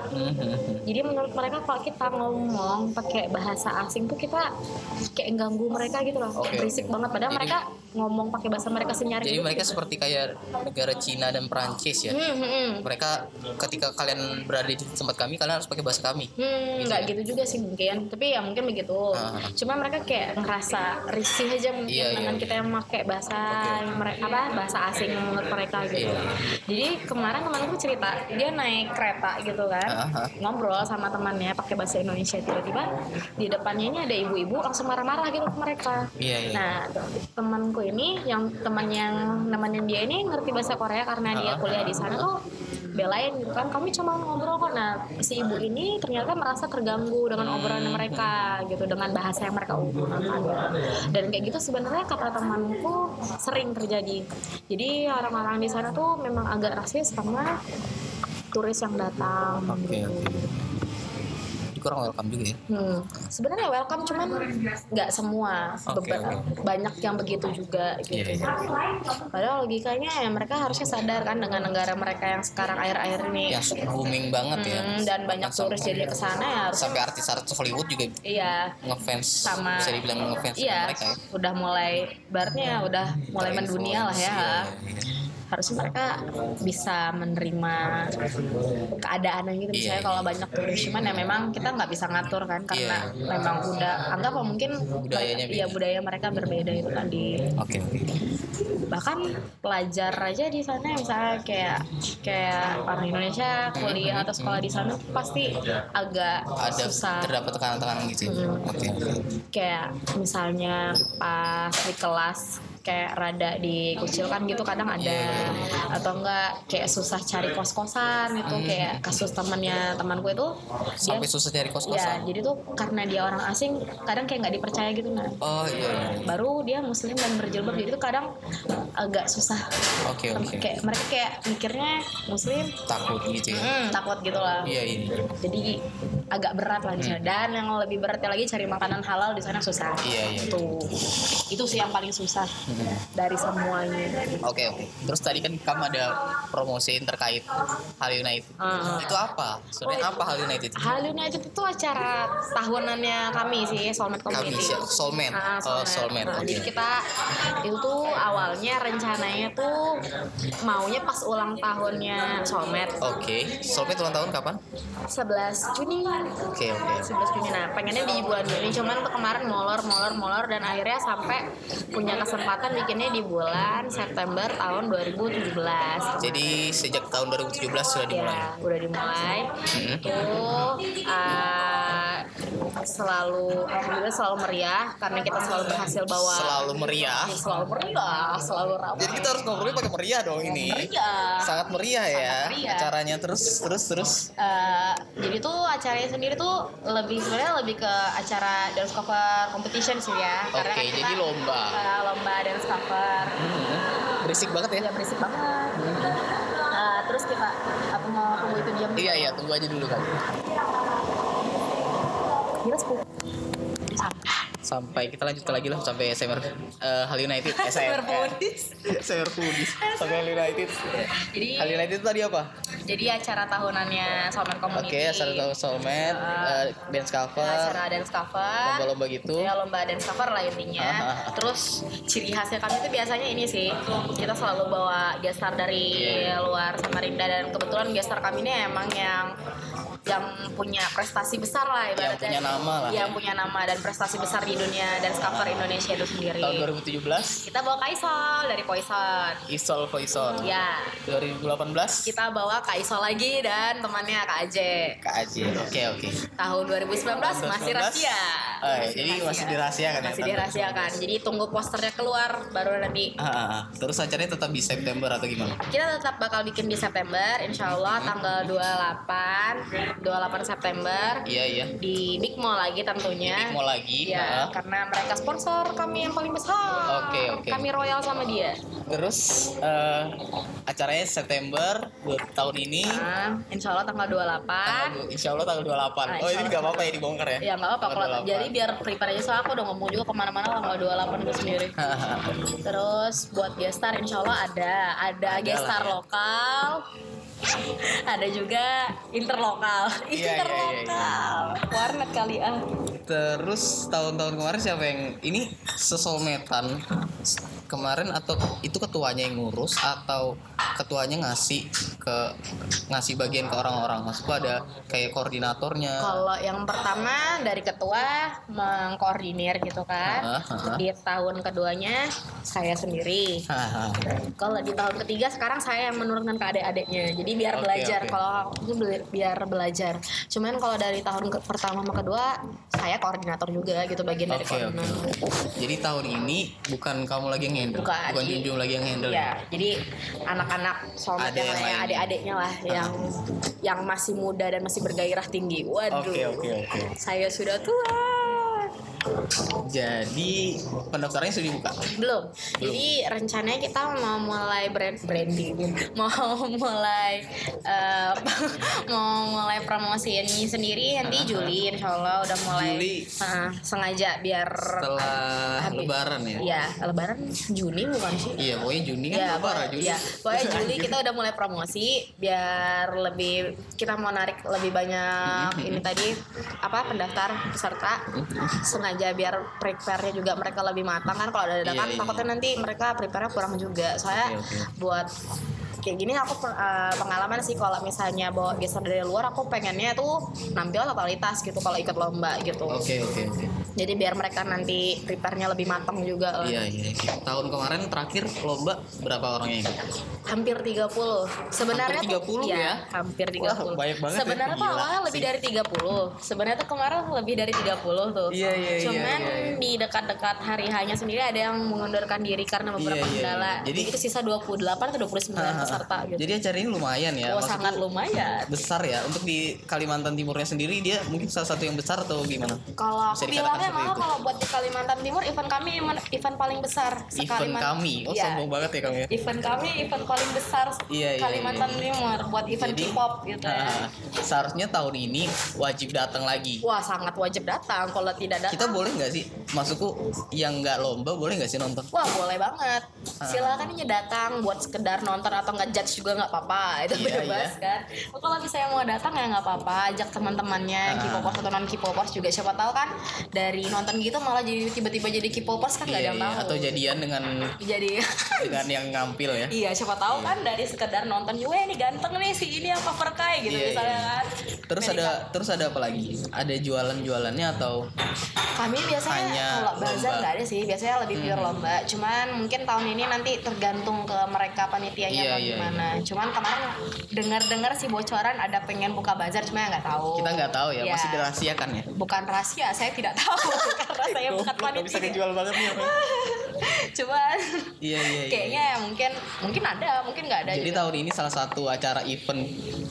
Speaker 3: jadi menurut mereka kalau kita ngomong pakai bahasa asing tuh kita kayak ganggu mereka gitu loh,
Speaker 1: Oke,
Speaker 3: kayak berisik
Speaker 1: oke.
Speaker 3: banget. Padahal
Speaker 1: Jadi-
Speaker 3: mereka ngomong pakai bahasa mereka sendiri. gitu.
Speaker 1: Jadi mereka seperti kayak negara Cina dan Perancis ya.
Speaker 3: Hmm, hmm, hmm.
Speaker 1: Mereka ketika kalian berada di tempat kami, kalian harus pakai bahasa kami.
Speaker 3: Hmm, nggak gitu juga sih mungkin, tapi ya mungkin begitu.
Speaker 1: Ah.
Speaker 3: Cuma mereka kayak ngerasa risih aja mungkin
Speaker 1: Iya,
Speaker 3: dengan
Speaker 1: iya,
Speaker 3: kita yang pakai bahasa
Speaker 1: Oke.
Speaker 3: yang mere- apa bahasa asing menurut mereka gitu.
Speaker 1: Iya.
Speaker 3: Jadi kemarin temanku cerita dia naik kereta gitu kan,
Speaker 1: Ah, ah.
Speaker 3: ngobrol sama temannya pakai bahasa Indonesia tiba-tiba di depannya ini ada ibu-ibu langsung marah-marah gitu ke mereka.
Speaker 1: Iya, iya.
Speaker 3: Nah, temanku ini yang teman yang nemenin dia ini ngerti bahasa Korea karena dia
Speaker 1: Ah.
Speaker 3: kuliah di sana tuh belain gitu kan kami cuma ngobrol kok nah si ibu ini ternyata merasa terganggu dengan obrolan mereka gitu dengan bahasa yang mereka gunakan dan kayak gitu sebenarnya kata temanku sering terjadi jadi orang-orang di sana tuh memang agak rasis karena turis yang datang
Speaker 1: Oke,
Speaker 3: gitu.
Speaker 1: oke. Jadi kurang welcome juga ya.
Speaker 3: Hmm, sebenarnya welcome cuman nggak semua
Speaker 1: Oke,
Speaker 3: Beber- banyak yang begitu juga gitu.
Speaker 1: Iya,
Speaker 3: Padahal logikanya ya mereka harusnya sadar kan dengan negara mereka yang sekarang akhir-akhir ini
Speaker 1: Yang su- booming banget ya.
Speaker 3: Iya. Hmm, dan banyak
Speaker 1: Bahkan
Speaker 3: turis
Speaker 1: sampai-
Speaker 3: jadi ke sana ya harusnya
Speaker 1: sampai artis-artis Hollywood juga
Speaker 3: iya
Speaker 1: ngefans
Speaker 3: Sama-
Speaker 1: bisa dibilang ngefans sama
Speaker 3: iya
Speaker 1: mereka ya.
Speaker 3: udah mulai baratnya udah mulai mendunia lah ya.
Speaker 1: Iya,
Speaker 3: Harusnya mereka bisa menerima keadaan yang gitu
Speaker 1: Iya,
Speaker 3: misalnya
Speaker 1: iya.
Speaker 3: kalau banyak turis cuman ya memang kita nggak bisa ngatur kan karena
Speaker 1: Iya.
Speaker 3: memang udah anggap apa mungkin
Speaker 1: Budayanya
Speaker 3: mereka- iya,
Speaker 1: beda.
Speaker 3: budaya mereka berbeda itu tadi
Speaker 1: Oke, oke.
Speaker 3: bahkan pelajar aja di sana misalnya kayak kayak orang Indonesia kuliah atau sekolah di sana tuh pasti agak
Speaker 1: Ada
Speaker 3: susah
Speaker 1: terdapat tekanan-tekanan gitu. ya?
Speaker 3: Hmm.
Speaker 1: Oke, oke.
Speaker 3: kayak misalnya pas di kelas kayak rada dikucilkan gitu kadang ada
Speaker 1: Iya.
Speaker 3: atau enggak kayak susah cari kos-kosan gitu kayak kasus temannya temanku itu dia
Speaker 1: Hmm. Sampai susah cari
Speaker 3: ya
Speaker 1: kos-kosan.
Speaker 3: jadi tuh karena dia orang asing kadang kayak nggak dipercaya gitu nah
Speaker 1: Oh iya. iya.
Speaker 3: baru dia muslim dan berjilbab jadi tuh kadang agak susah
Speaker 1: Oke, oke.
Speaker 3: kayak mereka kayak mikirnya muslim
Speaker 1: Takut gitu ya.
Speaker 3: mm, takut gitu lah
Speaker 1: Iya, iya.
Speaker 3: jadi agak berat lah di sana dan yang lebih beratnya lagi cari makanan halal di sana susah
Speaker 1: Hmm. Iya, iya.
Speaker 3: Tuh. itu sih yang paling susah
Speaker 6: dari semuanya
Speaker 1: Oke oke. Terus tadi kan kamu ada promosiin terkait Hal United.
Speaker 3: Ah.
Speaker 1: Itu apa? Sebenarnya apa Hal United?
Speaker 3: Hal United itu acara tahunannya kami sih Soulmate
Speaker 1: Kami
Speaker 3: Community.
Speaker 1: soulmate.
Speaker 3: Ah,
Speaker 1: Oh,
Speaker 3: soulmate.
Speaker 1: soulmate.
Speaker 3: Nah,
Speaker 1: Oke.
Speaker 3: Jadi kita itu tuh awalnya rencananya tuh maunya pas ulang tahunnya Soulmate
Speaker 1: Oke. Soulmate ulang tahun kapan?
Speaker 3: 11 Juni.
Speaker 1: Oke oke.
Speaker 3: 11 Juni. Nah, pengennya di bulan Juni, cuman tuh kemarin molor, molor, molor dan akhirnya sampai punya kesempatan bikinnya di bulan September tahun 2017.
Speaker 1: Jadi sejak tahun 2017 sudah dimulai.
Speaker 3: ya udah dimulai
Speaker 1: Mhm.
Speaker 3: itu uh, selalu alhamdulillah selalu meriah karena kita selalu berhasil bawa
Speaker 1: Selalu meriah.
Speaker 3: Ya, selalu meriah selalu ramai
Speaker 1: Jadi kita harus ngobrolnya pakai meriah dong ini.
Speaker 3: meriah
Speaker 1: Sangat meriah ya
Speaker 3: Sangat meriah.
Speaker 1: acaranya terus terus terus.
Speaker 3: Eh, jadi tuh acaranya sendiri tuh lebih sebenarnya lebih ke acara dance cover competition sih ya karena
Speaker 1: Oke,
Speaker 3: kan kita,
Speaker 1: jadi lomba.
Speaker 3: eh, lomba dance cover
Speaker 1: Hmm, Berisik banget ya.
Speaker 3: ya berisik banget Eh, terus kita apa mau tunggu itu jam
Speaker 1: Iya iya, tunggu aja dulu kan.
Speaker 3: kira 10
Speaker 1: Sampai kita lanjutkan lagi lah sampai SMR eh, Hal United SMR Pudis. SMR Pudis. Sampai Hal United.
Speaker 3: jadi
Speaker 1: Hal United itu tadi apa?
Speaker 3: jadi acara tahunannya Soulmate Community
Speaker 1: Oke, acara tahu soulmate, eh, dance cover,
Speaker 3: acara dance cover
Speaker 1: lomba-lomba gitu.
Speaker 3: ya lomba dance cover lah intinya
Speaker 1: Ah.
Speaker 3: terus ciri khasnya kami itu biasanya ini sih kita selalu bawa gestar dari luar Samarinda dan kebetulan gestar kami ini emang yang yang punya prestasi besar lah
Speaker 1: Yang punya
Speaker 3: ibaratnya
Speaker 1: nama lah.
Speaker 3: yang punya nama dan prestasi besar di dunia dance cover Indonesia itu sendiri
Speaker 1: Tahun 2017,
Speaker 3: kita bawa Kaisal dari Poison
Speaker 1: Isol Poison.
Speaker 3: ya
Speaker 1: 2018,
Speaker 3: kita bawa Kaisal lagi dan temannya Kak Aje
Speaker 1: Kak Aji. Oke, oke.
Speaker 3: tahun 2019 masih
Speaker 1: 2019.
Speaker 3: rahasia.
Speaker 1: Oh, ya, jadi masih dirahasiakan ya,
Speaker 3: Masih
Speaker 1: tahun
Speaker 3: dirahasiakan. Jadi tunggu posternya keluar baru nanti
Speaker 1: Ah, ah, ah. terus acaranya tetap di September atau gimana?
Speaker 3: kita tetap bakal bikin di September, insya Allah tanggal 28, 28 September
Speaker 1: Iya, iya.
Speaker 3: di Big Mall lagi tentunya.
Speaker 1: Big Mall lagi,
Speaker 3: Ya,
Speaker 1: ah.
Speaker 3: karena mereka sponsor kami yang paling besar.
Speaker 1: Oke, oke.
Speaker 3: Kami royal sama dia.
Speaker 1: Terus eh, acaranya September buat tahun ini.
Speaker 3: Nah, insya Allah tanggal 28.
Speaker 1: Tanggal, du- insya Allah tanggal 28. oh,
Speaker 3: Ah, insya
Speaker 1: ini
Speaker 3: Allah.
Speaker 1: nggak apa-apa ya dibongkar ya?
Speaker 3: Ya nggak apa-apa
Speaker 1: Tanggal
Speaker 3: kalau
Speaker 1: 28.
Speaker 3: jadi biar prepare aja soalnya aku udah ngomong juga kemana-mana tanggal 28 itu sendiri.
Speaker 1: Ah,
Speaker 3: Terus buat gestar insya Allah ada Ada
Speaker 1: Ada
Speaker 3: gestar
Speaker 1: lah ya.
Speaker 3: lokal Ada juga interlokal
Speaker 1: Iya, iya, Eh. iya,
Speaker 3: Interlokal Warnet kali ah
Speaker 1: Terus tahun-tahun kemarin siapa yang ini sesolmetan kemarin atau itu ketuanya yang ngurus atau ketuanya ngasih ke ngasih bagian ke orang-orang maksudku ada kayak koordinatornya
Speaker 3: Kalau yang pertama dari ketua Mengkoordinir gitu kan
Speaker 1: Ah, ah, ah.
Speaker 3: Di tahun keduanya Saya sendiri
Speaker 1: Haha.
Speaker 3: Kalau di tahun ketiga sekarang saya yang menurunkan ke adik-adiknya. Jadi biar
Speaker 1: Oke,
Speaker 3: belajar.
Speaker 1: oke.
Speaker 3: Kalau aku tuh bela- biar belajar. Cuman kalau dari tahun ke- pertama sama kedua saya koordinator juga gitu bagian dari
Speaker 1: Oke, oke.
Speaker 3: koordinator.
Speaker 1: Jadi tahun ini bukan kamu lagi yang handle,
Speaker 3: Bukan.
Speaker 1: Junjung lagi yang handle.
Speaker 3: Ya, jadi anak-anak soalnya
Speaker 1: Ada yang lain. Ah.
Speaker 3: adik-adiknya lah yang yang masih muda dan masih bergairah tinggi. Waduh.
Speaker 1: ya? Oke, oke, oke.
Speaker 3: Saya sudah tua.
Speaker 1: Jadi pendaftarannya sudah dibuka.
Speaker 3: Belum. Jadi rencananya kita mau mulai brand branding, mau mulai eh, mau mulai promosi ini sendiri nanti Juli insya Allah udah mulai
Speaker 1: Juli.
Speaker 3: Ah, sengaja biar
Speaker 1: Setelah
Speaker 3: Habis.
Speaker 1: lebaran ya.
Speaker 3: ya lebaran Juni bukan sih?
Speaker 1: Iya, pokoknya Juni kan
Speaker 3: Ya,
Speaker 1: lebaran
Speaker 3: pokoknya-
Speaker 1: Juni.
Speaker 3: ya, pokoknya Juli kita udah mulai promosi biar lebih kita mau narik lebih banyak
Speaker 1: Mm-hmm.
Speaker 3: ini tadi apa pendaftar peserta sengaja biar prepare-nya juga mereka lebih matang kan kalau ada dadakan
Speaker 1: Iya, iya.
Speaker 3: takutnya nanti mereka prepare-nya kurang juga soalnya
Speaker 1: Oke, oke.
Speaker 3: buat kayak gini aku per- eh, pengalaman sih kalau misalnya bawa geser dari luar aku pengennya tuh nampil totalitas gitu kalau ikut lomba gitu
Speaker 1: Oke, oke, oke.
Speaker 3: jadi biar mereka nanti prepare-nya lebih matang juga lah.
Speaker 1: Iya, iya. iya. Tahun kemarin terakhir lomba berapa orang yang
Speaker 3: Iya,
Speaker 1: ikut?
Speaker 3: hampir 30 sebenarnya
Speaker 1: Hampir 30
Speaker 3: tuh- iya,
Speaker 1: ya?
Speaker 3: hampir 30
Speaker 1: Wah, banyak banget ya.
Speaker 3: sebenarnya tuh
Speaker 1: Gila
Speaker 3: awalnya lebih
Speaker 1: sih.
Speaker 3: dari 30 sebenarnya tuh kemarin lebih dari 30 tuh
Speaker 1: Iya, iya, iya,
Speaker 3: cuman
Speaker 1: iya, iya.
Speaker 3: di dekat-dekat hari hanya sendiri ada yang mengundurkan diri karena
Speaker 1: Iya,
Speaker 3: beberapa
Speaker 1: iya, iya.
Speaker 3: kendala
Speaker 1: Jadi-
Speaker 3: jadi itu sisa 28 atau 29 peserta gitu
Speaker 1: Jadi acara ini lumayan ya.
Speaker 3: Wah,
Speaker 1: maksudku
Speaker 3: sangat lumayan
Speaker 1: besar ya untuk di Kalimantan Timurnya sendiri dia mungkin salah satu yang besar atau gimana?
Speaker 3: kalau
Speaker 1: Bisa
Speaker 3: aku bilang soalnya
Speaker 1: seperti
Speaker 3: malah
Speaker 1: itu.
Speaker 3: kalau buat di Kalimantan Timur event kami event, event paling besar se
Speaker 1: event
Speaker 3: Kalimantan-
Speaker 1: kami oh
Speaker 3: Iya.
Speaker 1: sombong banget ya kamu ya
Speaker 3: event kami event paling besar se-
Speaker 1: Iya, iya,
Speaker 3: Kalimantan
Speaker 1: iya, iya.
Speaker 3: Timur buat event
Speaker 1: Jadi,
Speaker 3: K-pop gitu ya.
Speaker 1: Nah, seharusnya tahun ini wajib datang lagi
Speaker 3: Wah sangat wajib datang kalau tidak datang.
Speaker 1: kita boleh nggak sih masukku yang nggak lomba boleh nggak sih nonton
Speaker 3: Wah boleh banget.
Speaker 1: Ah.
Speaker 3: Silakan aja datang buat sekedar nonton atau nggak judge juga nggak apa-apa. Itu
Speaker 1: Iya,
Speaker 3: bebas kan. Kalau misalnya mau datang ya nggak apa-apa. Ajak
Speaker 1: Ah.
Speaker 3: teman-temannya, K-popers atau non K-popers juga siapa tahu kan dari nonton gitu malah jadi tiba-tiba jadi K-popers kan nggak ada
Speaker 1: Iya,
Speaker 3: yang
Speaker 1: iya.
Speaker 3: tahu.
Speaker 1: atau jadian dengan
Speaker 3: jadi
Speaker 1: dengan yang ngampil ya
Speaker 3: Iya, siapa tahu kan dari sekedar nonton, wah ini ganteng nih si ini apa perkai gitu
Speaker 1: Iya,
Speaker 3: misalnya
Speaker 1: iya.
Speaker 3: kan.
Speaker 1: terus
Speaker 3: Dari
Speaker 1: ada terus ada apa lagi ada jualan jualannya atau
Speaker 3: kami biasanya
Speaker 1: Hanya
Speaker 3: kalau bazar
Speaker 1: lomba. Hmm.
Speaker 3: nggak ada sih biasanya lebih pure lomba cuman mungkin tahun ini nanti tergantung ke mereka panitianya
Speaker 1: Iya,
Speaker 3: atau
Speaker 1: iya,
Speaker 3: gimana cuman kemarin dengar-dengar sih bocoran ada pengen buka bazar cuma ya nggak tahu
Speaker 1: kita nggak tahu ya
Speaker 3: Iya.
Speaker 1: masih dirahasiakan ya
Speaker 3: bukan rahasia saya tidak tahu karena saya bukan
Speaker 1: Nggak bisa
Speaker 3: panitia
Speaker 1: kejual banget nih apa ya.
Speaker 3: cuman
Speaker 1: iya iya iya.
Speaker 3: kayaknya ya mungkin mungkin ada mungkin nggak ada
Speaker 1: Jadi
Speaker 3: juga.
Speaker 1: tahun ini salah satu acara event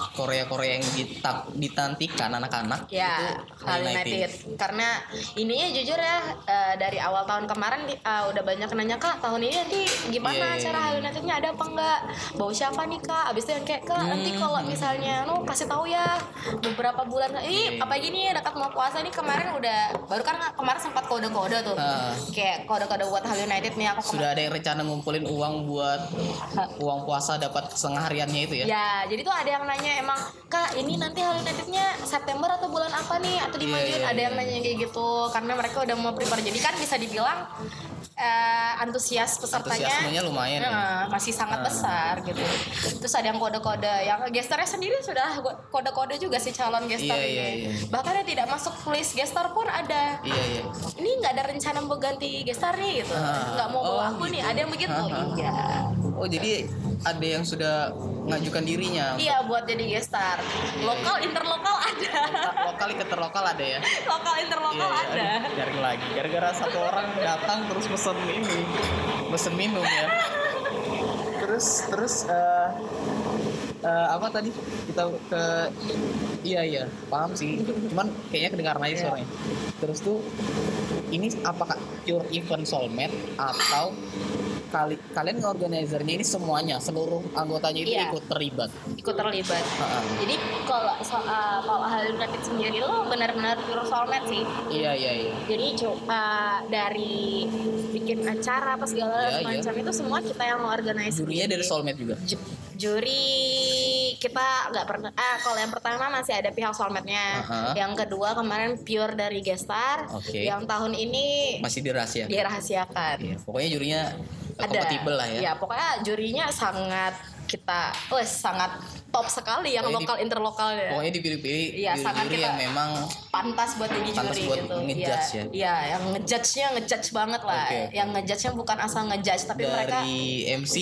Speaker 1: Korea-Korea yang dita- ditantikan anak-anak
Speaker 3: Ya,
Speaker 1: itu
Speaker 3: Hal United. Karena ininya jujur ya eh, dari awal tahun kemarin di- eh, udah banyak nanya kak tahun ini nanti
Speaker 1: Iya,
Speaker 3: gimana
Speaker 1: iya,
Speaker 3: acara Hal Unitednya ada apa enggak? Bawa siapa nih kak? Abis itu yang kayak kak nanti
Speaker 1: Hmm.
Speaker 3: kalau misalnya lo kasih tahu ya beberapa bulan ih
Speaker 1: Iya.
Speaker 3: apa gini ya dekat mau puasa nih kemarin udah baru kan kemarin sempat kode-kode tuh
Speaker 1: Ah.
Speaker 3: kayak kode-kode buat Hal United nih aku kemarin
Speaker 1: Sudah ada yang rencana ngumpulin uang buat uang puasa dapat kesengahariannya itu ya?
Speaker 3: Ya, jadi tuh ada yang nanya emang kak ini nanti hari nantinya September atau bulan apa nih atau dimajuin
Speaker 1: Iya, iya,
Speaker 3: ada yang nanya kayak gitu karena mereka udah mau prepare jadi kan bisa dibilang eh, antusias pesertanya
Speaker 1: Antusiasmenya lumayan. ya.
Speaker 3: eh, masih sangat besar gitu. Terus ada yang kode-kode yang gesternya sendiri sudah go- kode-kode juga si calon gester
Speaker 1: Iya, iya,
Speaker 3: ini.
Speaker 1: iya.
Speaker 3: Bahkan yang tidak masuk list gester pun ada.
Speaker 1: Iya iya.
Speaker 3: Ini nggak ada rencana mau ganti gestar nih gitu.
Speaker 1: Ah.
Speaker 3: Nggak mau bawa
Speaker 1: Oh,
Speaker 3: aku nih. Ada yang begitu.
Speaker 1: Ah, ah.
Speaker 3: Iya.
Speaker 1: Oh jadi ada yang sudah ngajukan dirinya.
Speaker 3: Iya buat jadi gestar. Lokal interlokal ada.
Speaker 1: Lokal keterlokal ada ya.
Speaker 3: lokal interlokal Oh,
Speaker 1: Iya,
Speaker 3: ada.
Speaker 1: aduh, Garing lagi. Gara-gara satu orang datang terus pesen ini, pesen minum ya. Terus terus eh, eh, apa tadi kita ke iya iya paham sih. Cuman kayaknya kedengaran
Speaker 3: Iya.
Speaker 1: aja suaranya. Terus tuh ini apakah pure event soulmate atau kali kalian organizernya ini semuanya seluruh anggotanya itu
Speaker 3: Iya.
Speaker 1: ikut terlibat.
Speaker 3: Ikut terlibat.
Speaker 1: Ha-ha.
Speaker 3: Jadi kalau so- uh, kalau hal United sendiri lo benar-benar pure soulmate sih.
Speaker 1: Iya iya iya.
Speaker 3: Jadi coba dari bikin acara apa segala
Speaker 1: Iya,
Speaker 3: macam itu semua kita yang organize.
Speaker 1: Jurinya dari soulmate juga.
Speaker 3: Ju- juri kita nggak pernah ah kalau yang pertama masih ada pihak solmetnya
Speaker 1: Aha.
Speaker 3: yang kedua kemarin pure dari gestar
Speaker 1: Oke.
Speaker 3: yang tahun ini
Speaker 1: Masih dirahasiakan.
Speaker 3: dirahasiakan
Speaker 1: Iya, pokoknya jurinya eh,
Speaker 3: ada
Speaker 1: kompatibel lah ya.
Speaker 3: Iya, pokoknya jurinya sangat kita wes sangat top sekali yang
Speaker 1: Pokoknya di-
Speaker 3: lokal interlokalnya
Speaker 1: Pokoknya dipilih-pilih
Speaker 3: Iya,
Speaker 1: juri-juri
Speaker 3: sangat kita-
Speaker 1: yang memang
Speaker 3: pantas buat jadi
Speaker 1: Pantas
Speaker 3: juri
Speaker 1: buat
Speaker 3: gitu
Speaker 1: ngejudge
Speaker 3: Iya,
Speaker 1: ya.
Speaker 3: iya yang ngejudge-nya ngejudge banget lah
Speaker 1: Oke.
Speaker 3: yang ngejudge-nya bukan asal ngejudge tapi mereka
Speaker 1: dari MC,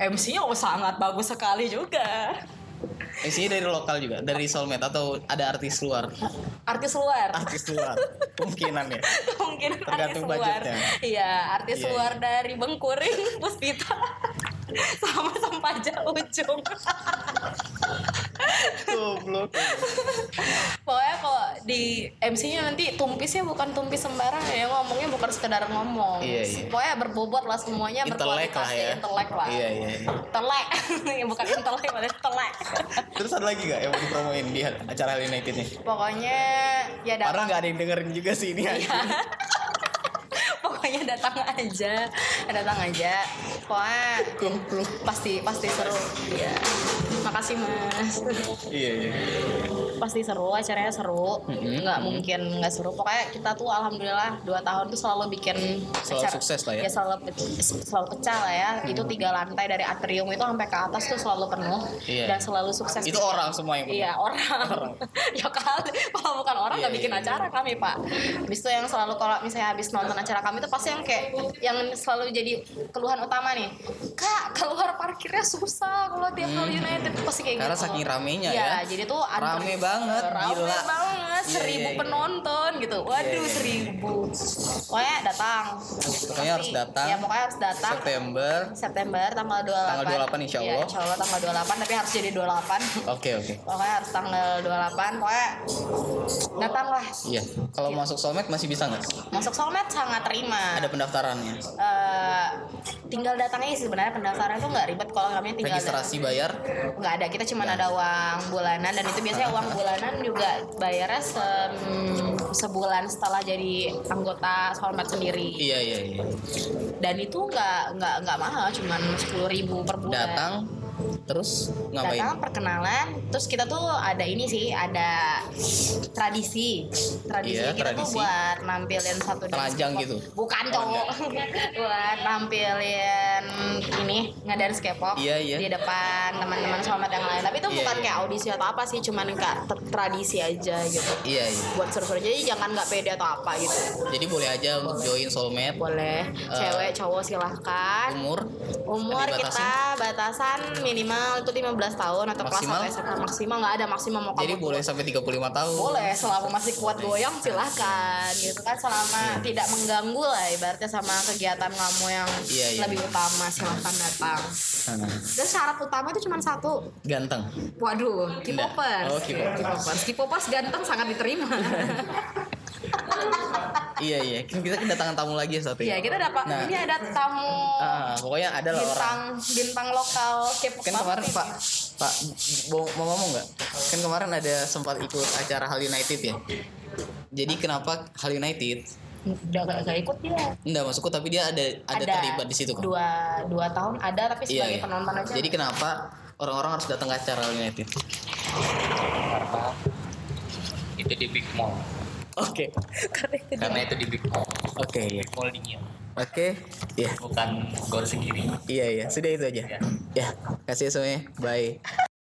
Speaker 3: MC-nya oh, sangat bagus sekali juga
Speaker 1: MC-nya dari lokal juga, dari soulmate atau ada artis luar.
Speaker 3: artis luar
Speaker 1: Artis luar. Kemungkinan ya.
Speaker 3: mungkin artis
Speaker 1: Ah, Tergantung
Speaker 3: luar
Speaker 1: budgetnya.
Speaker 3: iya artis
Speaker 1: Iya,
Speaker 3: luar dari Bengkuring Puspita sama Sempaja Ujung
Speaker 1: Goblok.
Speaker 3: pokoknya kalau di MC-nya nanti tumpisnya bukan tumpis sembarangan ya ngomongnya bukan sekedar ngomong
Speaker 1: Iya, iya.
Speaker 3: pokoknya berbobot lah semuanya
Speaker 1: Intelek lah ya.
Speaker 3: intelek lah
Speaker 1: Iya, iya. iya.
Speaker 3: telek Ya, bukan intelek malah telek
Speaker 1: Terus ada lagi gak yang mau dipromoin di acara Hell United nih?
Speaker 3: pokoknya ya
Speaker 1: Padahal
Speaker 3: datang
Speaker 1: gak ada yang dengerin juga sih ini.
Speaker 3: Iya. pokoknya datang aja datang aja pokoknya
Speaker 1: Goblok.
Speaker 3: pasti pasti seru ya makasih mas
Speaker 1: Iya, iya.
Speaker 3: pasti seru acaranya seru
Speaker 1: Mhm.
Speaker 3: nggak mungkin nggak seru pokoknya kita tuh alhamdulillah dua tahun tuh selalu bikin Iya,
Speaker 1: Selalu sukses lah ya. Mm-hmm.
Speaker 3: selalu pe- selalu pecah lah ya itu tiga lantai dari atrium itu sampai ke atas tuh selalu penuh
Speaker 1: Iya.
Speaker 3: dan selalu sukses
Speaker 1: Itu orang semua yang
Speaker 3: Iya orang, ya kali kalau bukan orang
Speaker 1: Iya,
Speaker 3: nggak
Speaker 1: iya,
Speaker 3: bikin
Speaker 1: iya.
Speaker 3: acara kami pak. Habis itu yang selalu kalau misalnya habis nonton acara kami itu pasti yang kayak yang selalu jadi keluhan utama nih. Kak keluar parkirnya susah kalau tiap kali United pasti kayak
Speaker 1: Karena
Speaker 3: gitu.
Speaker 1: saking ramenya
Speaker 3: Iya,
Speaker 1: ya.
Speaker 3: jadi tuh antre-
Speaker 1: Rame banget,
Speaker 3: rame
Speaker 1: gila. Iya,
Speaker 3: banget
Speaker 7: seribu penonton gitu waduh seribu
Speaker 3: Pokoknya datang.
Speaker 1: Pokoknya harus datang.
Speaker 3: Ya pokoknya harus datang.
Speaker 1: September.
Speaker 3: September tanggal 28.
Speaker 1: Tanggal 28, insya
Speaker 3: Iya,
Speaker 1: Allah.
Speaker 3: insya Allah tanggal 28 tapi harus jadi 28.
Speaker 1: Oke oke.
Speaker 3: Pokoknya harus tanggal 28. Pokoknya datang lah.
Speaker 1: Iya. Kalau masuk soulmate masih bisa nggak?
Speaker 3: Masuk soulmate sangat terima.
Speaker 1: Ada pendaftarannya.
Speaker 3: Eh, tinggal datangnya sih sebenarnya pendaftaran itu nggak ribet kalau kami tinggal
Speaker 1: Registrasi bayar.
Speaker 3: datang. nggak ada kita cuma ada uang bulanan dan itu biasanya uang bulanan juga bayarnya se- mm, sebulan setelah jadi anggota soulmate sendiri
Speaker 1: Iya iya iya.
Speaker 3: dan itu nggak nggak nggak mahal cuman sepuluh ribu per bulan
Speaker 1: Datang. Terus ngapain?
Speaker 3: datang perkenalan terus kita tuh ada ini sih ada tradisi tradisi
Speaker 1: Iya,
Speaker 3: kita
Speaker 1: tradisi.
Speaker 3: tuh buat nampilin satu dance
Speaker 1: Telanjang
Speaker 3: K-pop.
Speaker 1: gitu?
Speaker 3: bukan cowok buat nampilin ini ngedance K-pop
Speaker 1: Iya, iya.
Speaker 3: di depan teman-teman sobat yang lain tapi itu
Speaker 1: Iya,
Speaker 3: bukan
Speaker 1: iya.
Speaker 3: kayak audisi atau apa sih cuman kayak ter- tradisi aja gitu
Speaker 1: Iya iya.
Speaker 3: buat server jadi jangan nggak pede atau apa gitu
Speaker 1: Jadi boleh aja untuk join soulmate.
Speaker 3: boleh cewek cowok silahkan
Speaker 1: Umur.
Speaker 3: Umur
Speaker 1: Dibatasin.
Speaker 3: kita batasan minimal itu 15 tahun atau
Speaker 1: Maksimal?
Speaker 3: kelas 1 SMA maksimal nggak ada maksimal mau
Speaker 1: Jadi
Speaker 3: kamu
Speaker 1: boleh sampai 35 tahun.
Speaker 3: boleh selama masih kuat goyang silahkan gitu kan selama tidak mengganggu lah ibaratnya sama kegiatan kamu yang
Speaker 1: Iya, iya.
Speaker 3: lebih utama silahkan datang
Speaker 1: Nah,
Speaker 3: dan syarat utama itu cuma satu Iya,
Speaker 1: Ganteng.
Speaker 8: Waduh,
Speaker 1: Indah.
Speaker 8: K-popers.
Speaker 1: Oh, K-popers.
Speaker 8: K-popers. K-popers ganteng sangat diterima.
Speaker 1: iya iya. Kita kedatangan tamu lagi ya satu. ya.
Speaker 3: ya kita dapat
Speaker 1: Nah.
Speaker 3: ini ada tamu
Speaker 1: Ah, pokoknya ada lah orang.
Speaker 3: bintang bintang lokal K-pop
Speaker 1: kan kemarin Pak Pak mau, mau ngomong nggak? Kan kemarin ada sempat ikut acara Hal United ya. Jadi kenapa Hal United?
Speaker 3: udah nggak nggak ikut dia
Speaker 1: Enggak masukku tapi dia ada ada, terlibat di situ kan.
Speaker 3: dua dua tahun ada tapi
Speaker 1: Iya,
Speaker 3: sebagai
Speaker 1: iya.
Speaker 3: penonton aja
Speaker 1: Jadi kenapa orang-orang harus datang ke acara Hal United?
Speaker 9: Karena itu di Big Mall.
Speaker 1: Oke.
Speaker 9: Karena itu di Big Mall.
Speaker 1: Oke iya.
Speaker 9: Mall dingin.
Speaker 1: Oke. Iya.
Speaker 9: Bukan gol sendiri.
Speaker 1: Iya iya. Sudah itu aja. Ya. Kasih semuanya. Bye.